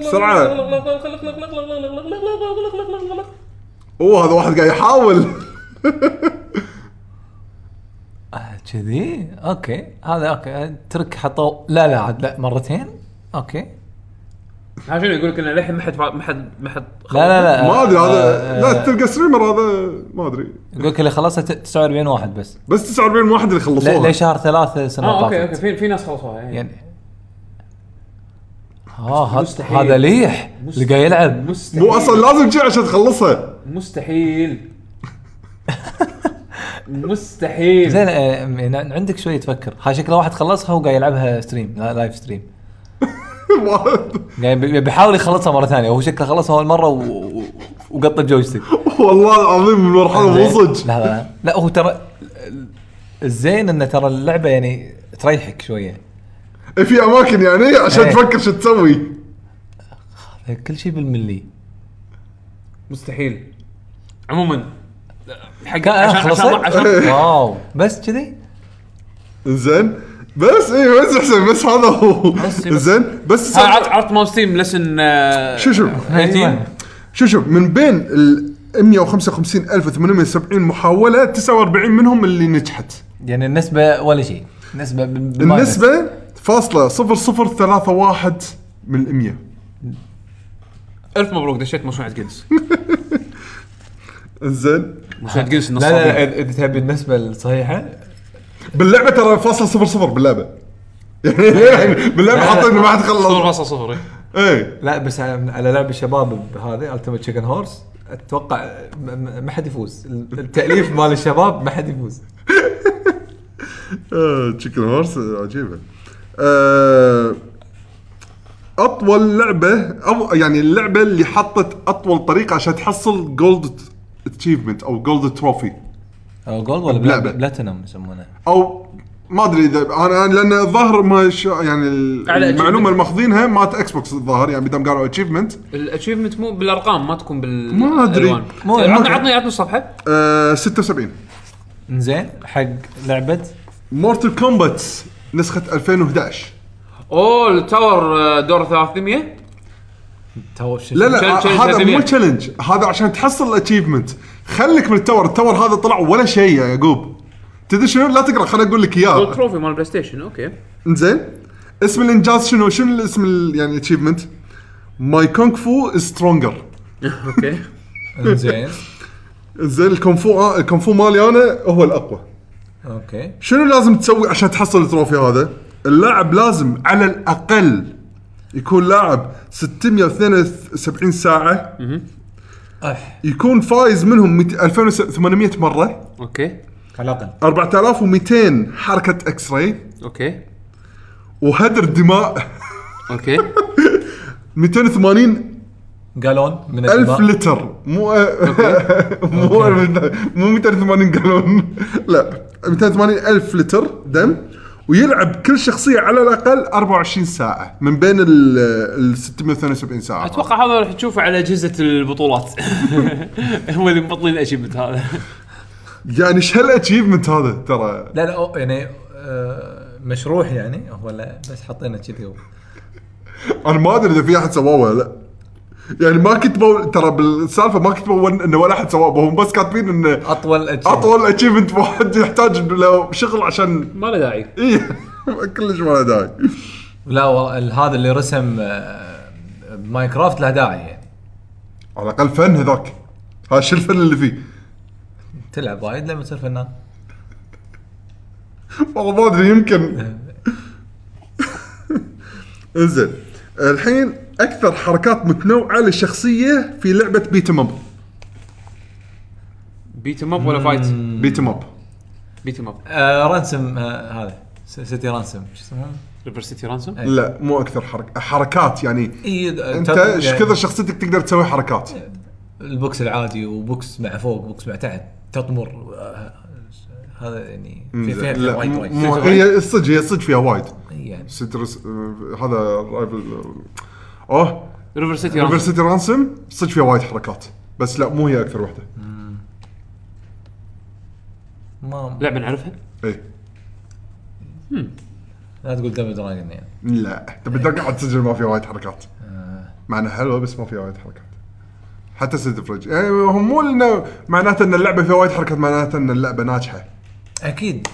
بسرعه اوه هذا واحد قاعد يحاول
آه، كذي اوكي هذا اوكي ترك حطوا لا لا عاد لا مرتين اوكي
ها شنو يقول لك انه للحين ما حد فا- ما حد ما حد
لا لا لا
ما ادري
آه،
هذا
آه،
لا تلقى ستريمر هذا ما ادري
يقول لك اللي خلصها ت- 49 واحد بس
بس 49 واحد اللي
ل-
خلصوها
لشهر ثلاثة سنة
آه،
اه اوكي اوكي
طافت.
في في ناس خلصوها يعني
يعني اه هذا-
مستحيل.
هذا ليح اللي قاعد يلعب
مستحيل
مو اصلا لازم تجي عشان تخلصها *laughs*
مستحيل مستحيل
زين آه، م- هنا عندك شوي تفكر ها شكله واحد خلصها وقاعد يلعبها ستريم لا- لايف ستريم
واحد.
قاعد بي- بيحاول يعني يخلصها مرة ثانية هو شكله خلصها أول مرة و... و- وقط الجويستيك
والله العظيم المرحله مو صدق
لا لا لا هو ترى الزين انه ترى اللعبه يعني تريحك شويه
في اماكن يعني عشان
إيه.
تفكر شو تسوي
كل شيء بالملي
مستحيل
عموما حق
كا-
عشان عشان
خلصت؟
عشان
واو بس كذي
زين بس اي بس احسن بس هذا هو
بس- بس.
زين بس
ها، عرفت عرفت مال ستيم لسن آه،
شو شو
إيه،
18
شو شو من بين ال 155870 محاوله 49 منهم اللي نجحت
يعني النسبه ولا شيء نسبه
النسبه فاصله 0031 من 100
الف مبروك دشيت مصنع جنس
زين
مصنع جنس
لا لا لا
النصابين
إذا- اذا تبي النسبه الصحيحه
باللعبه ترى فاصله 00 باللعبه *laughs* يعني للحين باللعبه حاطين ما حد خلص
0.0 إيه.
اي
لا بس على على لعب الشباب هذه التيمت تشيكن هورس اتوقع م- م- ما حد يفوز التاليف مال الشباب ما حد يفوز
تشيكن هورس عجيبه آه، اطول لعبه أو يعني اللعبه اللي حطت اطول طريقه عشان تحصل جولد اتشيفمنت او جولد تروفي
أو جولد ولا
بلعبة.
بلا- بلاتينوم يسمونه
او ما ادري اذا انا أنا- لان الظاهر ما ش... يعني ال-
على
المعلومه اللي ماخذينها مالت اكس بوكس الظاهر يعني بدهم قالوا اتشيفمنت
الاتشيفمنت مو بالارقام ما تكون بال
ما أدري.
الألوان.
مو-
عطني
ممكن.
عطني عطني الصفحه
آه، 76
زين حق لعبه
مورتل كومبات نسخه 2011
اوه التاور آه، دور 300
تو
لا لا
challenge- challenge
هذا
لازمية.
مو تشالنج هذا عشان تحصل الاتشيفمنت خليك من التور التور هذا طلع ولا شيء يا يعقوب تدري شنو لا تقرا خليني اقول لك
دور
اياه
تروفي مال بلاي ستيشن *laughs* اوكي
انزين اسم الانجاز شنو شنو الاسم ال- يعني الاتشيفمنت ماي كونغ فو سترونجر
اوكي
زين
انزين الكونغ فو آه، الكونغ فو مالي انا هو الاقوى
اوكي
شنو لازم تسوي عشان تحصل التروفي هذا؟ اللاعب لازم على الاقل يكون لاعب 672 ساعه
أح.
يكون فايز منهم 2800 مره
اوكي
على الاقل
4200 حركه اكس راي
اوكي
وهدر دماء
اوكي
280
قالون من
ألف
الدماء
لتر مو *laughs* مو مو 280 جالون لا 280 ألف لتر دم ويلعب كل شخصية على الأقل 24 ساعة من بين ال ال 672 ساعة
اتوقع هذا راح تشوفه على اجهزه البطولات *laughs* هم اللي مبطلين الاشيبمنت هذا
يعني ايش هالاتشيفمنت هذا ترى
لا لا أو- يعني آه، مشروع يعني هو لا بس حطينا كذي هو.
انا ما ادري اذا في احد سواه ولا لا يعني ما كتبوا ترى بالسالفه ما كتبوا ون- انه ولا احد سواه هم بس كاتبين انه
اطول أجهزة.
اطول اتشيفمنت *laughs* واحد يحتاج له شغل عشان
ما له داعي
اي *laughs* كلش ما له داعي
لا والله ال- هذا اللي رسم آه، ماينكرافت له داعي يعني
على الاقل فن هذاك هذا شو الفن اللي فيه
تلعب وايد لما تصير فنان
والله ما ادري يمكن *laughs* انزين الحين اكثر حركات متنوعه للشخصيه في لعبه بيت اب
بيت اب ولا فايت
بيت اب
بيت اب
آه، رانسم آه، هذا س- سيتي رانسم شو اسمه؟
ريفر سيتي رانسوم
لا مو اكثر حركة حركات يعني
اي
انت ايش
يعني
كثر شخصيتك تقدر تسوي حركات
البوكس العادي وبوكس مع فوق بوكس مع تحت تطمر آه، هذا يعني في فيها فيها
لا،
وايد
مو-
وايد
مو- هي صدق هي صدق فيها وايد
إي يعني
سيترس آه، هذا آه. رايفل اوه
ريفر سيتي
ريفر
رانسوم
سيتي رانسم صدق فيها وايد حركات بس لا مو هي اكثر وحده
ما
لعبه نعرفها
اي
لا تقول دبل دراجون يعني
لا تبي ترجع على تسجل ما فيها وايد حركات مع انها حلوه بس ما فيها وايد حركات حتى سيد فرج يعني هم مو انه معناته ان اللعبه فيها وايد حركات معناته ان اللعبه ناجحه
اكيد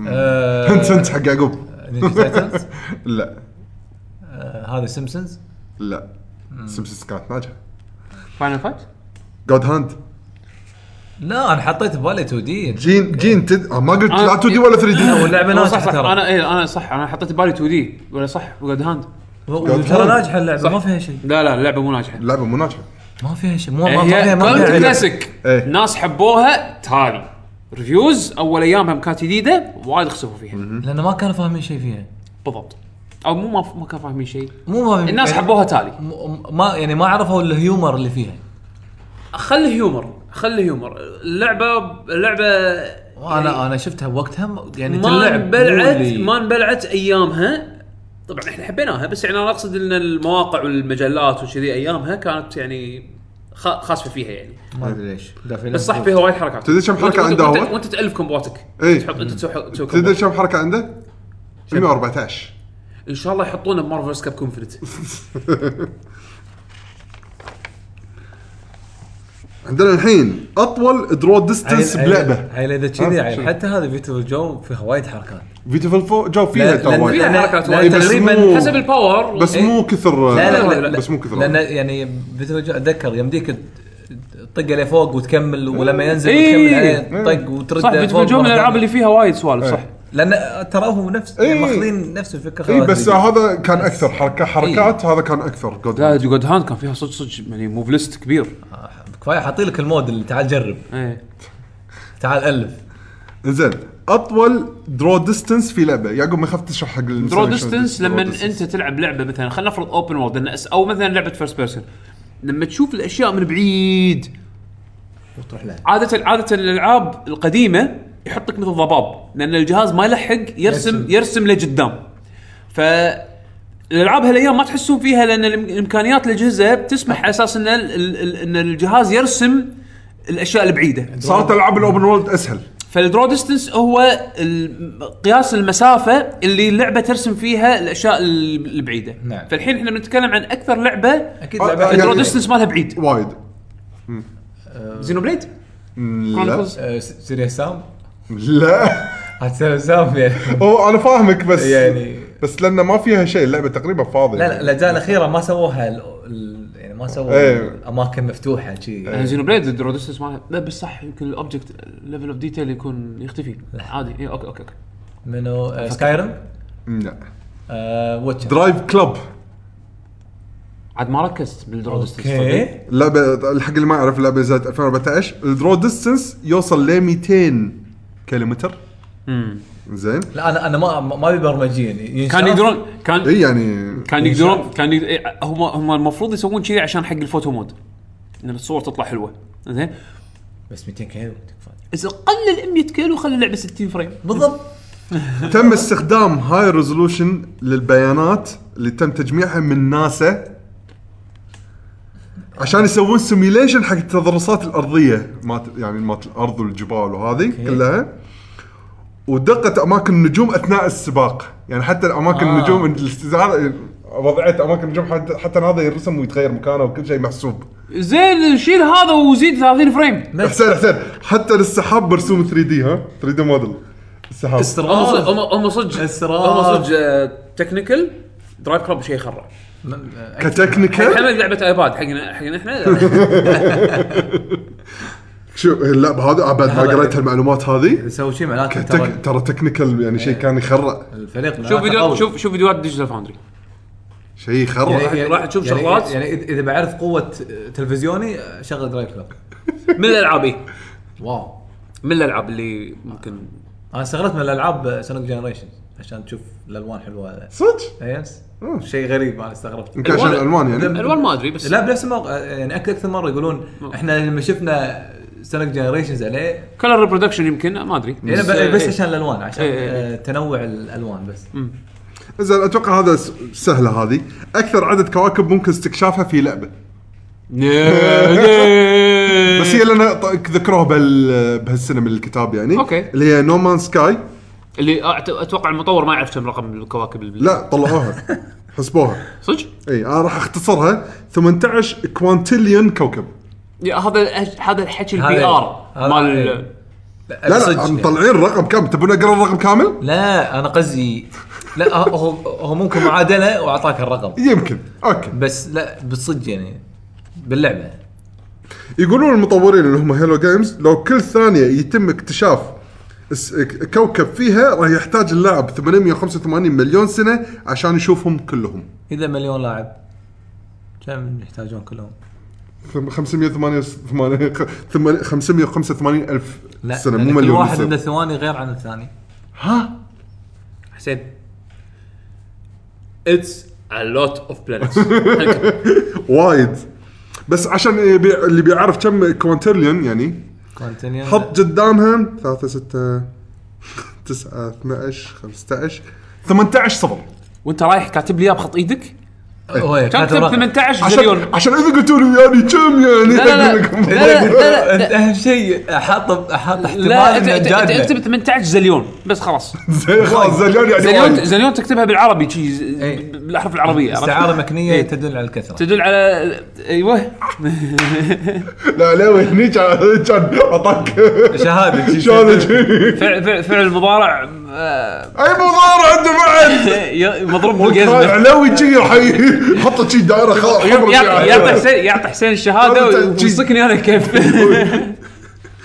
*laughs*
آه،
هنت هنت حق يعقوب
نينجا تايتنز
لا
آه، هذا سيمبسونز
لا سمسس كانت ناجحه
فاينل فايت
جود هاند
لا انا حطيت ببالي 2 دي
جين جين تد... آه ما قلت
آه،
لا 2 دي ولا 3 دي
واللعبه
صح
ناجحه
صح
ترى
انا ايه انا صح انا حطيت ببالي 2 دي ولا صح وجود هاند
ترى ناجحه اللعبه ما فيها شيء
لا لا اللعبه مو ناجحه
اللعبه مو ناجحه
ما فيها شيء مو ما
يعني هي
فيها ما
كانت
فيها
كلاسيك
إيه.
ناس حبوها تالي ريفيوز اول ايامها كانت جديده وايد خسفوا فيها
لان ما كانوا فاهمين شيء فيها
بالضبط او مو ما ما كانوا فاهمين شيء
مو ما فاهمين
الناس
يعني
حبوها تالي
م- ما يعني ما عرفوا الهيومر اللي فيها
خلي هيومر خلي هيومر اللعبه اللعبه
وانا انا شفتها وقتها م- يعني
يعني ما
تلعب
انبلعت
مو اللي-
ما انبلعت ايامها طبعا احنا حبيناها بس يعني انا اقصد ان المواقع والمجلات وكذي ايامها كانت يعني خا- خاسفه فيها يعني
ما ادري ليش دافعين
بس صح
لهم
فيها وايد حركات
تدري كم حركة
وأنت-
عنده
وأنت-
هو؟
وانت تالف كومبواتك
إيه.
تحط انت تسوي تسوي
تدري
كومبوات.
كم حركه عنده؟ 114
ان شاء الله يحطونه بمارفلز كاب كونفنت
عندنا الحين اطول درو ديستنس
فلوس. عيل-
بلعبه
عيل اذا كذي
عرفت شنو؟
عيل حتى هذا فيتو جو فيها وايد حركات
بيوتيفل فو جو فيها
لا- لأن-
ترى وايد.
فيها
لأن-
حركات
لأن
وايد
إيه، بس مو-
تقريبا حسب الباور
بس مو كثر
إيه؟ لا لا لا, لا
آه. بس مو كثر إيه،
لان يعني فيتو جو اتذكر يمديك ت- تطقه لفوق وتكمل ولما ينزل
إيه.
وتكمل عليه طق وترد
صح بيتكون جو من الالعاب اللي فيها وايد سوالف صح
لان ترى هو نفس
إيه.
ماخذين نفس الفكره
اي
خلاص
بس
اللي-
هذا كان اكثر
إيه.
حركه حركات هذا كان اكثر جود
لا جود هاند كان فيها صدق صدق يعني موف ليست كبير
كفايه آه، حاطين لك المود اللي تعال جرب
ايه
تعال الف
زين اطول درو ديستنس في لعبه يعقوب ما خفت تشرح حق
درو ديستنس لما انت تلعب لعبه مثلا خلينا نفرض اوبن وورد او مثلا لعبه فيرست بيرسون لما تشوف الاشياء من بعيد
وتروح لها
عاده عاده الالعاب القديمه يحطك مثل ضباب لان الجهاز ما يلحق يرسم يرسم لقدام ف الالعاب هالايام ما تحسون فيها لان الإم- الامكانيات الاجهزه بتسمح على اساس ان ال- ال- ال- ان الجهاز يرسم الاشياء البعيده
صارت العاب الاوبن وورلد اسهل
فالدرو ديستنس هو ال- قياس المسافه اللي اللعبه ترسم فيها الاشياء ال- البعيده
نعم.
فالحين احنا بنتكلم عن اكثر لعبه اكيد
آه،
لعبة
طيب. آه،
الدرو
يعني-
ديستنس مالها بعيد
وايد
زينو بليد
لا
آه، س- سيريا سام
لا
عاد سيريا سام يعني
هو انا فاهمك بس
يعني-
بس لان ما فيها شيء اللعبه تقريبا فاضيه
لا لا الاجزاء الاخيره ما سووها ال... ال... يعني ما
إيه.
سووا اماكن مفتوحه شي
زينو بليد الدرو ديستنس مالها لا بس صح يمكن الاوبجكت ليفل اوف ديتيل يكون يختفي عادي إيه اوكي اوكي اوكي
آه، منو سكايرم
لا
آه، واتشر
درايف كلب
عاد ما ركزت بالدرو ديستنس
طيب.
تصدق؟
اوكي
اللعبه الحق اللي ما يعرف اللعبه زاد 2014 الدرو ديستنس يوصل ل 200 كيلومتر
أمم.
زين
لا انا انا ما ما ابي برمجيين ينشاف.
كان يقدرون كان
اي يعني
كان يقدرون كان يق- إيه، هم هم المفروض يسوون كذي عشان حق الفوتو مود ان الصور تطلع حلوه زين
بس 200 كيلو تكفى
إذا قلل 100 كيلو خلي اللعبه 60 فريم
بالضبط
تم استخدام هاي ريزولوشن للبيانات اللي تم تجميعها من ناسا عشان يسوون سيميليشن حق التضرسات الارضيه مات يعني مات الارض والجبال وهذه كلها ودقه اماكن النجوم اثناء السباق يعني حتى اماكن آه. النجوم الاستزارة- وضعيه اماكن النجوم حتى, حتى هذا يرسم ويتغير مكانه وكل شيء محسوب
زين شيل هذا وزيد 30 فريم
حسين حسين حتى السحاب مرسوم 3 دي ها 3 دي موديل السحاب
هم صدق هم-
آه.
هم صدق
اسراف.
هم صدج تكنيكال درايف كلوب شيء خرع
كتكنيكال
حمد لعبه ايباد حقنا
*laughs*
حقنا احنا
شوف اللعبه هذه بعد ما قريت هالمعلومات هذه
يسوي شيء معناته ترى إيه.
تك- ترى تكنيكال يعني شيء كان يخرع
الفريق معناته
شوف فيديو
قوي.
شوف شوف فيديوهات ديجيتال فاوندري
شيء يخرع
يعني-
راح تشوف
يعني-
شغلات.
يعني إذا- اذا بعرف قوه تلفزيوني شغل درايف كلوب
من الالعاب إيه.
واو
من الالعاب اللي ممكن
انا استغربت من الالعاب سونيك جنريشن عشان تشوف الالوان حلوه
صدق
يس شيء غريب انا استغربت
يمكن عشان الالوان يعني
الوان ما ادري بس
لا بنفس الموقع يعني اكثر اكثر مره يقولون احنا لما شفنا سونيك جنريشنز عليه
كلر ريبرودكشن يمكن ما ادري
يعني
بس-
ب- بس
*laughs*
إيه.
عشان *laughs* الالوان عشان
إيه، إيه.
آه، تنوع الالوان بس
زين اتوقع هذا س- سهله هذه اكثر عدد كواكب ممكن استكشافها في لعبه
إيه.
بس هي لنا ط- ذكروها بهال بهالسنه من الكتاب يعني
أوكي.
اللي هي نومان سكاي
اللي أعت- اتوقع المطور ما يعرف كم رقم الكواكب اللي-
لا طلعوها حسبوها
صدق؟
اي انا راح اختصرها 18 كوانتليون كوكب
يا هذا هذا الحكي
هذا-
البي ار
هذا- إيه.
مال
لا
صدق
لا
يعني.
مطلعين الرقم كم تبون اقرا الرقم كامل؟
لا انا قصدي لا هو- هو هو ممكن معادله واعطاك الرقم
يمكن اوكي
بس لا بالصدق يعني باللعبه
يقولون المطورين اللي هم هيلو جيمز لو كل ثانيه يتم اكتشاف اس- ك- كوكب فيها راح يحتاج اللاعب 885 مليون سنه عشان يشوفهم كلهم
اذا مليون لاعب كم يحتاجون كلهم؟
ثم- 588 ثم- 585 الف
لا
سنه
لأن
مو
كل
مليون
واحد من
سنه
الثواني غير عن الثاني
ها
حسين اتس a lot of planets
وايد بس عشان يبي- اللي بيعرف كم كوانترليون يعني
كونتينيو
حط قدامها 3 6 9 12 15 18 صفر
*laughs* وانت رايح كاتب لي اياه بخط ايدك
هو هيك،
كاتب
كاتب رقم.
18
عشان
مليون
عشان اذا قلتوا لي يعني كم يعني
لا، لا،
أقول *laughs* لكم.
لا، لا،
انت اهم شيء احط احط احتمال
لا
إنه
أنت- أنت-
جادة.
أنت- اكتب 18 زليون بس خلاص
زين خلاص زليون يعني
زليون
وايد.
زليون تكتبها بالعربي شي ز-
إيه.
بالاحرف العربيه عرفت؟
استعاره مكنيه تدل على الكثره
تدل على ايوه
لا آه، لا هني كان كان
*laughs*
اعطاك *laughs*
شهاده
شلون شي.
فعل فعل- فعل مضارع آه،
*laughs* اي مضارع عنده
*laughs*
بعد
ي- مضروب
كان
بالجزمه
علوي شي راح ي- حط شي دائره خلاص حمر شي
يعطي يعطي
عليها.
حسين يعطي حسين الشهاده
هذا تأجيل.
ويمسكني انا
*laughs*
كيف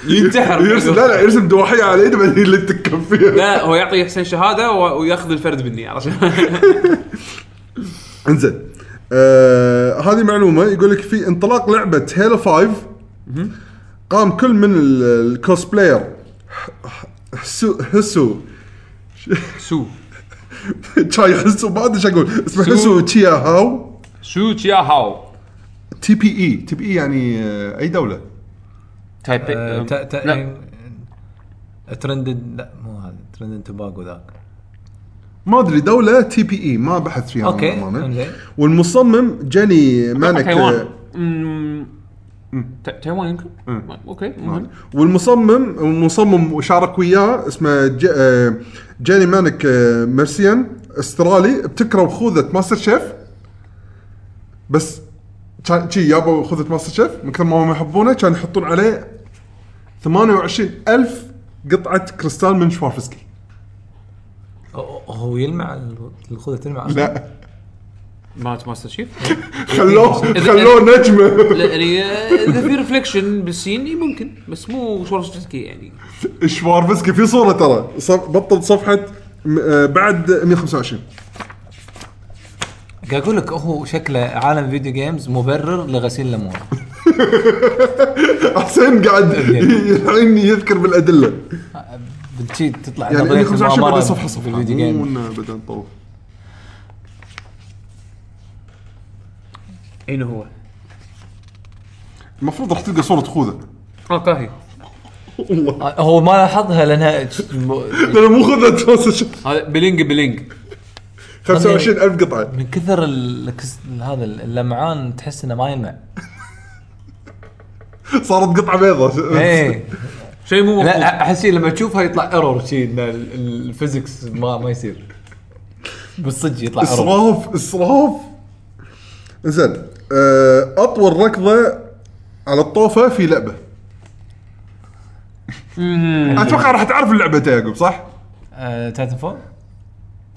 ينتحر
يرسم لا لا يرسم دوحيه على يده بعدين اللي تكب فيها
لا هو يعطي حسين شهاده و- وياخذ الفرد مني عرفت
انزين آه، هذه معلومه يقول لك في انطلاق لعبه هيلو 5 قام كل من ال- الكوسبلاير ح- ح- حسو حسو
سو
شاي حسو ما ادري ايش اقول اسمه حسو تشيا هاو
سو تشيا هاو
تي بي اي تي بي اي يعني آه، اي دوله
تايب
آه، نعم. ترندد يعني لا مو هذا ترندد توباكو ذاك
ما ادري دوله تي بي اي ما بحث فيها
اوكي
للأمانة.
انزين
والمصمم جاني مانك
تايوان
آه،
أمم، تا- تايوان يمكن اوكي مهم
والمصمم المصمم وشارك وياه اسمه ج... آه، جاني مانك آه، ميرسيان استرالي ابتكروا خوذه ماستر شيف بس كان شي يابوا خوذه ماستر شيف من كثر ما هم يحبونه كانوا يحطون عليه 28000 قطعه كريستال من شوارفسكي *laughs*
هو يلمع ال- الخوذه تلمع
لا
مالت ماستر شيف
خلوه خلوه نجمه
لا، يعني آه، اذا في ريفليكشن
إيه،
بالسين ممكن بس مو شورستسكي يعني
*laughs* شوارفسكي في صوره ترى صف- بطل صفحه م- آه، بعد 125
قاعد اقول لك هو شكله عالم فيديو جيمز مبرر لغسيل الاموال
*laughs* حسين قاعد *laughs* الحين يذكر بالادله
بالشي تطلع
يعني
نظرية
اللي 15
المؤامرة
بعدين صفحه صفحه
بالفيديو
مو
جيم
إنه بعدين طوف
اين هو؟
المفروض راح تلقى صوره خوذه
اه كاهي
والله
آه، هو ما لاحظها لانها ج- م-
لأنه مو خوذه تفاصيل
هذا بلينج بلينج
25000 قطعه
*laughs* من كثر ال- الكس- هذا اللمعان تحس انه ما
*laughs*
يلمع
صارت قطعه بيضاء
ايه
شيء مو مفهوم
لا احس شي لما تشوفها يطلع ايرور شي ان ال- الفيزكس ما ما يصير بالصدق يطلع ايرور
اسراف اسراف زين آه، اطول ركضه على الطوفه في لعبه اتوقع راح تعرف اللعبه يا يعقوب صح؟
آه، تايتن فول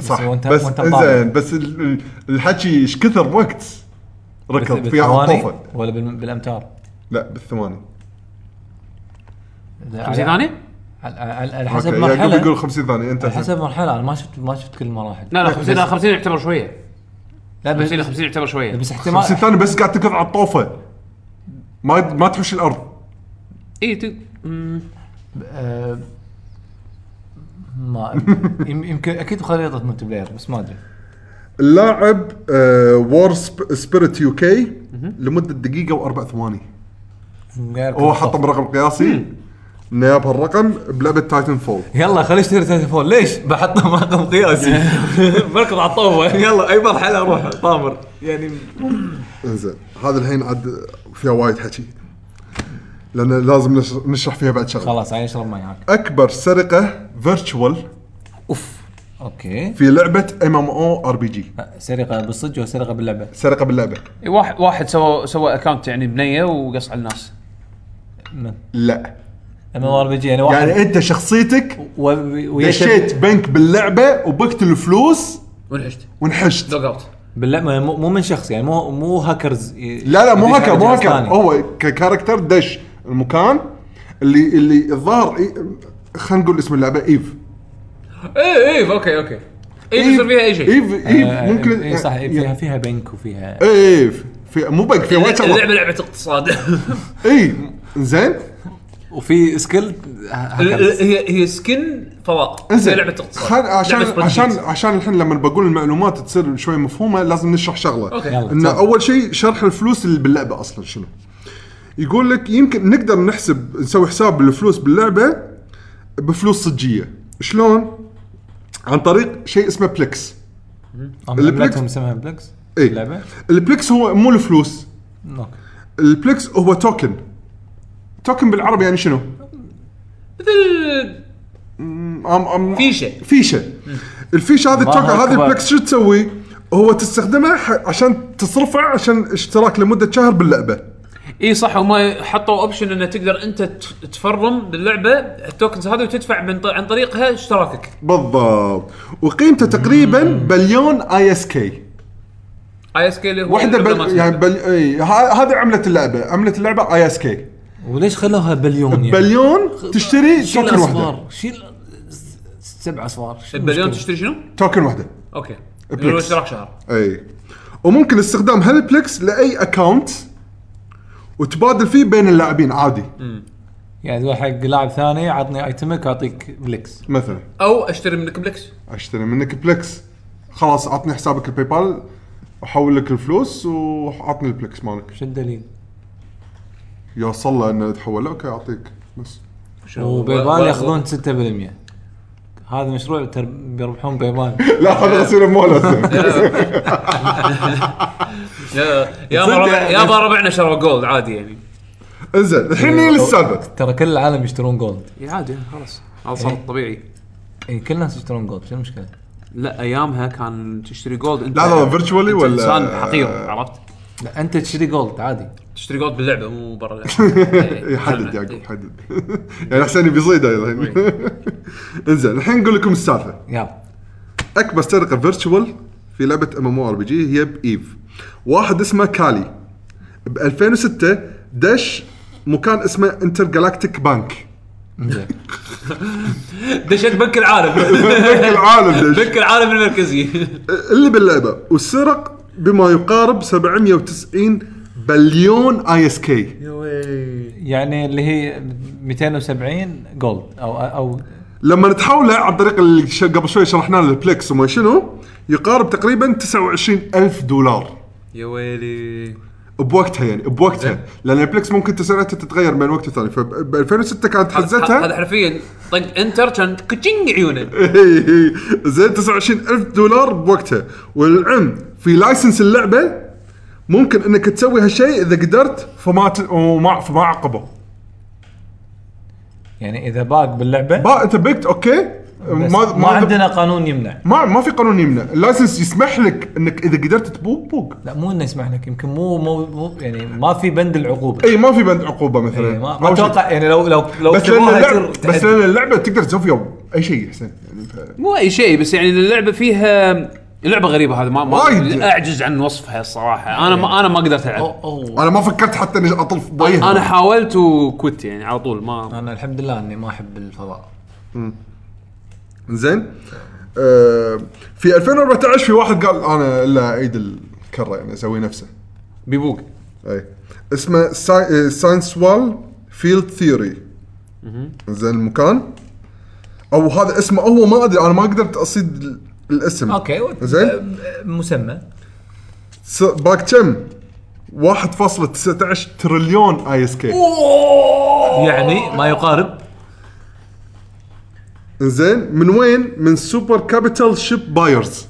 صح
وأنت-
بس
وأنت طالع.
زين بس ال- ال- الحكي ايش كثر وقت ركض فيها على
بالثواني
الطوفه
ولا بال- بالامتار؟
لا بالثواني
لا،
50
على-
ثانيه؟
على- على على
اوكي
حسب
يعقوب يقول
مرحله
50 ثانيه انت
على حسب مرحله انا ما شفت ما شفت كل المراحل
لا لا 50 لا 50 يعتبر شويه
لا
50
بس
50 يعتبر شويه
بس
50
احتمال
ثانيه بس قاعد تركض على الطوفه ما ما تحوش الارض
اي إيه، ت- مم.
آه، ما يم- يمكن اكيد خريطه ملتي بلاير بس ما ادري
اللاعب آه، وور سبيريت يو كي لمده دقيقه واربع ثواني هو حطه برقم قياسي انه جاب هالرقم بلعبه تايتن فول
يلا خليني اشتري تايتن فول ليش؟ بحطه برقم *laughs* قياسي بركض على الطوفه يلا اي مرحله اروح طامر يعني
انزين هذا الحين عاد فيها وايد حكي لان لازم نشر- نشرح فيها بعد شغله
خلاص عين اشرب مي هاك
اكبر سرقه فيرتشوال
اوكي
في لعبه ام ام او ار بي جي
سرقه بالصدق ولا سرقه باللعبه؟
سرقه باللعبه
إي، إيه، واحد واحد سوى سوى اكونت يعني بنيه وقص على الناس
لا
ام ار بي جي يعني واحد
يعني انت شخصيتك
و- ويا-
دشيت بنك باللعبه وبكت الفلوس
ونحشت
وانحشت
دوغ اوت
باللعبه مو مو من شخص يعني مو مو هاكرز ي-
لا لا مو
يدش
هكا
على
مو
جهاز
هكا
ثاني.
هو ككاركتر دش المكان اللي اللي الظاهر إي- خلينا نقول اسم اللعبه ايف
اي اي اوكي اوكي اي إيه، يصير فيها اي شيء
ايف ايف
آه،
ممكن
اي صح إي، فيها
يعني-
فيها بنك وفيها
اي اي في مو بق في وايد شغلات
اللعبه لعبه
*laughs*
اقتصاد
اي زين
وفي سكيل هاكرز
هي هي سكن فضاء
انزين
هي لعبه اقتصاد
خل... عشان
لعبة
عشان
spreadsheet.
عشان الحين لما بقول المعلومات تصير شوي مفهومه لازم نشرح شغله
اوكي
يلا.
ان
تفضل.
اول شيء شرح الفلوس اللي باللعبه اصلا شنو يقول لك يمكن نقدر نحسب نسوي حساب الفلوس باللعبه بفلوس صجيه شلون عن طريق شيء اسمه بلكس البلكس-
لعبتهم اسمها بلكس
اي
اللعبة؟
البلكس إيه. هو مو الفلوس
اوكي
البلكس هو توكن توكن بالعربي يعني شنو؟
مثل
أم أم
فيشه
فيشه الفيشه هذه
الله
التوكن هذه
أكبر.
البلكس شو تسوي؟ هو تستخدمه ح- عشان تصرفه عشان اشتراك لمده شهر باللعبه
اي إيه صح هم حطوا اوبشن انه تقدر انت ت- تفرم باللعبه التوكنز هذه وتدفع من ط- عن طريقها اشتراكك
بالضبط وقيمته تقريبا بليون اي اس كي
اي اس كي اللي هو
واحده
العملة
بل...
مالتها.
يعني بل... اي ه- هذه عمله اللعبه عمله اللعبه اي اس كي
يعني وليش خلوها بليون يعني؟
بليون تشتري
شيل
توكن واحده
اصفار شيل س- سبع اصفار شو
البليون
المشكلة؟
تشتري شنو؟
توكن واحده
اوكي
بلكس.
اللي هو اشتراك شهر
اي وممكن استخدام هالبلكس لاي اكونت وتبادل فيه بين اللاعبين عادي
يعني تقول حق لاعب ثاني عطني ايتمك اعطيك بلكس
مثلا
او اشتري منك بلكس
اشتري منك بلكس خلاص عطني حسابك الباي بال احول لك الفلوس وعطني البلكس مالك
شو الدليل؟
يوصل له انه يتحول له، اوكي اعطيك بس *laughs*
وبيبال ياخذون 6% هذا مشروع تر-
*laughs*
بيربحون بيبال
لا هذا غسيل اموال *laughs*
يا يا
تصدق
ما ربع-
يعني-
يا ما ربعنا شروا جولد عادي يعني
انزين الحين هي السالفه
ترى كل العالم يشترون جولد
اي عادي خلاص هذا صار طبيعي
اي كل الناس يشترون جولد شو المشكله؟
لا ايامها كان تشتري جولد انت
لا لا فيرتشوالي
أنت
ولا
انسان حقير عرفت؟
لا انت تشتري جولد عادي
تشتري جولد باللعبه مو
*laughs*
برا اللعبه
إي، حدد يعقوب حدد *laughs* يعني حسين بيصيده الحين *laughs* انزين الحين نقول لكم السالفه
يلا
اكبر سرقه فيرتشوال في لعبه ام ام ار بي جي هي بايف واحد اسمه كالي ب 2006 دش مكان اسمه انتر جالاكتيك *laughs* بانك
إنزين.
دشت
*laughs*
بنك العالم
بنك العالم دش
بنك العالم المركزي
اللي باللعبه والسرق بما يقارب 790 بليون اي اس كي
يا وي
يعني اللي هي 270 جولد او او
لما تحوله عن طريق اللي ش- قبل شوي شرحنا له البلكس وما شنو يقارب تقريبا 29 ألف دولار
يا ويلي
بوقتها يعني بوقتها لان البلكس ممكن تسعيرتها تتغير بين وقت وثاني فب 2006 كانت
هذا
*laughs* حزتها
حرفيا طق انتر كان كتشنج عيونه
زين 29 ألف دولار بوقتها والعلم في لايسنس اللعبه ممكن انك تسوي هالشيء اذا قدرت فما ت... وما فما عقبه
يعني اذا باق باللعبه
با انت بكت اوكي
بس
ما ما
عندنا قانون يمنع
ما ما في قانون يمنع اللايسنس يسمح لك انك اذا قدرت تبوق بوق
لا مو انه يسمح لك يمكن مو مو, مو يعني ما في بند العقوبه
اي ما في بند عقوبه مثلا
يعني ما, ما
أو شيء.
اتوقع يعني لو لو لو
بس لان اللعبه
كتبوها يصير
بس
تحدي.
لان اللعبه تقدر تسوي فيها اي شيء حسين يعني ف...
مو اي شيء بس يعني اللعبه فيها لعبه غريبه هذا ما, ما
وايد.
اعجز عن وصفها الصراحه انا ما انا ما قدرت العب
أوه، أوه.
انا ما فكرت حتى اني اطلف بويها
انا حاولت وكوت يعني على طول ما
انا الحمد لله اني ما احب الفضاء
زين آه في 2014 في واحد قال انا الا اعيد الكره يعني اسوي نفسه
بيبوق
اي اسمه إيه، ساينس وال فيلد ثيوري زين المكان او هذا اسمه هو ما ادري انا ما قدرت اصيد ال- الاسم
اوكي
زين
مسمى
س- باك كم 1.19 تريليون اي اس كي
يعني ما يقارب
زين من وين؟ من سوبر كابيتال شيب بايرز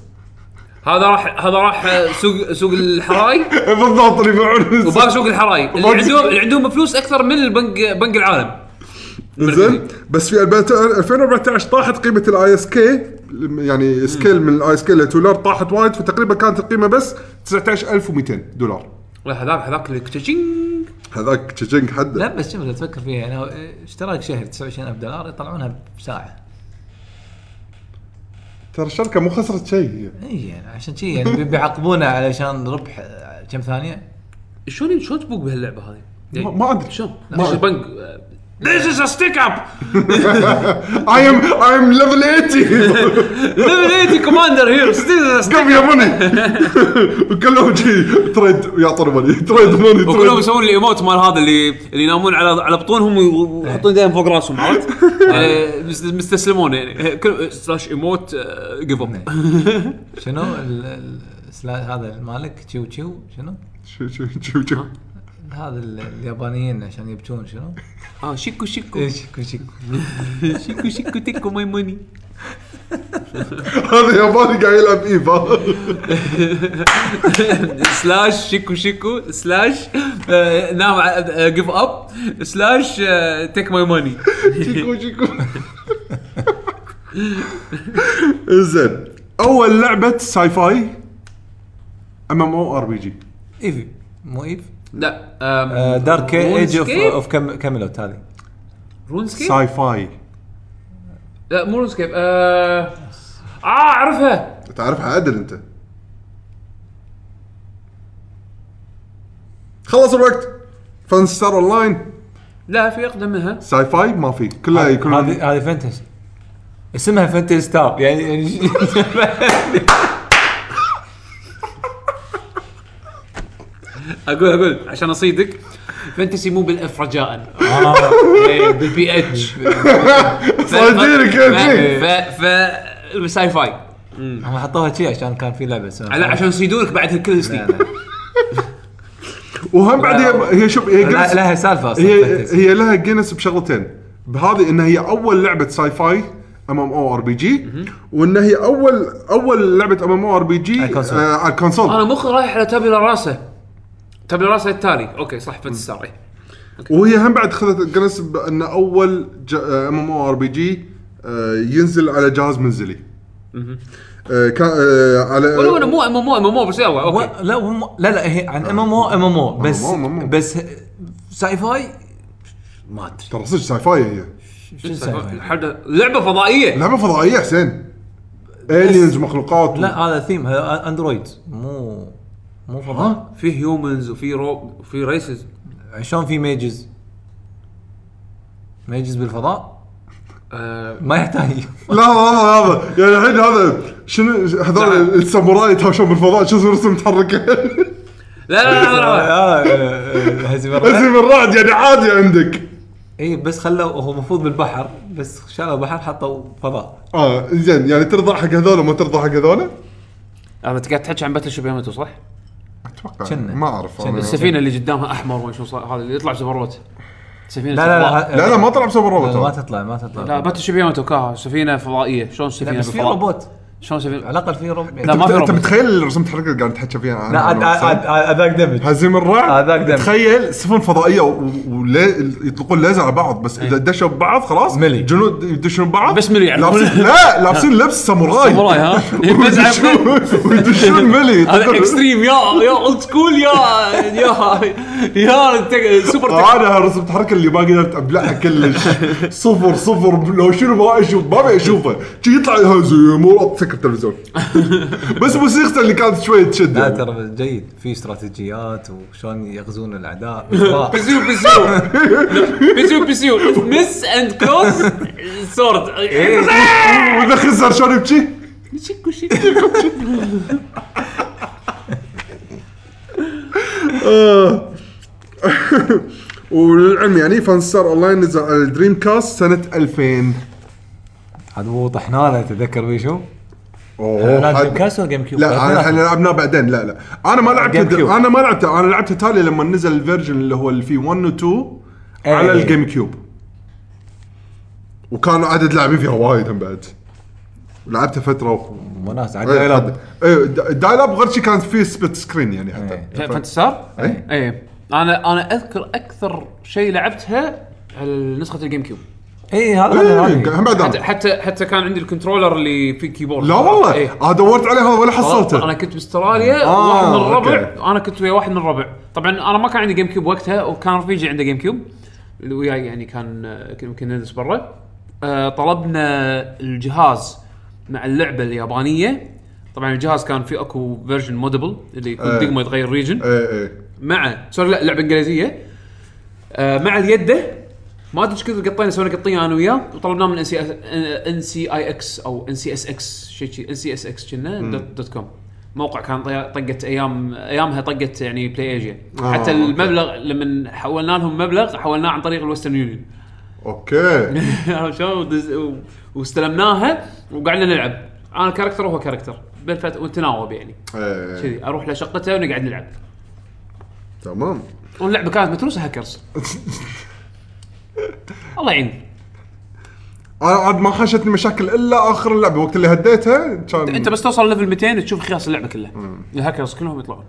هذا راح هذا راح سوق سوق الحراي
*laughs* بالضبط اللي يبيعون
وباب سوق الحراي اللي
وباب-
عندهم اللي عندهم فلوس اكثر من البنك بنك العالم
زين بس في 2014 طاحت قيمه الاي اس كي يعني سكيل من الاي اس كي دولار طاحت وايد فتقريبا كانت القيمه بس 19200 دولار
لا هذاك هذاك اللي كتشينج.
هذاك تشينج
لا
حده
بس شوف لو تفكر فيها يعني هو اشتراك شهر 29000 دولار يطلعونها بساعه
ترى الشركه مو خسرت شيء هي
اي يعني عشان شي يعني بي- بيعاقبونه علشان ربح آه، كم ثانيه
شلون شلون تبوق بهاللعبه هذه؟
ما- ما ادري
شلون؟
ما-
شو البنك This is a stick up!
اي ام اي ام ليفل 80
Level 80 commander here! This is a stick
كم يا موني وكلهم شي تريد ويعطون موني تريد موني
وكلهم
تريد
يسوون الايموت مال هذا اللي اللي ينامون على على بطونهم ويحطون ايديهم فوق راسهم عرفت؟ آه، مست- مستسلمون يعني كل آه، سلاش ايموت جيف اب
شنو ال- ال- سلا- هذا مالك تشيو تشيو شنو؟
شو شو شو شو
هذا ال- اليابانيين عشان يبكون شنو؟ إيه،
اه شيكو شيكو
ايش كل شيء
شيكو شيكو تيكو ماي ماني
هذا ياباني قاعد يلعب ايفا
سلاش شيكو شيكو سلاش آه، نام جيف اب سلاش تيك ماي ماني
شيكو شيكو زين اول لعبه ساي فاي ام ام او ار بي جي
ايفي مو ايف
لا
دارك ايج اوف اوف كاميلوت هذه
رونسكيب
ساي فاي
لا مو رونسكيب اه آه، اعرفها
تعرفها عدل انت خلص الوقت فان ستار اون لاين
لا في اقدم منها
ساي فاي ما في كلها يكون
هذه هذه فانتسي اسمها فانتسي ستار يعني يعني ش-
اقول اقول عشان اصيدك فانتسي مو بالاف رجاء *laughs* إيه، بالبي اتش
طيب،
صايدينك يا
ف ف ساي فاي
هم حطوها شي عشان كان في لعبه اسمها
على عشان يصيدونك بعد كل
آه. لا،
سنين
لا.
وهم بعد هي- هي شوف هي
لا-
جينيس-
لها سالفه اصلا
هي
فانتسي.
هي لها جينس بشغلتين بهذه ان هي اول لعبه ساي فاي ام ام او ار بي جي وان هي اول اول لعبه ام ام او ار بي جي
على الكونسول.
آه، على الكونسول
انا مخي رايح على تابيلا راسه تابيلا راسه التالي اوكي صح فانتسي ستار إيه.
وهي هم بعد اخذت جينس بان اول ام ام او ار بي جي آه، ينزل على جهاز منزلي آه، كا- آه، على
ولو انا مو ام مو ام مو بس يلا
و...
اوكي
لا هم... لا لا هي
آه.
عن ام ام او ام ام او بس
MMO.
بس ساي فاي ما ادري
ترى صدق ساي فاي هي
شو ساي فاي
حد- لعبه فضائيه
لعبه فضائيه حسين الينز مخلوقات
لا هذا ثيم هذا اندرويد مو مو فضاء
في هيومنز وفي رو وفي ريسز
شلون في ميجز ميجز بالفضاء
آه،
ما يحتاج
لحظه لحظه لحظه يعني الحين هذا شنو هذول الساموراي يتهاوشون بالفضاء شو اسمه رسم متحركه
لا لا لا لا, لا.
آه، آه، هزيم الرعد.
اسم الرعد يعني عادي عندك
اي إيه، بس خلوا هو المفروض بالبحر بس شالوا البحر حطوا فضاء
اه زين يعني ترضى حق هذول وما ترضى حق هذول؟
انا انت قاعد تحكي عن باتل شيب يامتو صح؟
اتوقع
جنة.
ما اعرف أنا.
السفينه اللي قدامها احمر وما شو صار هذا اللي يطلع سفروت سفينه
لا لا لا
فضاء.
لا لا ما طلع بسبب
لا، ما
الروبوت
تطلع ما تطلع
لا باتل شيب يامتو كاها سفينه فضائيه شلون
لا
سفينه
بس في
بالفضاء؟
روبوت
شلون سفينه
على الاقل في روبوت
لا ما
انت
في روبوت
متخيل رسم متحرك اللي قاعد تحكي فيها
لا عاد- عاد- عاد- هذاك دمج
هزيم
آه،
الرعد
هذاك دمج.
تخيل سفن فضائيه ويطلقون ليزر على بعض بس اذا دشوا ببعض خلاص
ملي.
جنود يدشون ببعض
إيه. بس ملي يعني.
لابسين لا لابسين لبس ساموراي
ساموراي،
*laughs*
ها؟ *laughs*
ويدشون- ويدشون ملي
هذا اكستريم يا يا اولد سكول يا يا يا تك- *laughs* سوبر تك
انا رسم التحركه اللي ما قدرت ابلعها كلش صفر صفر لو شنو ما اشوف ما ابي اشوفه شي يطلع هزيم ورعد سكر
*laughs*
التلفزيون بس موسيقته اللي كانت شوي تشد
لا
يعني.
ترى جيد في استراتيجيات وشلون يغزون *laughs* الاعداء
بيسيو بيسيو بيسيو بيسيو مس اند كلوز سورد
ودخل سرشون يبكي آه. وللعلم يعني فانستار اونلاين نزل على الدريم كاست سنه 2000
هذا هو طحنا له تذكر بيه شو؟
أوه،
لا جيم
هذا-
كاس ولا جيم كيوب؟
لا احنا لعبناه بعدين لا لا انا ما لعبت
جيم كيوب.
انا ما لعبته انا لعبته تالي لما نزل الفيرجن اللي هو اللي فيه 1 و 2 على
إيه.
الجيم كيوب وكان عدد لاعبين فيها وايد هم بعد لعبته فتره و...
وناس عاد
ايه
يلعب.
ايه دا- الدايل اب غير شي كانت فيه سبت سكرين يعني حتى
إيه.
فانتسار؟
إيه.
اي انا انا اذكر اكثر شيء لعبتها على نسخه الجيم كيوب
اي إيه، هذا
ايه
هذا-
هم بعد
حتى
أنا.
حتى, حتى كان عندي الكنترولر اللي فيه كيبورد
لا والله
إيه.
انا دورت عليه هذا ولا حصلته
انا كنت باستراليا
آه،
واحد من الربع
أوكي.
انا كنت ويا واحد من الربع طبعا انا ما كان عندي جيم كيوب وقتها وكان رفيجي عنده جيم كيوب اللي وياي يعني كان آه، كنا- يمكن ندرس برا آه، طلبنا الجهاز مع اللعبه اليابانيه طبعا الجهاز كان فيه اكو فيرجن مودبل اللي
إيه.
يكون دقمه يتغير ريجن
ايه ايه
مع سوري لا لعبه انجليزيه آه مع اليده ما ادري ايش كثر قطينا سوينا قطيه انا وياه وطلبناه من ان سي اي اكس او ان سي اس اكس شيء شيء ان سي اس اكس كنا دوت, دوت كوم موقع كان طي- طقت ايام ايامها طقت يعني بلاي ايجيا
آه،
حتى
أوكي.
المبلغ لما حولنا لهم مبلغ حولناه عن طريق الويسترن يونيون *laughs*
اوكي
عرفت شلون؟ ودز- و- واستلمناها وقعدنا نلعب انا كاركتر وهو كاركتر بالفت والتناوب يعني
ايه
كذي اروح لشقته ونقعد نلعب
تمام
واللعبه كانت متروسه هاكرز الله يعين
انا عاد ما حاشتني مشاكل الا اخر اللعبه وقت اللي هديتها كان
انت بس توصل ليفل 200 تشوف خياس اللعبه كلها الهاكرز كلهم يطلعون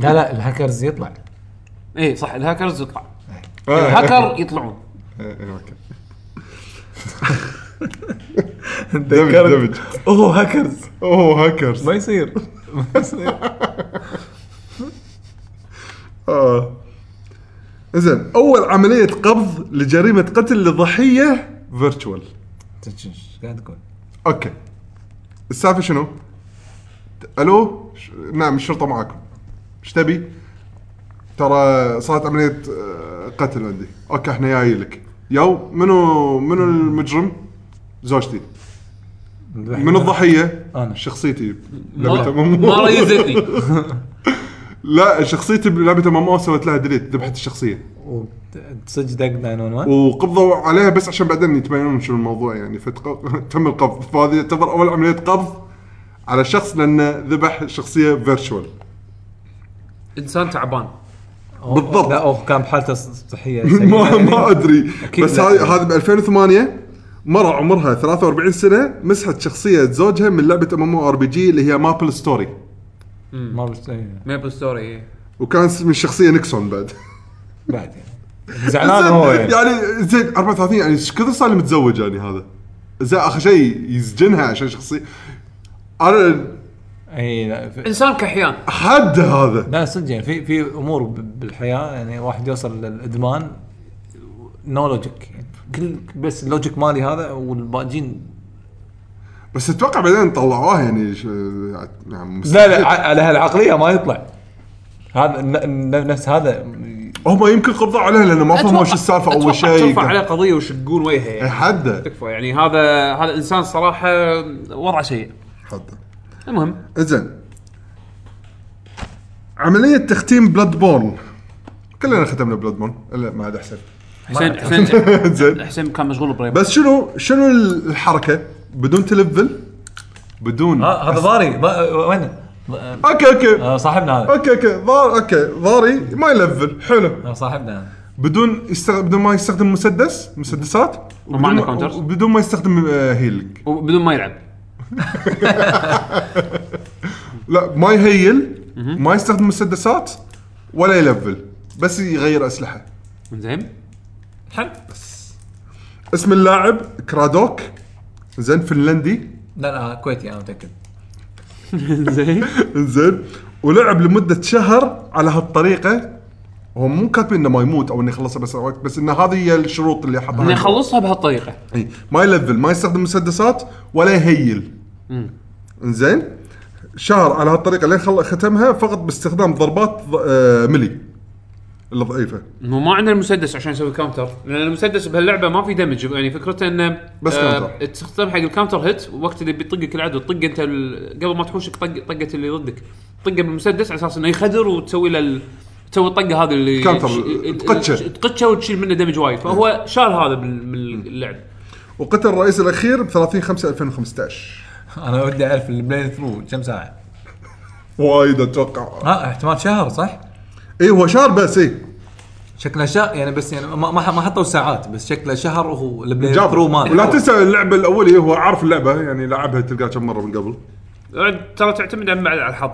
لا لا الهاكرز يطلع
اي صح الهاكرز يطلع
إيه،
الهاكر يطلعون
*laughs* إيه، إيه، أوكي. دمج
تذكرت
دمج
اوه هاكرز
اوه هاكرز
ما يصير *laughs* ما يصير
*laughs* اه زين اول عمليه قبض لجريمه قتل لضحيه فيرتشوال
ايش قاعد تقول؟
اوكي السالفه شنو؟ الو ش... نعم الشرطه معاكم ايش تبي؟ ترى صارت عمليه آه، قتل عندي اوكي احنا جايين لك يو منو منو المجرم؟ زوجتي من الضحيه؟
أنا.
شخصيتي
ما
لعبتها
ما
ممو
ريزتني
*laughs* لا شخصيتي بلعبه ممو سويت لها ديليت ذبحت الشخصيه
صدق دق 911
وقبضوا عليها بس عشان بعدين يتبينون شنو الموضوع يعني فتق... *laughs* تم القبض فهذه يعتبر اول عمليه قبض على شخص لانه ذبح شخصيه فيرتشوال
انسان تعبان
أو-
بالضبط.
لا هو كان بحالته *laughs* صحيه
ما
سيئة.
ما ادري
أكيد
بس
لا.
هذه هذه ب 2008 مرة عمرها 43 سنة مسحت شخصية زوجها من لعبة ام ار بي جي اللي هي مابل ستوري
ما بس- إيه.
ميبل ستوري
وكان اسم الشخصية نيكسون
*laughs*
بعد
بعد يعني. زعلان هو يعني
يعني زين 34 يعني ايش كثر صار لي متزوج يعني هذا زين اخر شيء يسجنها عشان شخصية انا
اي لا في-
انسان كحيان
حد هذا
لا صدق يعني في في امور ب- بالحياه يعني واحد يوصل للادمان نو لوجيك يعني كل بس اللوجيك مالي هذا والباجين
بس اتوقع بعدين طلعوها يعني ش... يعني
لا لا ع- على هالعقليه ما يطلع هذا ن- ن- نفس هذا
هم يمكن قبضوا عليه لانه ما فهموا
أتوقع-
شو السالفه
أتوقع
اول شيء
ترفع عليه
كان-
قضيه ويشقون وجهه
إيه، *laughs*
يعني
حده
تكفى يعني هذا هذا انسان صراحه وضعه سيء
حده
المهم
زين عمليه تختيم بلاد بورن كلنا ختمنا بلاد بورن الا ما عاد *laughs* احسن
حسين حسين
زين
حسين كان
*laughs*
مشغول بريب
بس شنو شنو الحركه بدون تلفل بدون
ها، هذا ضاري ما- وين
اوكي اوكي
آه، صاحبنا هذا
اوكي اوكي ضار اوكي ضاري ما يلفل حلو
آه، صاحبنا
بدون يستخدم بدون ما يستخدم مسدس مسدسات
وما عنده
وبدون-
counters.
وبدون ما يستخدم آه، هيلينج
بدون ما يلعب
لا ما يهيل ما يستخدم مسدسات ولا يلفل بس يغير اسلحه
زين
حلو
اسم اللاعب كرادوك زين فنلندي
لا لا كويتي انا *laughs* متاكد
زين
زين ولعب لمده شهر على هالطريقه هم مو كاتبين انه ما يموت او انه يخلصها بس وقت بس ان هذه هي الشروط اللي حطها
انه يخلصها بهالطريقه
إي، ما يلفل ما يستخدم مسدسات ولا يهيل زين شهر على هالطريقه لين خل- ختمها فقط باستخدام ضربات ض- آه، ملي الضعيفه
انه ما عندنا المسدس عشان يسوي كاونتر لان المسدس بهاللعبه ما في دمج يعني فكرته انه
بس كاونتر.
تستخدم حق الكاونتر هيت وقت اللي بيطقك العدو تطق انت ال- قبل ما تحوشك طق طقه اللي ضدك طقه بالمسدس على اساس انه يخدر وتسوي له ال- تسوي الطقه هذه اللي
كاونتر،
ش-
تقتشه. نعم.
تقتشه وتشيل منه دمج وايد فهو شال هذا بال- من اللعب
وقتل الرئيس الاخير ب 30 5 2015
انا ودي اعرف البلاي ثرو كم ساعه
وايد اتوقع
ها آه، احتمال شهر صح؟
اي هو شهر بس إيه. اي
شكله شهر يعني بس يعني ما ما ما حطوا ساعات بس شكله شهر وهو البلاي
جاب
ثرو إيه، ماله
ولا تنسى اللعبه الاولي إيه، هو عارف اللعبه يعني لعبها تلقاها كم مره من قبل
عاد ترى تعتمد على على الحظ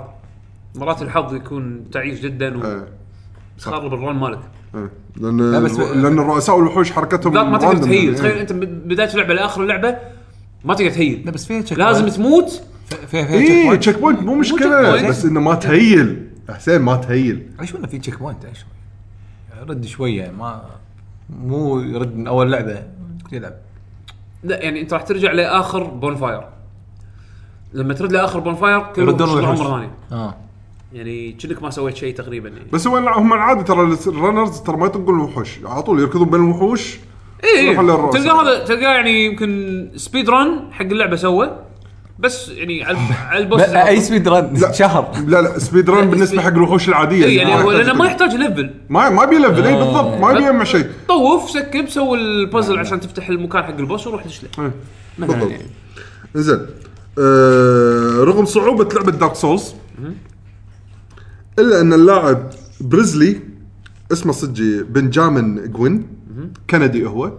مرات الحظ يكون تعيس جدا
إيه،
وتخرب الرون مالك
إيه. لان
لا، بس-
لان الرؤساء والوحوش حركتهم
بالذات ما تقدر
random
تهيل
يعني.
تخيل انت من بدايه اللعبه لاخر اللعبه ما تقدر
لا
تهيل
بس فيها تشيك
لازم تموت
فيها فيها تشيك
اي
بوينت
تشيك بوينت إيه، مو
check
مشكله
point.
بس انه ما تهيل حسين ما تهيل
عيش ولا في تشيك بوينت عيش يعني رد شويه ما مو يرد من اول لعبه يلعب
لا يعني انت راح ترجع لاخر بون فاير لما ترد لاخر بون فاير كل
يردون
شغل
الوحوش.
عمر ثانيه
اه
يعني كأنك ما سويت شيء تقريبا يعني
بس هو هم العاده ترى الرنرز ترى ما يطقون الوحوش على طول يركضون بين الوحوش
اي
يروحون للرؤساء.
إيه، تلقى هذا تلقى يعني يمكن سبيد ران حق اللعبه سوى بس يعني على على
*laughs*
البوس
لا
أيوة.
اي سبيد
لا.
رن شهر
لا لا سبيد ران بالنسبه حق الوحوش العاديه
إيه، يعني
*laughs*
هو لانه ما آه.
يحتاج
يحتاج ليفل
ما ما بيلفل اي بالضبط ما بيجمع شيء
طوف سكب سوي البازل عشان تفتح المكان حق البوس وروح دش له مثلا
بالضبط.
يعني
زين آه رغم صعوبة لعبة دارك سولز إلا أن اللاعب بريزلي اسمه صدقي بنجامين جوين كندي هو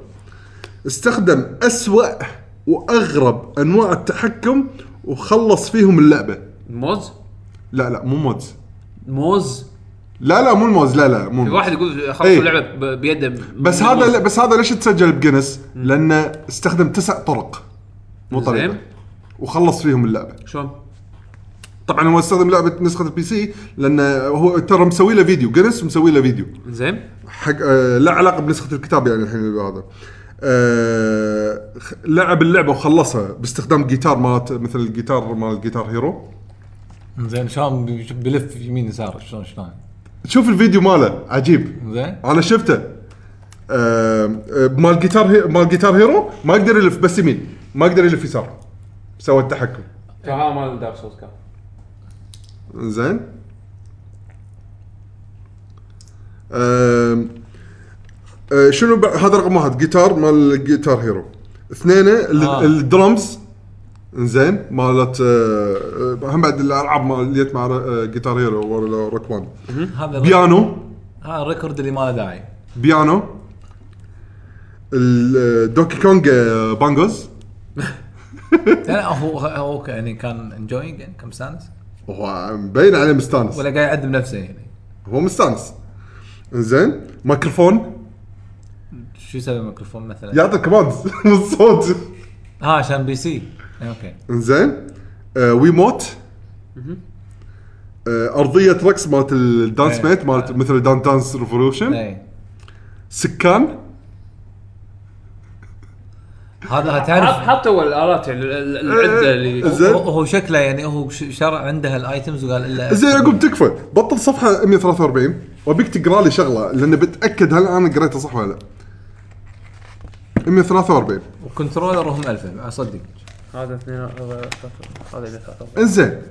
استخدم أسوأ وأغرب أنواع التحكم وخلص فيهم اللعبة
موز
لا لا مو مودز
موز
لا لا مو الموز لا لا مو
في
الموز.
واحد يقول خلص
إيه.
اللعبه ب- بيده
بس
من الموز.
هذا بس هذا ليش تسجل بجنس؟ لأنه استخدم تسع طرق مو طريقة
زين.
وخلص فيهم اللعبة
شلون؟
طبعا هو استخدم لعبه نسخه البي سي لان هو ترى مسوي له فيديو جنس مسوي له فيديو
زين
حق آه لا علاقه بنسخه الكتاب يعني الحين هذا آه خ- لعب اللعبه وخلصها باستخدام جيتار مالت مثل الجيتار مال الجيتار هيرو
زين شلون بي- بلف يمين يسار شلون شلون
شوف الفيديو ماله عجيب
زين
انا شفته آه آه، مال الجيتار هي- مال الجيتار هيرو ما يقدر يلف بس يمين ما يقدر يلف يسار سوى التحكم
هذا مال دارك سولز كان
زين أم، أه، شنو بع- هذا رقم واحد جيتار مال جيتار هيرو اثنين ال-
آه.
الدرمز زين مالت أه، أه، هم بعد الالعاب مال اللي جت مع أه، جيتار هيرو ولا ركوان
هذا الريك-
بيانو
هذا الريكورد اللي ما له داعي
بيانو الدوكي كونج أه، بانجوز
لا لا، هو هو ك- يعني كان انجوينج يعني كان مستانس
هو مبين عليه مستانس
ولا قاعد يعذب نفسه يعني
هو مستانس زين ميكروفون
شو يسوي الميكروفون مثلا
يعطي كوماندز *laughs* من الصوت
ها عشان بي سي اوكي
انزين آه ويموت آه ارضيه رقص مالت الدانس
إيه.
بيت مالت مثل دان دانس ريفولوشن
اي
سكان
هذا
حط
تعرف
حطوا الالات يعني ال- ال-
*laughs* آه،
العده اللي
زين.
هو هو شكله يعني هو ش- شرع عندها الايتمز وقال الا
زين يعقوب تكفى بطل صفحه 143 وابيك تقرا لي شغله لان بتاكد هل انا قريتها صح ولا لا 143
وكنترولرهم 2000 اصدق
هذا اثنين هذا ثلاثة- هذا اللي ثلاثة.
انزين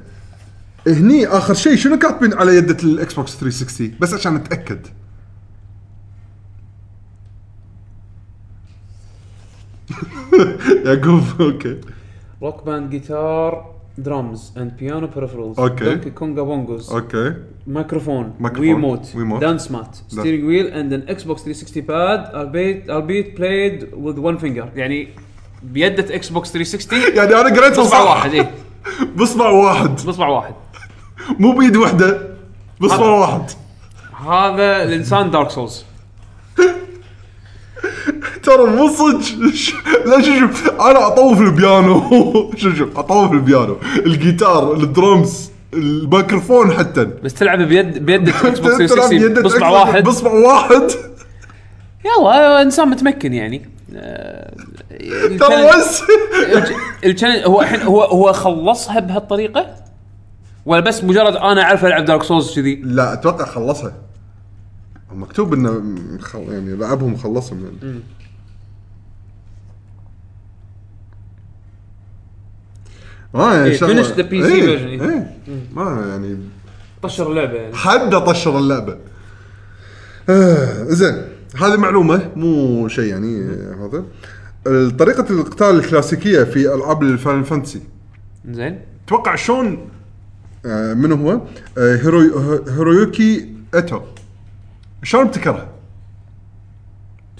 هني اخر شيء شنو كاتبين على يدة الاكس بوكس 360 بس عشان اتاكد *laughs* يعقوب اوكي
روك باند جيتار درامز اند بيانو بيرفرالز
أوكي.
دونكي كونغا بونجوز
اوكي
مايكروفون
مايكروفون.
ويموت
ويموت.
دانس مات ستيرنج ويل اند ان اكس بوكس 360 باد البيت البيت بلايد وذ ون فينجر يعني بيدة اكس بوكس 360
يعني انا قريتها
بصبع
صح
واحد
*laughs*
اي
بصبع واحد
بصبع واحد
مو بيد واحده بصبع واحد
هذا الانسان دارك سولز
ترى مو صدق *laughs* ش- لا شوف شوف انا اطوف البيانو *laughs* شوف شوف اطوف البيانو الجيتار الدرمز الميكروفون حتى
بس تلعب بيد بيد اكس بوكس
*laughs* تلعب
360
بيدك
بصبع
أكثر-
واحد
بصبع واحد
يلا انسان متمكن يعني آه،
ترى
التالنت-
وز
التشالنج هو الحين هو هو خلصها بهالطريقه ولا بس مجرد انا اعرف العب دارك سولز كذي
لا اتوقع خلصها مكتوب انه مخل- يعني لعبهم خلصهم يعني ما يعني
إيه،
شغلة-
finish the PC
إيه،
version، إيه.
إيه. ما يعني
طشر اللعبه يعني
حد طشر اللعبه آه زين هذه معلومه مو شيء يعني آه، هذا طريقه القتال الكلاسيكيه في العاب الفاينل فانتسي
زين
اتوقع شلون آه من هو؟ آه هيرو هيرويوكي اتو شلون ابتكرها؟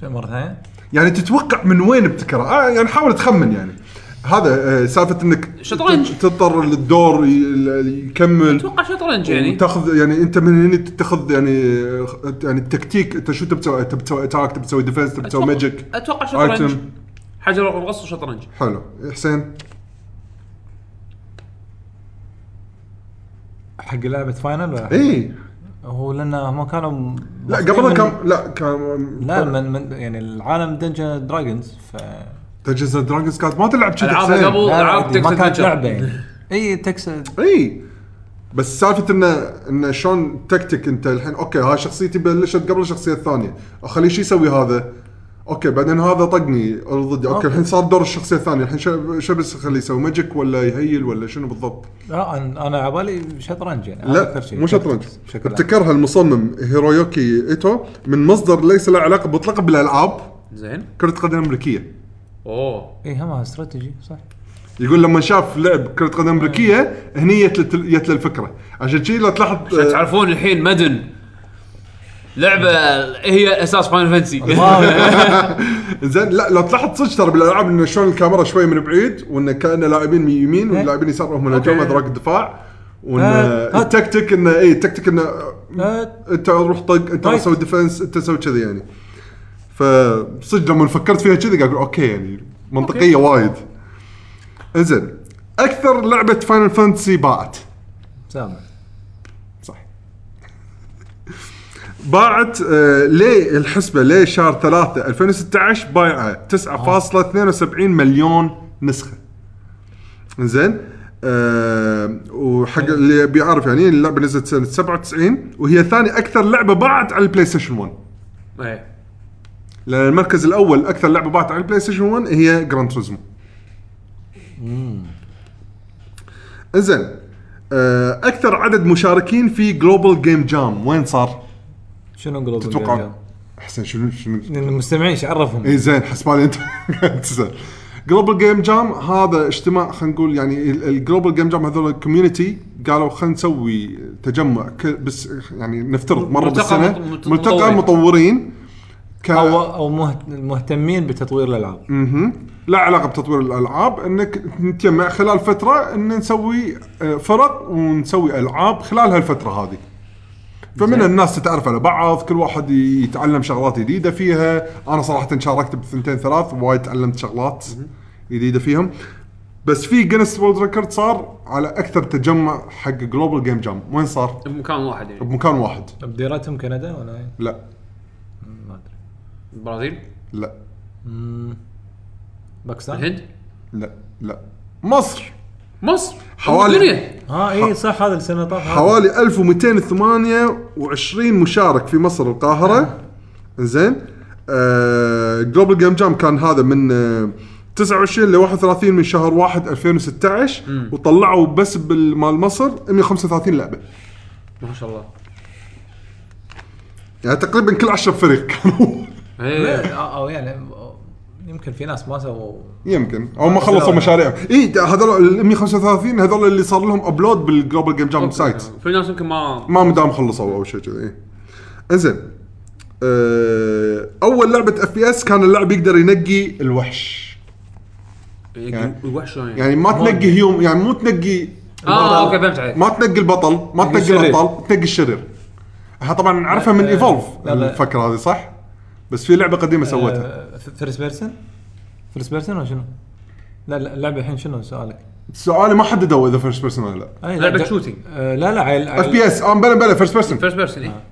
مره ثانيه
يعني تتوقع من وين ابتكرها؟ آه يعني حاول تخمن يعني هذا آه سالفه انك
شطرنج.
تت- تضطر للدور ي- ال- يكمل
اتوقع شطرنج يعني
وتاخذ يعني انت من هنا تتخذ يعني آه، يعني التكتيك انت شو تبي تسوي؟ تبي تسوي اتاك تبي تسوي ديفنس تبي تسوي
أتوقع-
ماجيك
اتوقع شطرنج
ايتم
حجر ورقه الغص وشطرنج
حلو حسين
حق لعبه فاينل ولا
اي
هو لان هم كانوا م-
إيه. لا
مصدرين
قبل
من-
كان لا كان
لا من, من يعني العالم دنجن دراجونز ف
دنجنز دراجونز كانت ما تلعب كذا
ألعابها
حسين.
قبل
لا،
ألعاب
عادي،
Texas
ما كانت
Adventure.
لعبه يعني *laughs* اي تكس
اي إيه. بس سالفه انه انه شلون تكتك انت الحين اوكي هاي شخصيتي بلشت قبل الشخصيه الثانيه اخليه شو يسوي هذا اوكي بعدين هذا طقني ضدي اوكي الحين صار دور الشخصيه الثانيه الحين شو شو بس اخليه يسوي ماجيك ولا يهيل ولا شنو بالضبط؟
لا انا انا على بالي شطرنج يعني أنا أكثر
لا
شيء.
مو شطرنج
بشكل عام.
ابتكرها المصمم هيرويوكي ايتو من مصدر ليس له علاقه مطلقا بالالعاب
زين
كرة قدم أمريكية
اوه
اي إيه، هم استراتيجي *laughs* صح
يقول لما شاف لعب كرة قدم أمريكية هني جت له- جت له الفكرة عشان شي لو تلاحظ آه،
تعرفون الحين مدن لعبه هي اساس فاينل فانسي
زين لا لو تلاحظ صدق ترى بالالعاب انه شلون الكاميرا شوي من بعيد وانه كان لاعبين يمين واللاعبين يسار هم الهجوم ادراك الدفاع وان
إيه. آه، آه.
التكتيك انه اي التكتيك انه
آه.
انت روح طق انت روح
طيب.
سوي ديفنس انت سوي كذي يعني فصدق لما فكرت فيها كذي قاعد اقول اوكي يعني منطقيه وايد زين اكثر لعبه فاينل فانتسي باعت
سامع
صح باعت آه، ليه الحسبه ليه شهر 3 2016 بايعه 9.72 مليون نسخه زين أه وحق اللي بيعرف يعني اللعبه نزلت سنه 97 وهي ثاني اكثر لعبه باعت على البلاي ستيشن 1
إيه.
لان المركز الاول اكثر لعبه باعت على البلاي ستيشن 1 هي جراند توريزمو زين آه، اكثر عدد مشاركين في جلوبال جيم جام وين صار؟
شنو جلوب
تتوقع احسن شنو شنو
المستمعين ايش عرفهم؟
اي زين حسبالي *laughs* انت قاعد تسال جلوبال جيم جام هذا اجتماع خلينا نقول يعني الجلوبال جيم جام هذول الكوميونتي قالوا خلينا نسوي تجمع ك- بس يعني نفترض مره
ملتقى
بالسنه
مط- مط-
ملتقى
مطورين.
مطورين ك...
او او مهت- المهتمين بتطوير الالعاب
مهم. لا علاقه بتطوير الالعاب انك نتجمع خلال فتره ان نسوي آه، فرق ونسوي العاب خلال هالفتره هذه فمن الناس تتعرف على بعض كل واحد يتعلم شغلات جديده فيها انا صراحه شاركت بثنتين ثلاث وايد تعلمت شغلات جديده فيهم بس في جينيس وورلد ريكورد صار على اكثر تجمع حق جلوبال جيم جام وين صار
بمكان واحد يعني
بمكان واحد
بديرتهم كندا ولا إيه؟
لا
ما ادري
البرازيل
لا
باكستان
الهند
لا لا مصر
مصر
حوالي-
الدنيا
ها
إيه،
اي صح هذا السنه طافت
آه. حوالي 1228 مشارك في مصر القاهره زين آه جلوبال جيم جام كان هذا من آه 29 ل 31 من شهر 1 2016 وطلعوا بس بالمال مصر 135 لعبه
ما شاء الله
يعني تقريبا كل 10 فريق كانوا *laughs*
إيه.
آه، او يعني آه، يمكن في ناس ما سووا
يمكن او ما خلصوا مشاريعهم اي هذول ال 135 هذول اللي صار لهم ابلود بالجلوبال جيم جام سايت
في ناس يمكن ما
ما مدام خلصوا او شيء كذي إيه. انزين أه، اول لعبه اف بي اس كان اللاعب يقدر ينقي الوحش يعني-
وحش شلون يعني
يعني ما تنقي هيوم يعني مو تنقي
اه اوكي فهمت عليك
ما تنقي البطل ما تنقي
الشرير.
الابطال تنقي الشرير احنا طبعا نعرفها من ايفولف
لا، لا. آه.
الفكره هذه صح بس في لعبه قديمه سوتها
فيرست بيرسون فيرست بيرسون ولا شنو؟ لا لا اللعبه الحين شنو سؤالك؟
سؤالي ما حددوا اذا فيرست بيرسون ولا لا
أي
لعبة
لا،
شوتينج.
آه، لا لا عيل
اف بي اس اه بلا بلا فيرست بيرسون
فيرست بيرسون إيه.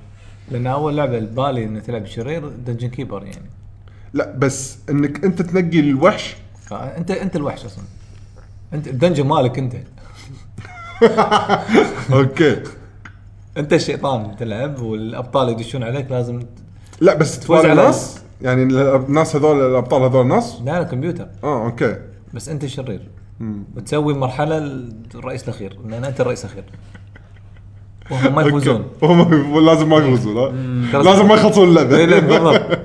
لان اول لعبه ببالي انه تلعب شرير دنجن كيبر يعني
لا بس انك انت تنقي
*laughs*
الوحش
آه، انت انت الوحش اصلا انت الدنجن مالك انت
اوكي
انت الشيطان تلعب والابطال يدشون عليك لازم ت-
لا بس
توزع
تباري
على-
ناس يعني الناس هذول الابطال هذول ناس
لا لا كمبيوتر
اه اوكي
بس انت الشرير وتسوي مرحله الرئيس الاخير لان انت الرئيس الاخير وهم
*laughs*
ما يفوزون
أوكي. هم لازم ما يفوزون ها؟ لازم ما يخلصون
إي، لا،
اللعبه
بالضبط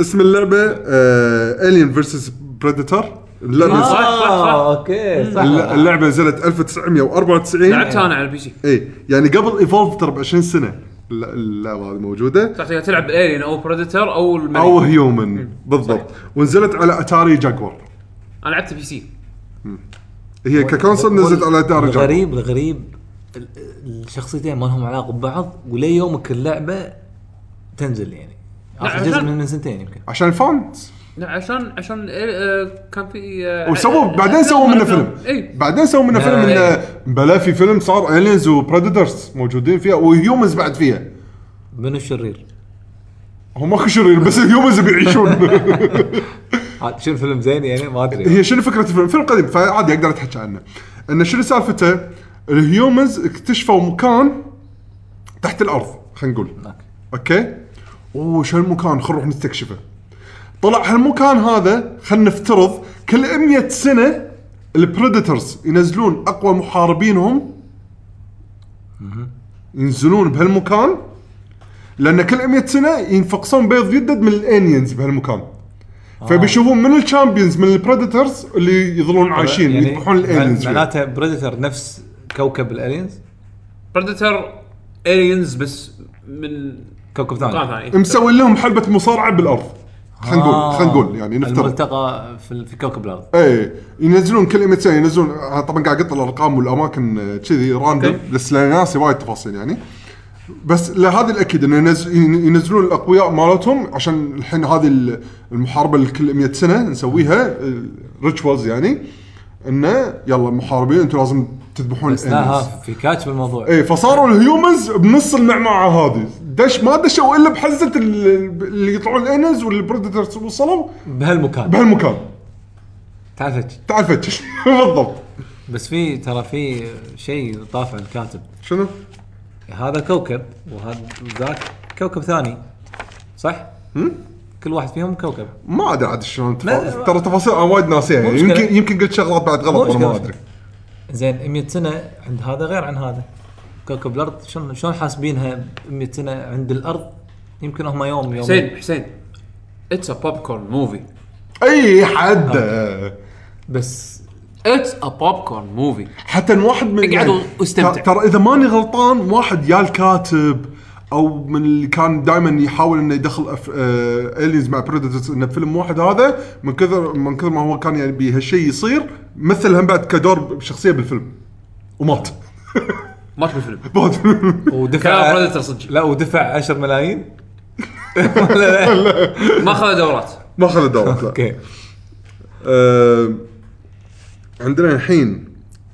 اسم آه، اللعبه الين فيرسس بريدتر اللعبه
آه، صح صح صح
اه اوكي صح
الل- اللعبه نزلت 1994
لعبتها انا على البي سي
اي يعني قبل ايفولف ترى ب 20 سنه الل- اللعبه هذه موجوده
صح تقدر تلعب الين او بريدتر او الملك
او هيومن بالضبط ونزلت على اتاري جاكور
انا لعبت بي سي
هي ككونسل نزلت على اتاري جاكور
الغريب الغريب ال- الشخصيتين ما لهم علاقه ببعض ولي يومك اللعبه تنزل يعني
لا،
اخر جزء
عشان-
من من سنتين يمكن
عشان الفونت
لا عشان عشان آه، آه، كان في آه،
وسووا
آه، إيه.
بعدين سووا منه
أفلام.
فيلم
اي
بعدين سووا منه فيلم انه بلا في فيلم صار الينز وبريدترز موجودين فيها وهيومنز بعد فيها
منو الشرير؟
هم ماكو شرير بس الهيومنز بيعيشون
عاد شنو فيلم زين يعني ما ادري
هي شنو فكره الفيلم؟ فيلم قديم فعادي اقدر اتحكى عنه. انه شنو سالفته؟ الهيومنز اكتشفوا مكان تحت الارض خلينا نقول. اوكي؟ اوه شو المكان خلينا نروح نستكشفه. طلع هالمكان هذا خلينا نفترض كل 100 سنه البريدترز ينزلون اقوى محاربينهم ينزلون بهالمكان لان كل 100 سنه ينفقصون بيض جدد من الانينز بهالمكان. فبيشوفون من الشامبيونز من البريدترز اللي يظلون عايشين يعني يذبحون الالينز فيهم.
معناته بريدتر نفس كوكب الالينز
بريدتر الينز بس من آه، إيه.
كوكب
مكان
ثاني
ثاني
مسوي لهم حلبه مصارعه بالارض خلينا نقول
آه.
خلينا نقول يعني نفترض إيه.
الملتقى في, في كوكب الارض
اي ينزلون كل ايمتين ينزلون آه، طبعا قاعد اقط الارقام والاماكن آه، كذي راندوم بس لأن ناسي وايد تفاصيل يعني بس لهذا الاكيد انه ينز- ين- ينزلون الاقوياء مالتهم عشان الحين هذه ال- المحاربه اللي كل 100 سنه نسويها ريتشوالز يعني انه يلا محاربين انتم لازم تذبحون
بس لا
الانيمالز.
ها في كاتش بالموضوع
ايه فصاروا الهيومنز بنص المعمعه هذه دش ما دشوا الا بحزه ال- اللي يطلعون الانز والبريدترز وصلوا
بهالمكان
بهالمكان
تعال فتش
تعال فتش *laughs* بالضبط
بس في ترى في شيء طافع الكاتب
شنو؟
هذا كوكب وهذا ذاك كوكب ثاني صح؟ كل واحد فيهم كوكب
ما ادري عاد شلون
لا،
تفا- ترى تفاصيل انا وايد ناسيها يعني
مشكلة.
يمكن يمكن قلت شغلات بعد غلط وانا
مشكلة.
ما ادري
زين 100 سنه عند هذا غير عن هذا كوكب الارض شلون شلون حاسبينها 100 سنه عند الارض يمكن هم يوم يوم
حسين حسين اتس ا بوب كورن موفي
اي حد آه.
بس
اتس ا بوب كورن موفي
حتى ان واحد من
اقعد
يعني
واستمتع.
ت- ترى اذا ماني غلطان واحد يا الكاتب او من اللي كان دائما يحاول انه يدخل أف... آه... الينز مع بريدترز انه فيلم واحد هذا من كثر من كثر ما هو كان يعني بهالشيء يصير مثل هم بعد كدور شخصيه بالفيلم ومات *laughs*
مات بالفيلم
مات
كان
ودفع
بريدتر صدق
لا ودفع 10
*laughs*
ملايين *laughs*
ما اخذ دورات
ما اخذ دورات لا
اوكي
آه، عندنا الحين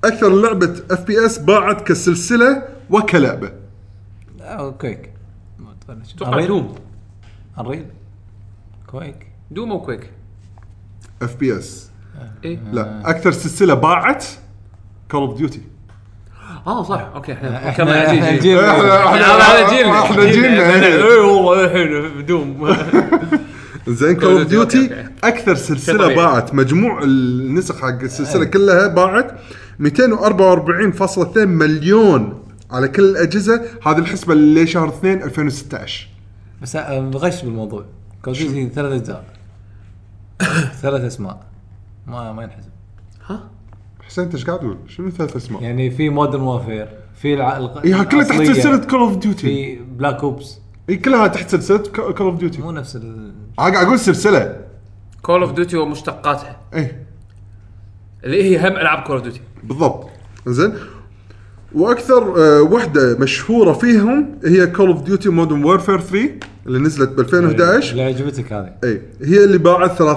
اكثر لعبه اف بي اس باعت كسلسله وكلعبه
لا، آه، كويك ما تبلش.
اتوقع دوم
انريل كويك
دوم او كويك
اف بي اس
إيه.
لا اكثر سلسله باعت كول اوف ديوتي
اه صح اوكي احنا
إحنا-
كمل
إحنا
على جيل
الجيل-
على جيلنا
احنا جيلنا
اي إيه، والله الحين *laughs* بدوم
زين كول اوف
أوكي، أوكي،
ديوتي
أوكي.
اكثر سلسله
شيء طبيعي.
باعت مجموع النسخ حق السلسله كلها باعت 244.2 مليون على كل الاجهزه هذه الحسبه لشهر 2 2016
بس أ- بغش بالموضوع كول ديوتي ثلاث اجزاء ثلاث اسماء ما ما ينحسب
حسين انت ايش قاعد تقول؟ شنو ثلاث اسماء؟
يعني في مودرن وافير في الع... الق...
ايها كلها تحت
الأصلية،
سلسله كول اوف ديوتي
في بلاك اوبس
اي كلها تحت سلسله كول اوف ديوتي
مو نفس ال...
قاعد اقول سلسله
كول اوف ديوتي ومشتقاتها
اي
اللي هي هم العاب كول اوف ديوتي
بالضبط زين واكثر آه، وحده مشهوره فيهم هي كول اوف ديوتي مودرن وورفير 3 اللي نزلت ب 2011
اللي عجبتك هذه
اي إيه، هي اللي باعت 30.89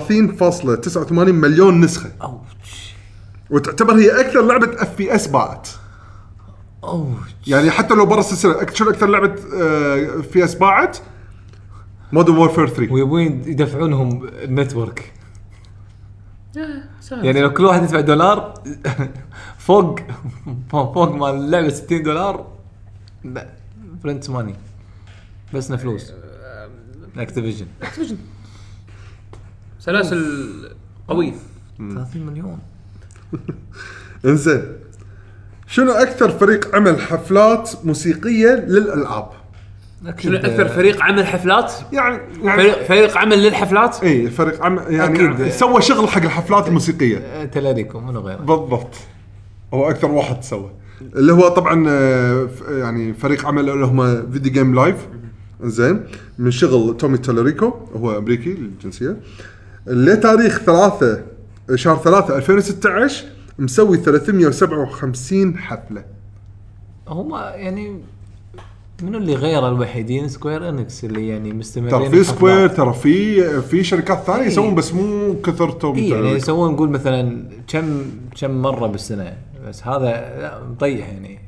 مليون نسخه وتعتبر هي اكثر لعبه اف بي اس باعت
اوه
يعني حتى لو برا السلسله أك- شنو آه، اكثر لعبه في اس باعت مودرن وورفير 3
ويبون يدفعونهم النتورك يعني لو كل واحد يدفع دولار *laughs* فوق فوق ما اللعبه 60 دولار لا برنت ماني بسنا فلوس اكتيفيجن
سلاسل قويه
30 مليون
انزين شنو اكثر فريق عمل حفلات موسيقيه للالعاب
شنو اكثر فريق عمل حفلات؟
يعني يعني
فريق, فريق عمل للحفلات؟
اي إيه، فريق عم يعني
أكيد.
سوى شغل حق الحفلات الموسيقيه
إيه، تلاريكم منو غيره
بالضبط هو اكثر واحد سوى اللي هو طبعا آه، ف- يعني فريق عمل اللي هم فيديو جيم لايف زين من شغل تومي تالوريكو هو امريكي الجنسيه لتاريخ 3 شهر 3 2016 مسوي 357 حفله
هم يعني منو اللي غير الوحيدين سكوير انكس اللي يعني مستمرين
ترى في
بحفلات.
سكوير ترى في في شركات ثانيه يسوون بس مو كثر تومي
إيه يعني
تالوريكو
يسوون نقول مثلا كم كم مره بالسنه بس هذا لا، مطيح يعني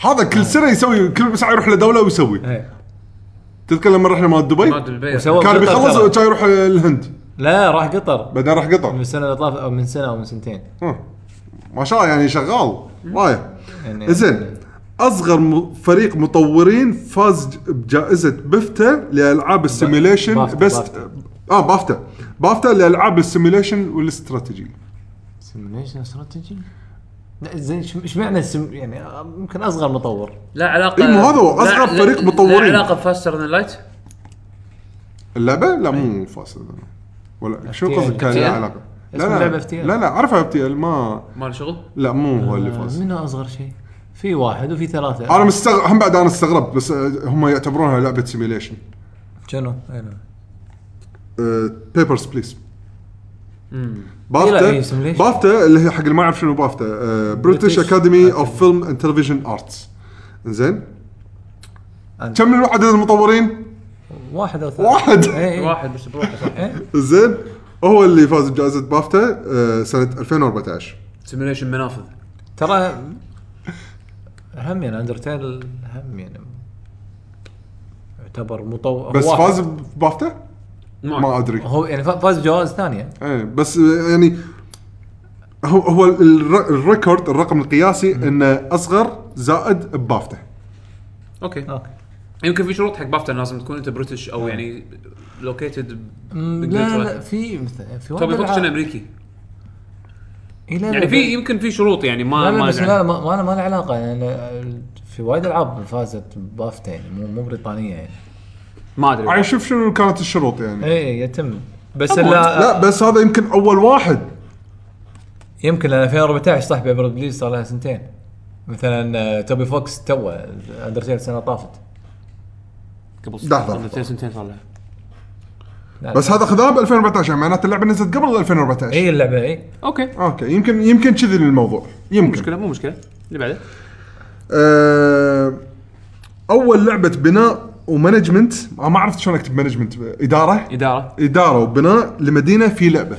هذا
آه.
كل سنه يسوي كل ساعه يروح لدوله ويسوي
إيه.
تذكر لما رحنا مال دبي
ماد البيع
وسوى
كان
قطر ترى.
بيخلص كان يروح الهند
لا راح قطر
بعدين راح
من
قطر
السنه اللي طافت او من سنه او من سنتين
ها. ما شاء الله يعني شغال رايح
يعني
إيه، زين اصغر م- فريق مطورين فاز ج- بجائزه بفتا لالعاب السيميليشن
بافتا-
بس
بافتا.
اه بافتا بافتا لالعاب السيميليشن والاستراتيجي
سيميليشن استراتيجي لا زين شم- ايش معنى سم... يعني آه، يمكن اصغر مطور
لا علاقه
إيه، مو هذا هو،
لا-
أصغر
لا-
فريق مطورين.
لا علاقه بفاستر ذان لايت
اللعبه لا
طيب.
مو فاصل ولا شو
FTL.
قصدك كان لها علاقه لا
اسم اللعبة
لا
FTL.
لا لا اعرفها اف تي ال ما
مال شغل
لا مو هو اللي
آه،
فاز
منو اصغر شيء؟ في واحد وفي ثلاثه
انا مستغرب هم بعد انا استغربت بس آه، هم يعتبرونها لعبه سيميليشن
شنو؟ نعم. أنا.
آه، بيبرز بليز
إيه، لا، إيه،
بافتا
simulation.
بافتا اللي هي حق اللي ما يعرف شنو آه، بافتا بريتش
British
اكاديمي اوف فيلم اند تلفزيون ارتس زين
And-
كم من عدد المطورين؟
واحد او ثلاثه
واحد
إيه، إيه.
واحد بس بروحه صح
زين هو اللي فاز بجائزه بافتا آه، سنه 2014
سيميليشن منافذ
ترى هم يعني اندرتيل هم يعني يعتبر مطور
بس
هو
فاز بافتا؟ ما ادري
هو يعني فا- فاز بجوائز ثانيه
ايه بس آه، يعني هو هو الر- الريكورد الرقم القياسي انه اصغر زائد بافتا
اوكي
اوكي
يمكن في شروط حق بافتا لازم تكون انت بريتش او يعني لوكيتد
أمم، لا لا في مثل في
توبي فوكس كان
الع-
امريكي
إيه، لا، لا،
يعني
لا.
في يمكن في شروط يعني ما
لا لا
ما
بس
أدري.
لا ما ما- ما له علاقه يعني في وايد العاب فازت بافتا يعني مو مو بريطانيه يعني
ما ادري
عايز شوف شنو كانت الشروط يعني
اي إيه، يتم بس لا
لا بس هذا يمكن اول واحد
يمكن لان 2014 صح بيبر بليز صار لها سنتين مثلا آه، توبي فوكس تو اندرتيل سنه طافت
قبل
لحظة.
سنتين سنتين صار لها
لا،
بس هذا خذاه ب 2014 يعني معناته اللعبه نزلت قبل 2014
اي اللعبه اي
اوكي
اوكي يمكن يمكن كذي الموضوع يمكن
مشكله مو مشكله اللي بعده
آه اول لعبه بناء ومانجمنت أنا ما عرفت شلون اكتب مانجمنت اداره
اداره
اداره وبناء لمدينه في لعبه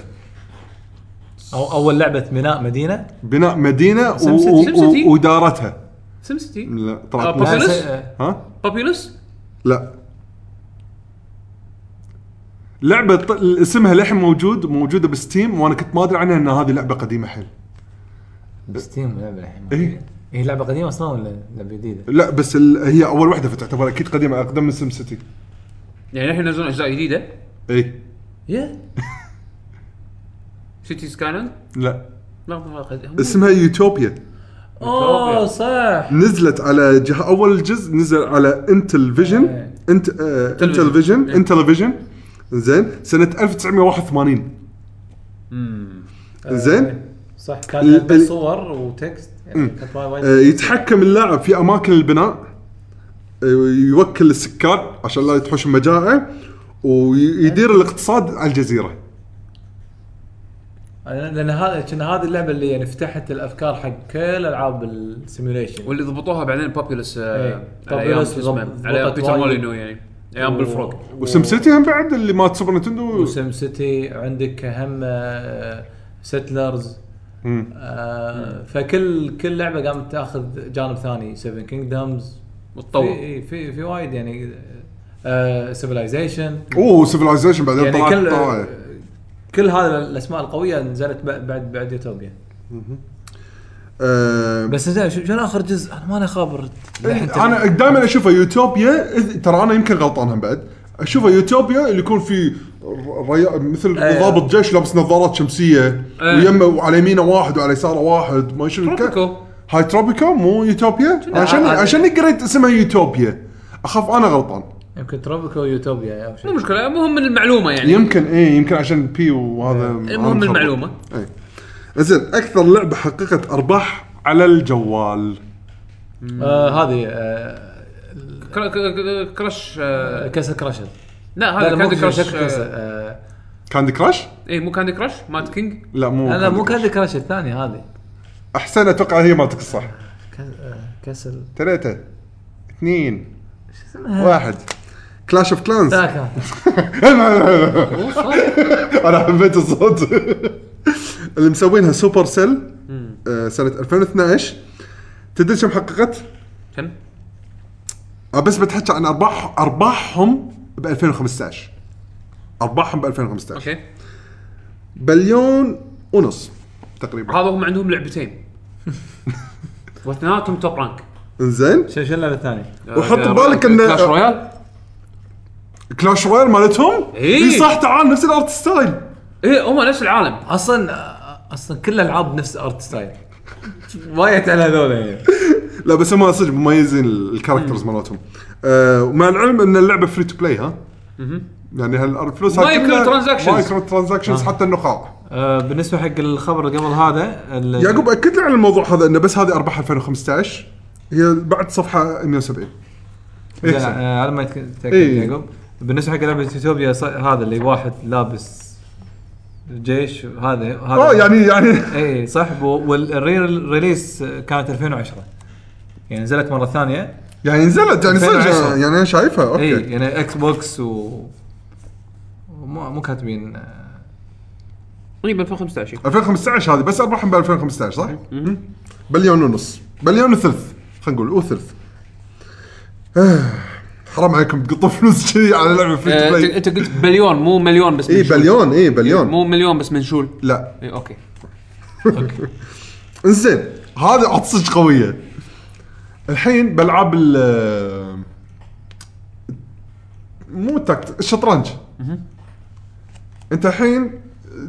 أو اول لعبه بناء مدينه
بناء مدينه و-
سيتي-
و-
سيم
و-
سيتي؟
وادارتها
سيم سيتي
لا
آه،
طلعت
بس-
مو-
بس-
آه،
ها
بابيلوس
لا لعبه ط- اسمها للحين موجود موجوده بستيم وانا كنت ما ادري عنها ان هذه لعبه قديمه حيل
بستيم لعبه الحين
إيه.
هي لعبه قديمه اصلا ولا لعبه جديده؟
لا بس ال... هي اول وحده فتعتبر اكيد قديمه اقدم من سم سيتي
يعني الحين ينزلون اجزاء جديده
اي
سيتي سكايلاند
لا
لا ما أخذ-
اسمها يوتوبيا
اوه آه، صح
نزلت على جه... اول جزء نزل على انتل فيجن انت آه... انتل فيجن
إيه.
انتل فيجن زين سنه 1981
آه.
زين
صح
ال-
كان
ال-
بس صور وتكست يعني كانت وايد
آه،
إيه.
وايد-
يتحكم اللاعب في اماكن البناء آه، يوكل السكان عشان لا يتحوش مجاعه ويدير
إيه.
الاقتصاد على الجزيره
لان هذا كنا هذه اللعبه اللي يعني فتحت الافكار حق كل العاب السيميوليشن
واللي ضبطوها بعدين بابيلس
إيه.
على ايام
Populous
شو اسمه
ضب-
على أيام
ضبطت
بيتر
وايد.
مولينو يعني ايام بالفروغ
وسم سيتي هم بعد اللي مات سوبر نتندو
وسم سيتي عندك هم سيتلرز آه،
مم.
فكل كل لعبه قامت تاخذ جانب ثاني 7 كينجدمز
وتطور
في في في وايد يعني سيفلايزيشن
اوه سيفلايزيشن بعدين
يعني
طلعت
كل
طلعت.
كل هذا الاسماء القويه نزلت بعد بعد بعد يوتوبيا
آه،
بس زين شو- شنو اخر جزء؟ انا ماني خابر
انا دائما اشوفه يوتوبيا إذ- ترى انا يمكن غلطان هم بعد اشوفه يوتوبيا اللي يكون في ري... مثل ضابط جيش لابس نظارات شمسيه ويمه وعلى يمينه واحد وعلى يساره واحد ما شنو الك-
تروبيكو
هاي تروبيكو مو يوتوبيا عشان
هذا-
عشان قريت اسمها يوتوبيا اخاف انا غلطان
يمكن تروبيكو ويوتوبيا او شيء
مو مشكله المهم من المعلومه يعني
يمكن ايه يمكن عشان بي وهذا أنا
المهم
مخربط.
المعلومه
ايه زين اكثر لعبه حققت ارباح على الجوال
آه، هذه آه،
كرا- ك- ك- كراش آه،
كاسل كراشر
لا
لا
هذا
لا مو
كاندي كراش
كراشر
آه،
كاندي كراش؟
اي مو كاندي كراش مات كينج
لا مو
لا مو
Candy Crush.
كاسل كراش الثاني هذه
احسن اتوقع هي مالتك الصح
آه، كاسل
ثلاثة اثنين واحد كلاش اوف كلانز
آه.
ذاك
*laughs* انا حبيت الصوت *laughs* اللي مسوينها سوبر سيل آه، سنة 2012 تدري كم حققت؟
كم؟
آه، بس بتحكي عن ارباح ارباحهم ب 2015 ارباحهم ب 2015
اوكي
بليون ونص تقريبا
هذا هم
*laughs*
عندهم لعبتين واثنيناتهم آه، توب رانك
انزين
شو شو اللعبه الثانيه؟
وحط ببالك ان
كلاش رويال
كلاش رويال مالتهم
إيه.
اي صح تعال نفس الارت ستايل
اي إيه، هم نفس العالم
اصلا آه، اصلا كل الالعاب نفس ارت ستايل وايد على هذول يعني
لا بس هم صدق مميزين ال- الكاركترز مالتهم آه ومع العلم ان اللعبه فري تو بلاي ها يعني هالفلوس هاي
مايكرو
كلها
ترانزاكشنز.
مايكرو ترانزاكشنز حتى النقاط
آه بالنسبه حق الخبر اللي قبل هذا ال-
يعقوب اكد لي على الموضوع هذا انه بس هذه ارباح 2015 هي بعد صفحه 170
زين،
إحسن.
آه، على ما يتك- تاكد
إيه.
يعقوب بالنسبه حق لعبه يوتوبيا ص- هذا اللي واحد لابس جيش هذا هذا
اه يعني يعني
اي صح والريليس كانت 2010 يعني نزلت مره ثانيه
يعني نزلت يعني صدق
2010.
يعني انا شايفها
اي
اوكي
يعني اكس بوكس و مو مو كاتبين آه،
تقريبا 2015
2015 هذه بس ارباحهم ب 2015 صح؟ بليون ونص بليون وثلث خلينا نقول وثلث آه، حرام عليكم تقطوا فلوس كذي على لعبه فري تو بلاي
انت آه، قلت بليون مو مليون بس
اي
منشول.
إيه، بليون اي بليون
مو مليون بس إيه، منشول
لا
اي اوكي
انزين هذا عط صدق قويه الحين بالعاب ال مو تكت الشطرنج انت الحين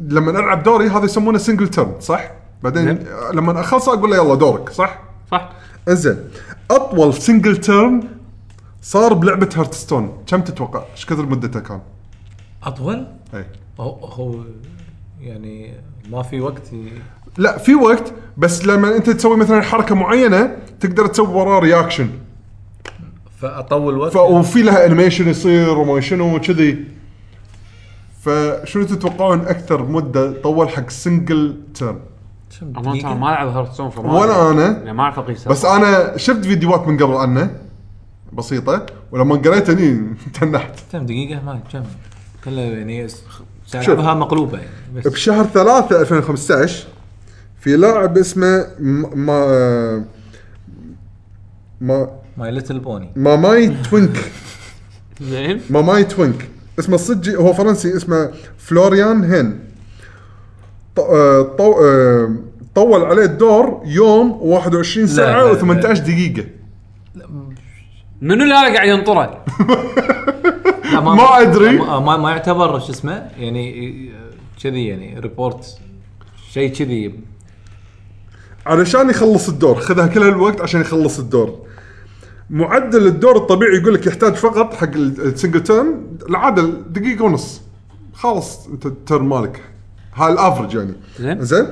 لما العب دوري هذا يسمونه سنجل تيرن صح؟ بعدين لما اخلصه اقول له يلا دورك صح؟
صح
انزين اطول سنجل تيرن صار بلعبه هارتستون كم تتوقع؟ ايش كثر مدته كان؟ إيه.
اطول؟
اي
هو هو يعني ما في وقت ي-
لا في وقت بس لما انت تسوي مثلا حركه معينه تقدر تسوي وراه رياكشن
فاطول وقت
ف... وفي لها انيميشن يصير وما شنو وكذي فشنو تتوقعون اكثر مده طول حق سنجل تيرن
اما ترى ما لعب هارت ستون
ولا انا
ما اعرف اقيسها
بس انا شفت فيديوهات من قبل عنه بسيطه ولما قريت اني *laughs* تنحت
كم دقيقه ما كم كلها يعني س-
شوف.
سالفها مقلوبه يعني بس
بشهر 3 2015 في لاعب اسمه م- ما ما
ماي ليتل بوني
ماماي توينك
زين
ماماي توينك اسمه الصجي هو فرنسي اسمه فلوريان هين ط- آه، طو- آه، طول عليه الدور يوم و21 ساعه
لا، لا.
و18 دقيقه
منو اللي أنا قاعد ينطره؟
لا،
ما أدري.
*laughs* ما, ما- ما يعتبر شو اسمه يعني آه، كذي يعني ريبورت شيء كذي
علشان يخلص الدور خذها كل هالوقت عشان يخلص الدور معدل الدور الطبيعي يقول لك يحتاج فقط حق ال- السنجل تيرن العاده دقيقه ونص خلاص انت التيرن مالك هالافرج يعني
زين.
زين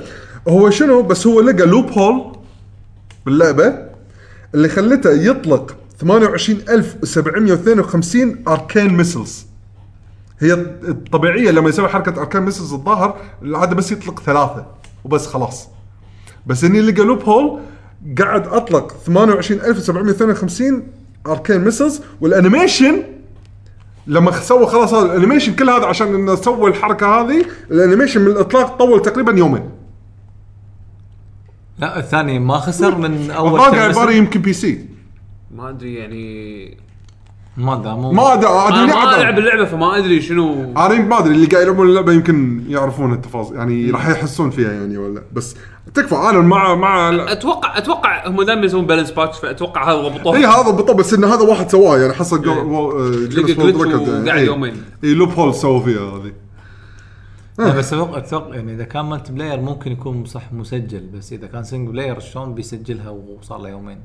هو شنو بس هو لقى لوب هول باللعبه اللي خلته يطلق 28752 اركان ميسلز هي الطبيعيه لما يسوي حركه اركان ميسلز الظاهر العاده بس يطلق ثلاثه وبس خلاص بس اني لقى لوب هول قاعد اطلق 28752 اركين ميسلز والانيميشن لما سوى خلاص هذا الانيميشن كل هذا عشان انه سوى الحركه هذه الانيميشن من الاطلاق طول تقريبا يومين
لا الثاني ما خسر من اول
الطاقه
ترم.
عباره يمكن بي سي
ما ادري يعني
ما ادري مو
ما ادري
انا
عاد
ما
يلعب.
العب اللعبه فما ادري شنو
انا ما ادري اللي قاعد يلعبون اللعبه يمكن يعرفون التفاصيل يعني راح يحسون فيها يعني ولا بس تكفى انا مع مع
اتوقع اتوقع هم دائما يسوون بالانس باتش فاتوقع هذا
اي
ضبطوه
هذا بالضبط بس ان هذا واحد سواه يعني حصل جو... و...
إيه. لقى جلتش وقاعد يومين
اي يعني. إيه. لوب هول سووا فيها هذه
لا بس اتوقع اتوقع يعني اذا كان مالتي بلاير ممكن يكون صح مسجل بس اذا كان سنجل بلاير شلون بيسجلها وصار له يومين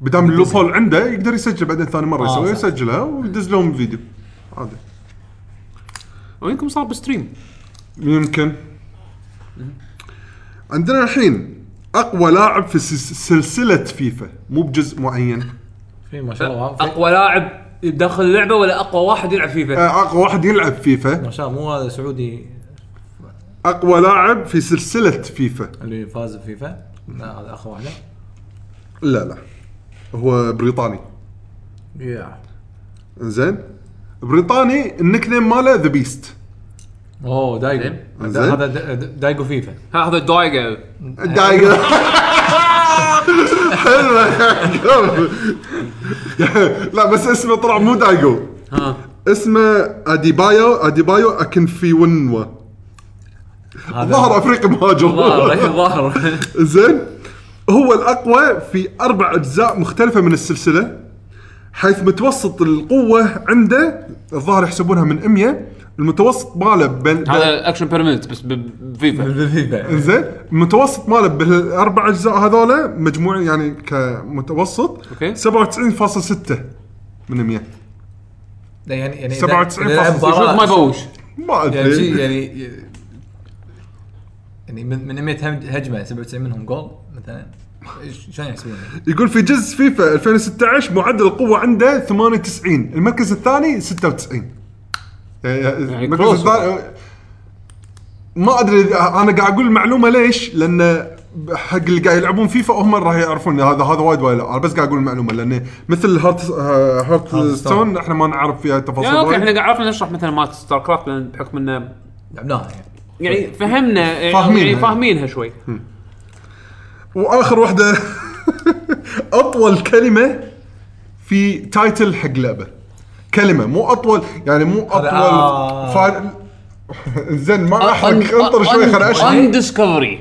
بدام اللوب هول عنده يقدر يسجل بعدين ثاني مره
آه،
يسوي
صح.
يسجلها ويدز لهم فيديو عادي
وينكم صار بستريم
يمكن عندنا الحين اقوى لاعب في سلس- سلسله فيفا مو بجزء معين
في ما شاء الله في-
اقوى لاعب داخل اللعبه ولا اقوى واحد يلعب فيفا
آه، اقوى واحد يلعب فيفا
ما شاء الله مو هذا سعودي
اقوى لاعب في سلسله فيفا
اللي فاز بفيفا لا هذا اخر واحده
لا لا هو بريطاني
يا
زين بريطاني النكنيم ماله ذا بيست
اوه دايجو
زين.
هذا دا- دا- دايجو فيفا
ها هذا دايجا
دايجر حلوه لا بس اسمه طلع مو دايجو اسمه اديبايو اديبايو اكن في ونوا ظهر افريقي
*laughs*
مهاجر
ظاهر ظاهر
زين هو الاقوى في اربع اجزاء مختلفه من السلسله حيث متوسط القوه عنده الظاهر يحسبونها من 100 المتوسط ماله بين
هذا اكشن بيرمنت بس ب- بفيفا
فيفا
انزين المتوسط ماله بالاربع اجزاء هذولا مجموع يعني كمتوسط
أوكي.
97.6 من 100
لا يعني يعني
97
إذا- إذا
فاصل
مباراة-
ما يبوش
ما
يعني شيء
ادري
يعني يعني من من 100 هج- هجمه 97 منهم جول مثلا إيش- شلون يحسبونها؟
يقول في جزء فيفا 2016 معدل القوه عنده 98 المركز الثاني 96 يعني المركز
كلوز.
الثاني ما ادري إذا- انا قاعد اقول المعلومه ليش؟ لان حق اللي قاعد يلعبون فيفا هم راح يعرفون هذا هذا وايد وايد انا بس قاعد اقول المعلومه لان مثل هارت هارت ستون احنا ما نعرف فيها تفاصيل
يعني اوكي
وايد.
احنا قاعد عرفنا نشرح مثلا مالت ستار كرافت لان بحكم انه
لعبناها يعني
يعني فهمنا يعني-
فاهمينها.
يعني فاهمينها شوي
واخر *laughs* واحده اطول كلمه في تايتل حق لعبه كلمه مو اطول يعني مو اطول
آه.
فا... زين ما احرق انطر شوي خليني اشرح
ان ديسكفري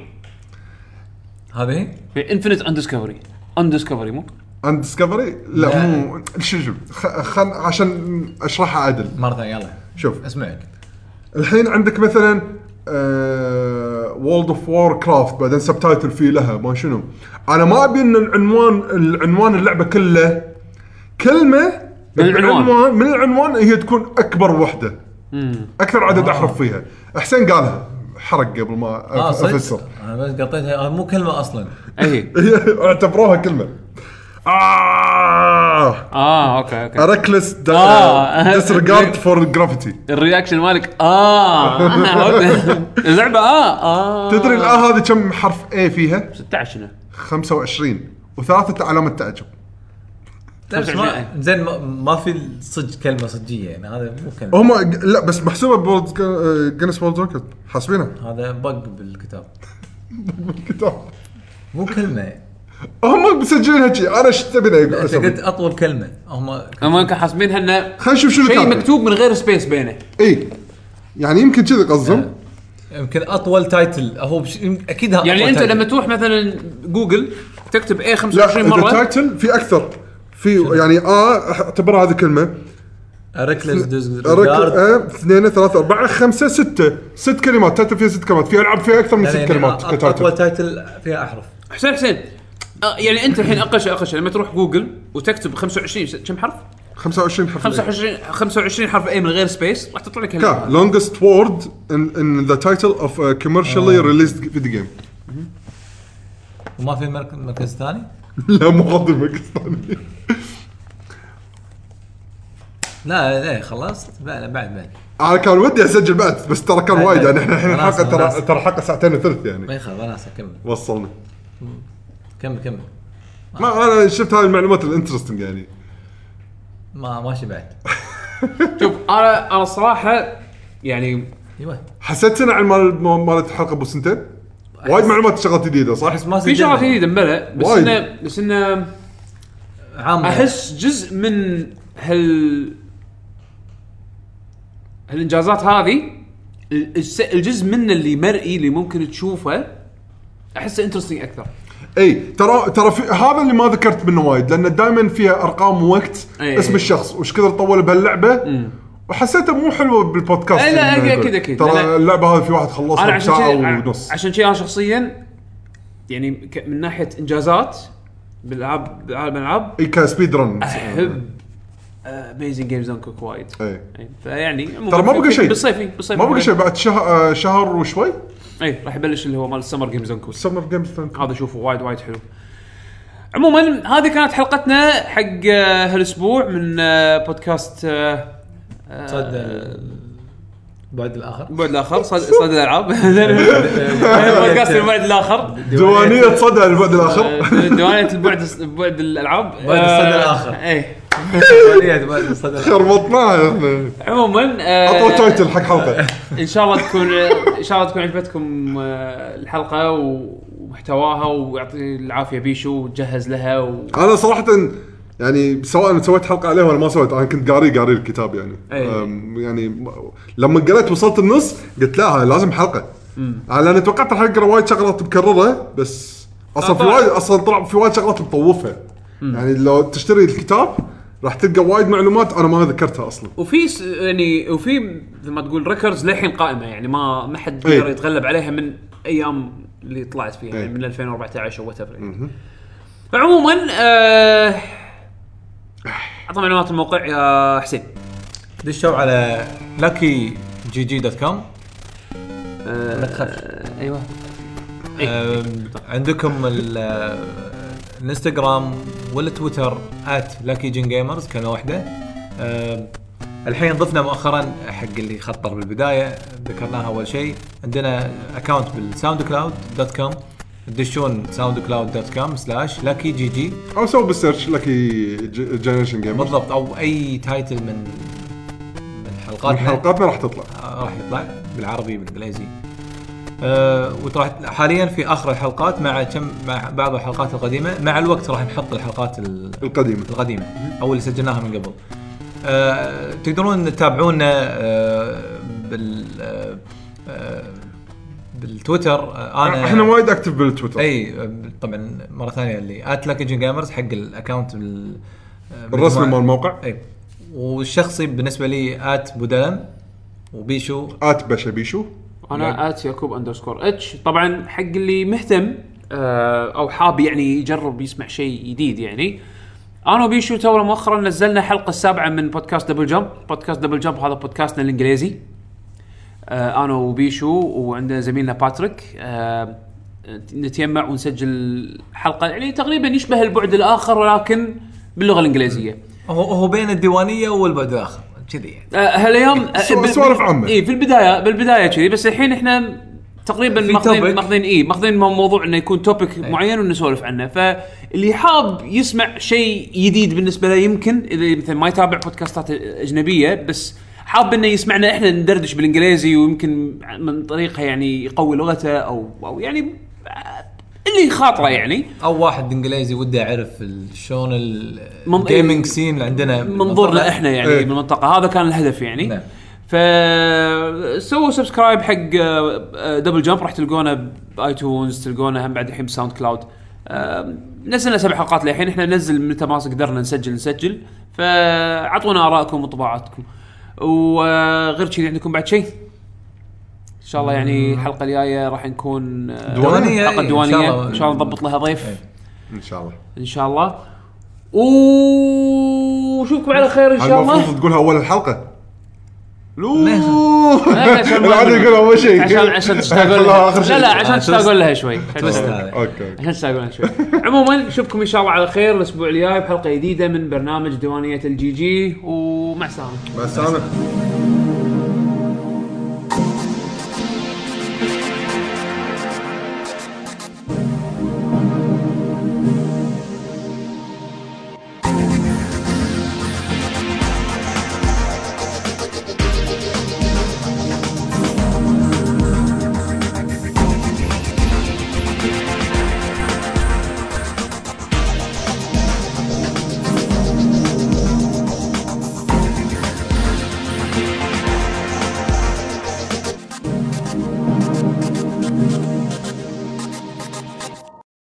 هذه
انفنت ان ديسكفري ان ديسكفري مو
ان ديسكفري لا
لا.
مو شو شو خ... خل... عشان اشرحها عدل
مره ثانيه يلا
شوف
اسمعك
الحين عندك آه، مثلا وولد اوف وور كرافت بعدين سب تايتل فيه لها ما شنو انا ما ابي ان العنوان العنوان اللعبه كله كلمه
من العنوان.
بالعنوان- من العنوان هي تكون اكبر وحده اكثر
آه.
عدد احرف فيها حسين قالها حرق قبل ما أف-
آه،
اه
افسر
صدق انا بس قطيتها آه، مو كلمه اصلا
اي
هي *laughs* اعتبروها كلمه آه
اه اوكي اوكي
ركلس
آه.
ديسريجارد فور جرافيتي
الرياكشن مالك اه
آه.
*laughs* اللعبه اه اه
تدري الان هذه كم حرف اي فيها؟
16 هنا
25 وثلاثة علامة تعجب
بس ما-
25.
زين ما- ما في صدق كلمه صجيه يعني هذا مو كلمه
هم لا بس محسوبة بورد آه، جنس وورد ريكورد حاسبينها
هذا بق بالكتاب
بالكتاب
مو كلمه
*laughs* هم مسجلينها شي انا ايش تبيني اقول
انت قلت
خلينا
اطول كلمه هم
هم يمكن حاسبينها انه
نشوف شنو
شيء
كاتب.
مكتوب من غير سبيس بينه
اي يعني يمكن كذي
آه.
قصدهم
يمكن اطول تايتل هو بش... اكيد ها
آه،
يعني
أطول
انت
طيب.
تايتل.
لما تروح مثلا جوجل تكتب اي 25
لا
مره
التايتل في اكثر في يعني اه اعتبرها هذه كلمه
ريكلس
رك-
ديسجارد
آه، اثنين ثلاثة أربعة خمسة ستة ست كلمات تايتل فيها ست كلمات في ألعاب فيها أكثر
يعني
من ست كلمات
اطول
كتايتل
تايتل فيها احرف
حسين حسين آه، يعني انت الحين اقل شيء اقل شيء لما تروح جوجل وتكتب 25 س- كم حرف؟
إيه. 25 حرف
25 25 حرف اي من غير سبيس راح تطلع لك هال-
كا longest word in, in the title of a commercially
آه.
released video game
وما في مرك- مركز ثاني
*laughs* لا مو قصدي المركز الثاني
لا لا خلصت لا لا بعد بعد
انا كان ودي اسجل بعد بس ترى كان وايد يعني احنا الحين
خلاص،
الحلقه ترى
خلاص.
ترى الحلقه ساعتين وثلث يعني
ما يخالف خلاص كمل
وصلنا
كمل كمل
آه.
ما انا شفت هاي المعلومات الانترستنج يعني
ما ماشي بعد
شوف انا انا الصراحه يعني
ايوه
حسيت سنة على مال مالت الحلقه ابو سنتين وايد معلومات شغلات جديده صح؟
احس ما
في
سجلنا.
شغلات جديده مبلى بس
وايد.
انه بس انه
عام
نعم.
احس جزء من هال هالانجازات هذه ال- الس- الجزء منه اللي مرئي اللي ممكن تشوفه احسه انترستنج اكثر
اي ترى ترى في هذا اللي ما ذكرت منه وايد لان دائما فيها ارقام ووقت
أي.
اسم الشخص وش كثر طول بهاللعبه وحسيته مو حلوه بالبودكاست
أي لا،
إنه
أكيد-
يقول.
أكيد- أكيد. لا،
ترى
لا.
اللعبه هذه في واحد خلصها
انا عشان
بساعه
شي
ونص
عشان شي انا شخصيا يعني ك- من ناحيه انجازات بالالعاب بعالم الالعاب
اي كسبيد رن
احب اميزنج جيمز اون كوك وايد
اي
أي، فيعني عموماً
ترى ما
في-
بقى
في-
شيء.
بالصيفي بالصيفي
ما بقى شيء بعد شهر آه، شهر وشوي
اي يعني. راح يبلش اللي هو مال السمر جيمز اون كوك
سمر جيمز
هذا اشوفه وايد وايد حلو عموما هذه كانت حلقتنا حق آه، هالاسبوع من آه، بودكاست آه، آه،
صد البعد
*laughs*
الاخر
البعد الاخر صد صد
*laughs*
*laughs* الالعاب بودكاست البعد الاخر
ديوانيه صدى البعد الاخر
آه، ديوانية البعد بعد آه، إيه. الالعاب
بعد الصدى الآخر.
اي
ديوانية بعد الصد الآخر.
خربطناها إحنا.
عموما آه،
اعطوه تايتل حق حلقه
ان شاء الله تكون ان شاء الله تكون عجبتكم آه، الحلقه و- ومحتواها ويعطي العافيه بيشو وتجهز لها و...
انا صراحه يعني سواء سويت حلقه عليه ولا ما سويت انا كنت قاري قاري الكتاب يعني
أي.
أم، يعني م- لما قريت وصلت النص قلت لا هاي لازم حلقه على انا توقعت راح اقرا وايد شغلات مكرره بس اصلا في
طبعاً.
وايد اصلا طلع في وايد شغلات مطوفها يعني لو تشتري الكتاب راح تلقى وايد معلومات انا ما ذكرتها اصلا
وفي س- يعني وفي مثل ما تقول ريكوردز للحين قائمه يعني ما ما حد
إيه.
يقدر يتغلب عليها من ايام اللي طلعت فيها
إيه.
يعني من 2014 او وات ايفر عموما يعني. آه،
آه.
اعطى معلومات الموقع يا حسين
دشوا على لاكي جي جي دوت كوم
آه، ايوه
أم، عندكم ال- الانستغرام والتويتر ات لاكي جين جيمرز كلمه واحده أم، الحين ضفنا مؤخرا حق اللي خطر بالبدايه ذكرناها اول شيء عندنا اكونت بالساوند كلاود دوت كوم تدشون ساوند كلاود دوت كوم سلاش لاكي جي جي
او سوي بالسيرش لكي جنريشن جيم
بالضبط او اي تايتل من من حلقاتنا
حلقاتنا راح تطلع
آه، راح يطلع بالعربي بالانجليزي أه وراح حاليا في اخر الحلقات مع كم مع بعض الحلقات القديمه مع الوقت راح نحط الحلقات ال-
القديمه
القديمه او اللي سجلناها من قبل أه تقدرون تتابعونا أه بال أه آه، بالتويتر أه انا
احنا وايد اكتف بالتويتر
اي آه، طبعا مره ثانيه اللي ات جيمرز حق الاكونت ال- آه،
الرسمي مال الموقع
اي والشخصي بالنسبه لي ات بودلم وبيشو
ات بشبيشو
انا ات يعقوب اندرسكور اتش طبعا حق اللي مهتم آه، او حاب يعني يجرب يسمع شيء جديد يعني انا وبيشو تو مؤخرا نزلنا حلقه السابعه من بودكاست دبل جمب بودكاست دبل جمب هذا بودكاستنا الانجليزي آه، انا وبيشو وعندنا زميلنا باتريك آه، نتيمع ونسجل حلقه يعني تقريبا يشبه البعد الاخر ولكن باللغه الانجليزيه
هو هو بين الديوانيه والبعد الاخر كذي يعني
آه، هالايام
سو- سوالف عامة.
اي في البدايه بالبدايه كذي بس الحين احنا تقريبا
في
ماخذين
topic.
ماخذين اي ماخذين مو- موضوع انه يكون توبك معين ونسولف عنه فاللي حاب يسمع شيء جديد بالنسبه له يمكن اذا مثلا ما يتابع بودكاستات اجنبيه بس حاب انه يسمعنا احنا ندردش بالانجليزي ويمكن من طريقه يعني يقوي لغته او او يعني اللي خاطره يعني
او واحد انجليزي وده يعرف ال- شلون
من-
الجيمنج سين اللي عندنا
منظورنا احنا يعني
إيه.
بالمنطقه هذا كان الهدف يعني
نعم.
ف سووا سبسكرايب حق آه، آه، دبل جمب راح تلقونه بايتونز تلقونه هم بعد الحين بساوند كلاود آه، نزلنا سبع حلقات للحين احنا ننزل متى ما قدرنا نسجل نسجل فاعطونا ارائكم وطباعاتكم وغير كذي عندكم بعد شيء ان شاء الله يعني الحلقه الجايه راح نكون آه،
دوانية،
إيه،
حلقه
إن شاء
دوانيه
الله. إيه.
ان شاء الله نضبط لها ضيف
ان شاء الله
ان شاء الله وشوفكم على خير ان
هاي
شاء الله
المفروض تقولها اول الحلقه لو
لا،
*laughs*
عشان ما-
العادة يقول اول شيء
عشان
*laughs*
عشان تشتاقون
لا،
لها
آخر
لا
شيء.
لا عشان تشتاقون لها شوي عشان
هذا.
اوكي
تشتاقون لها شوي عموما نشوفكم ان شاء الله على خير الاسبوع الجاي بحلقه جديده من برنامج ديوانيه الجي جي ومع السلامه
مع السلامه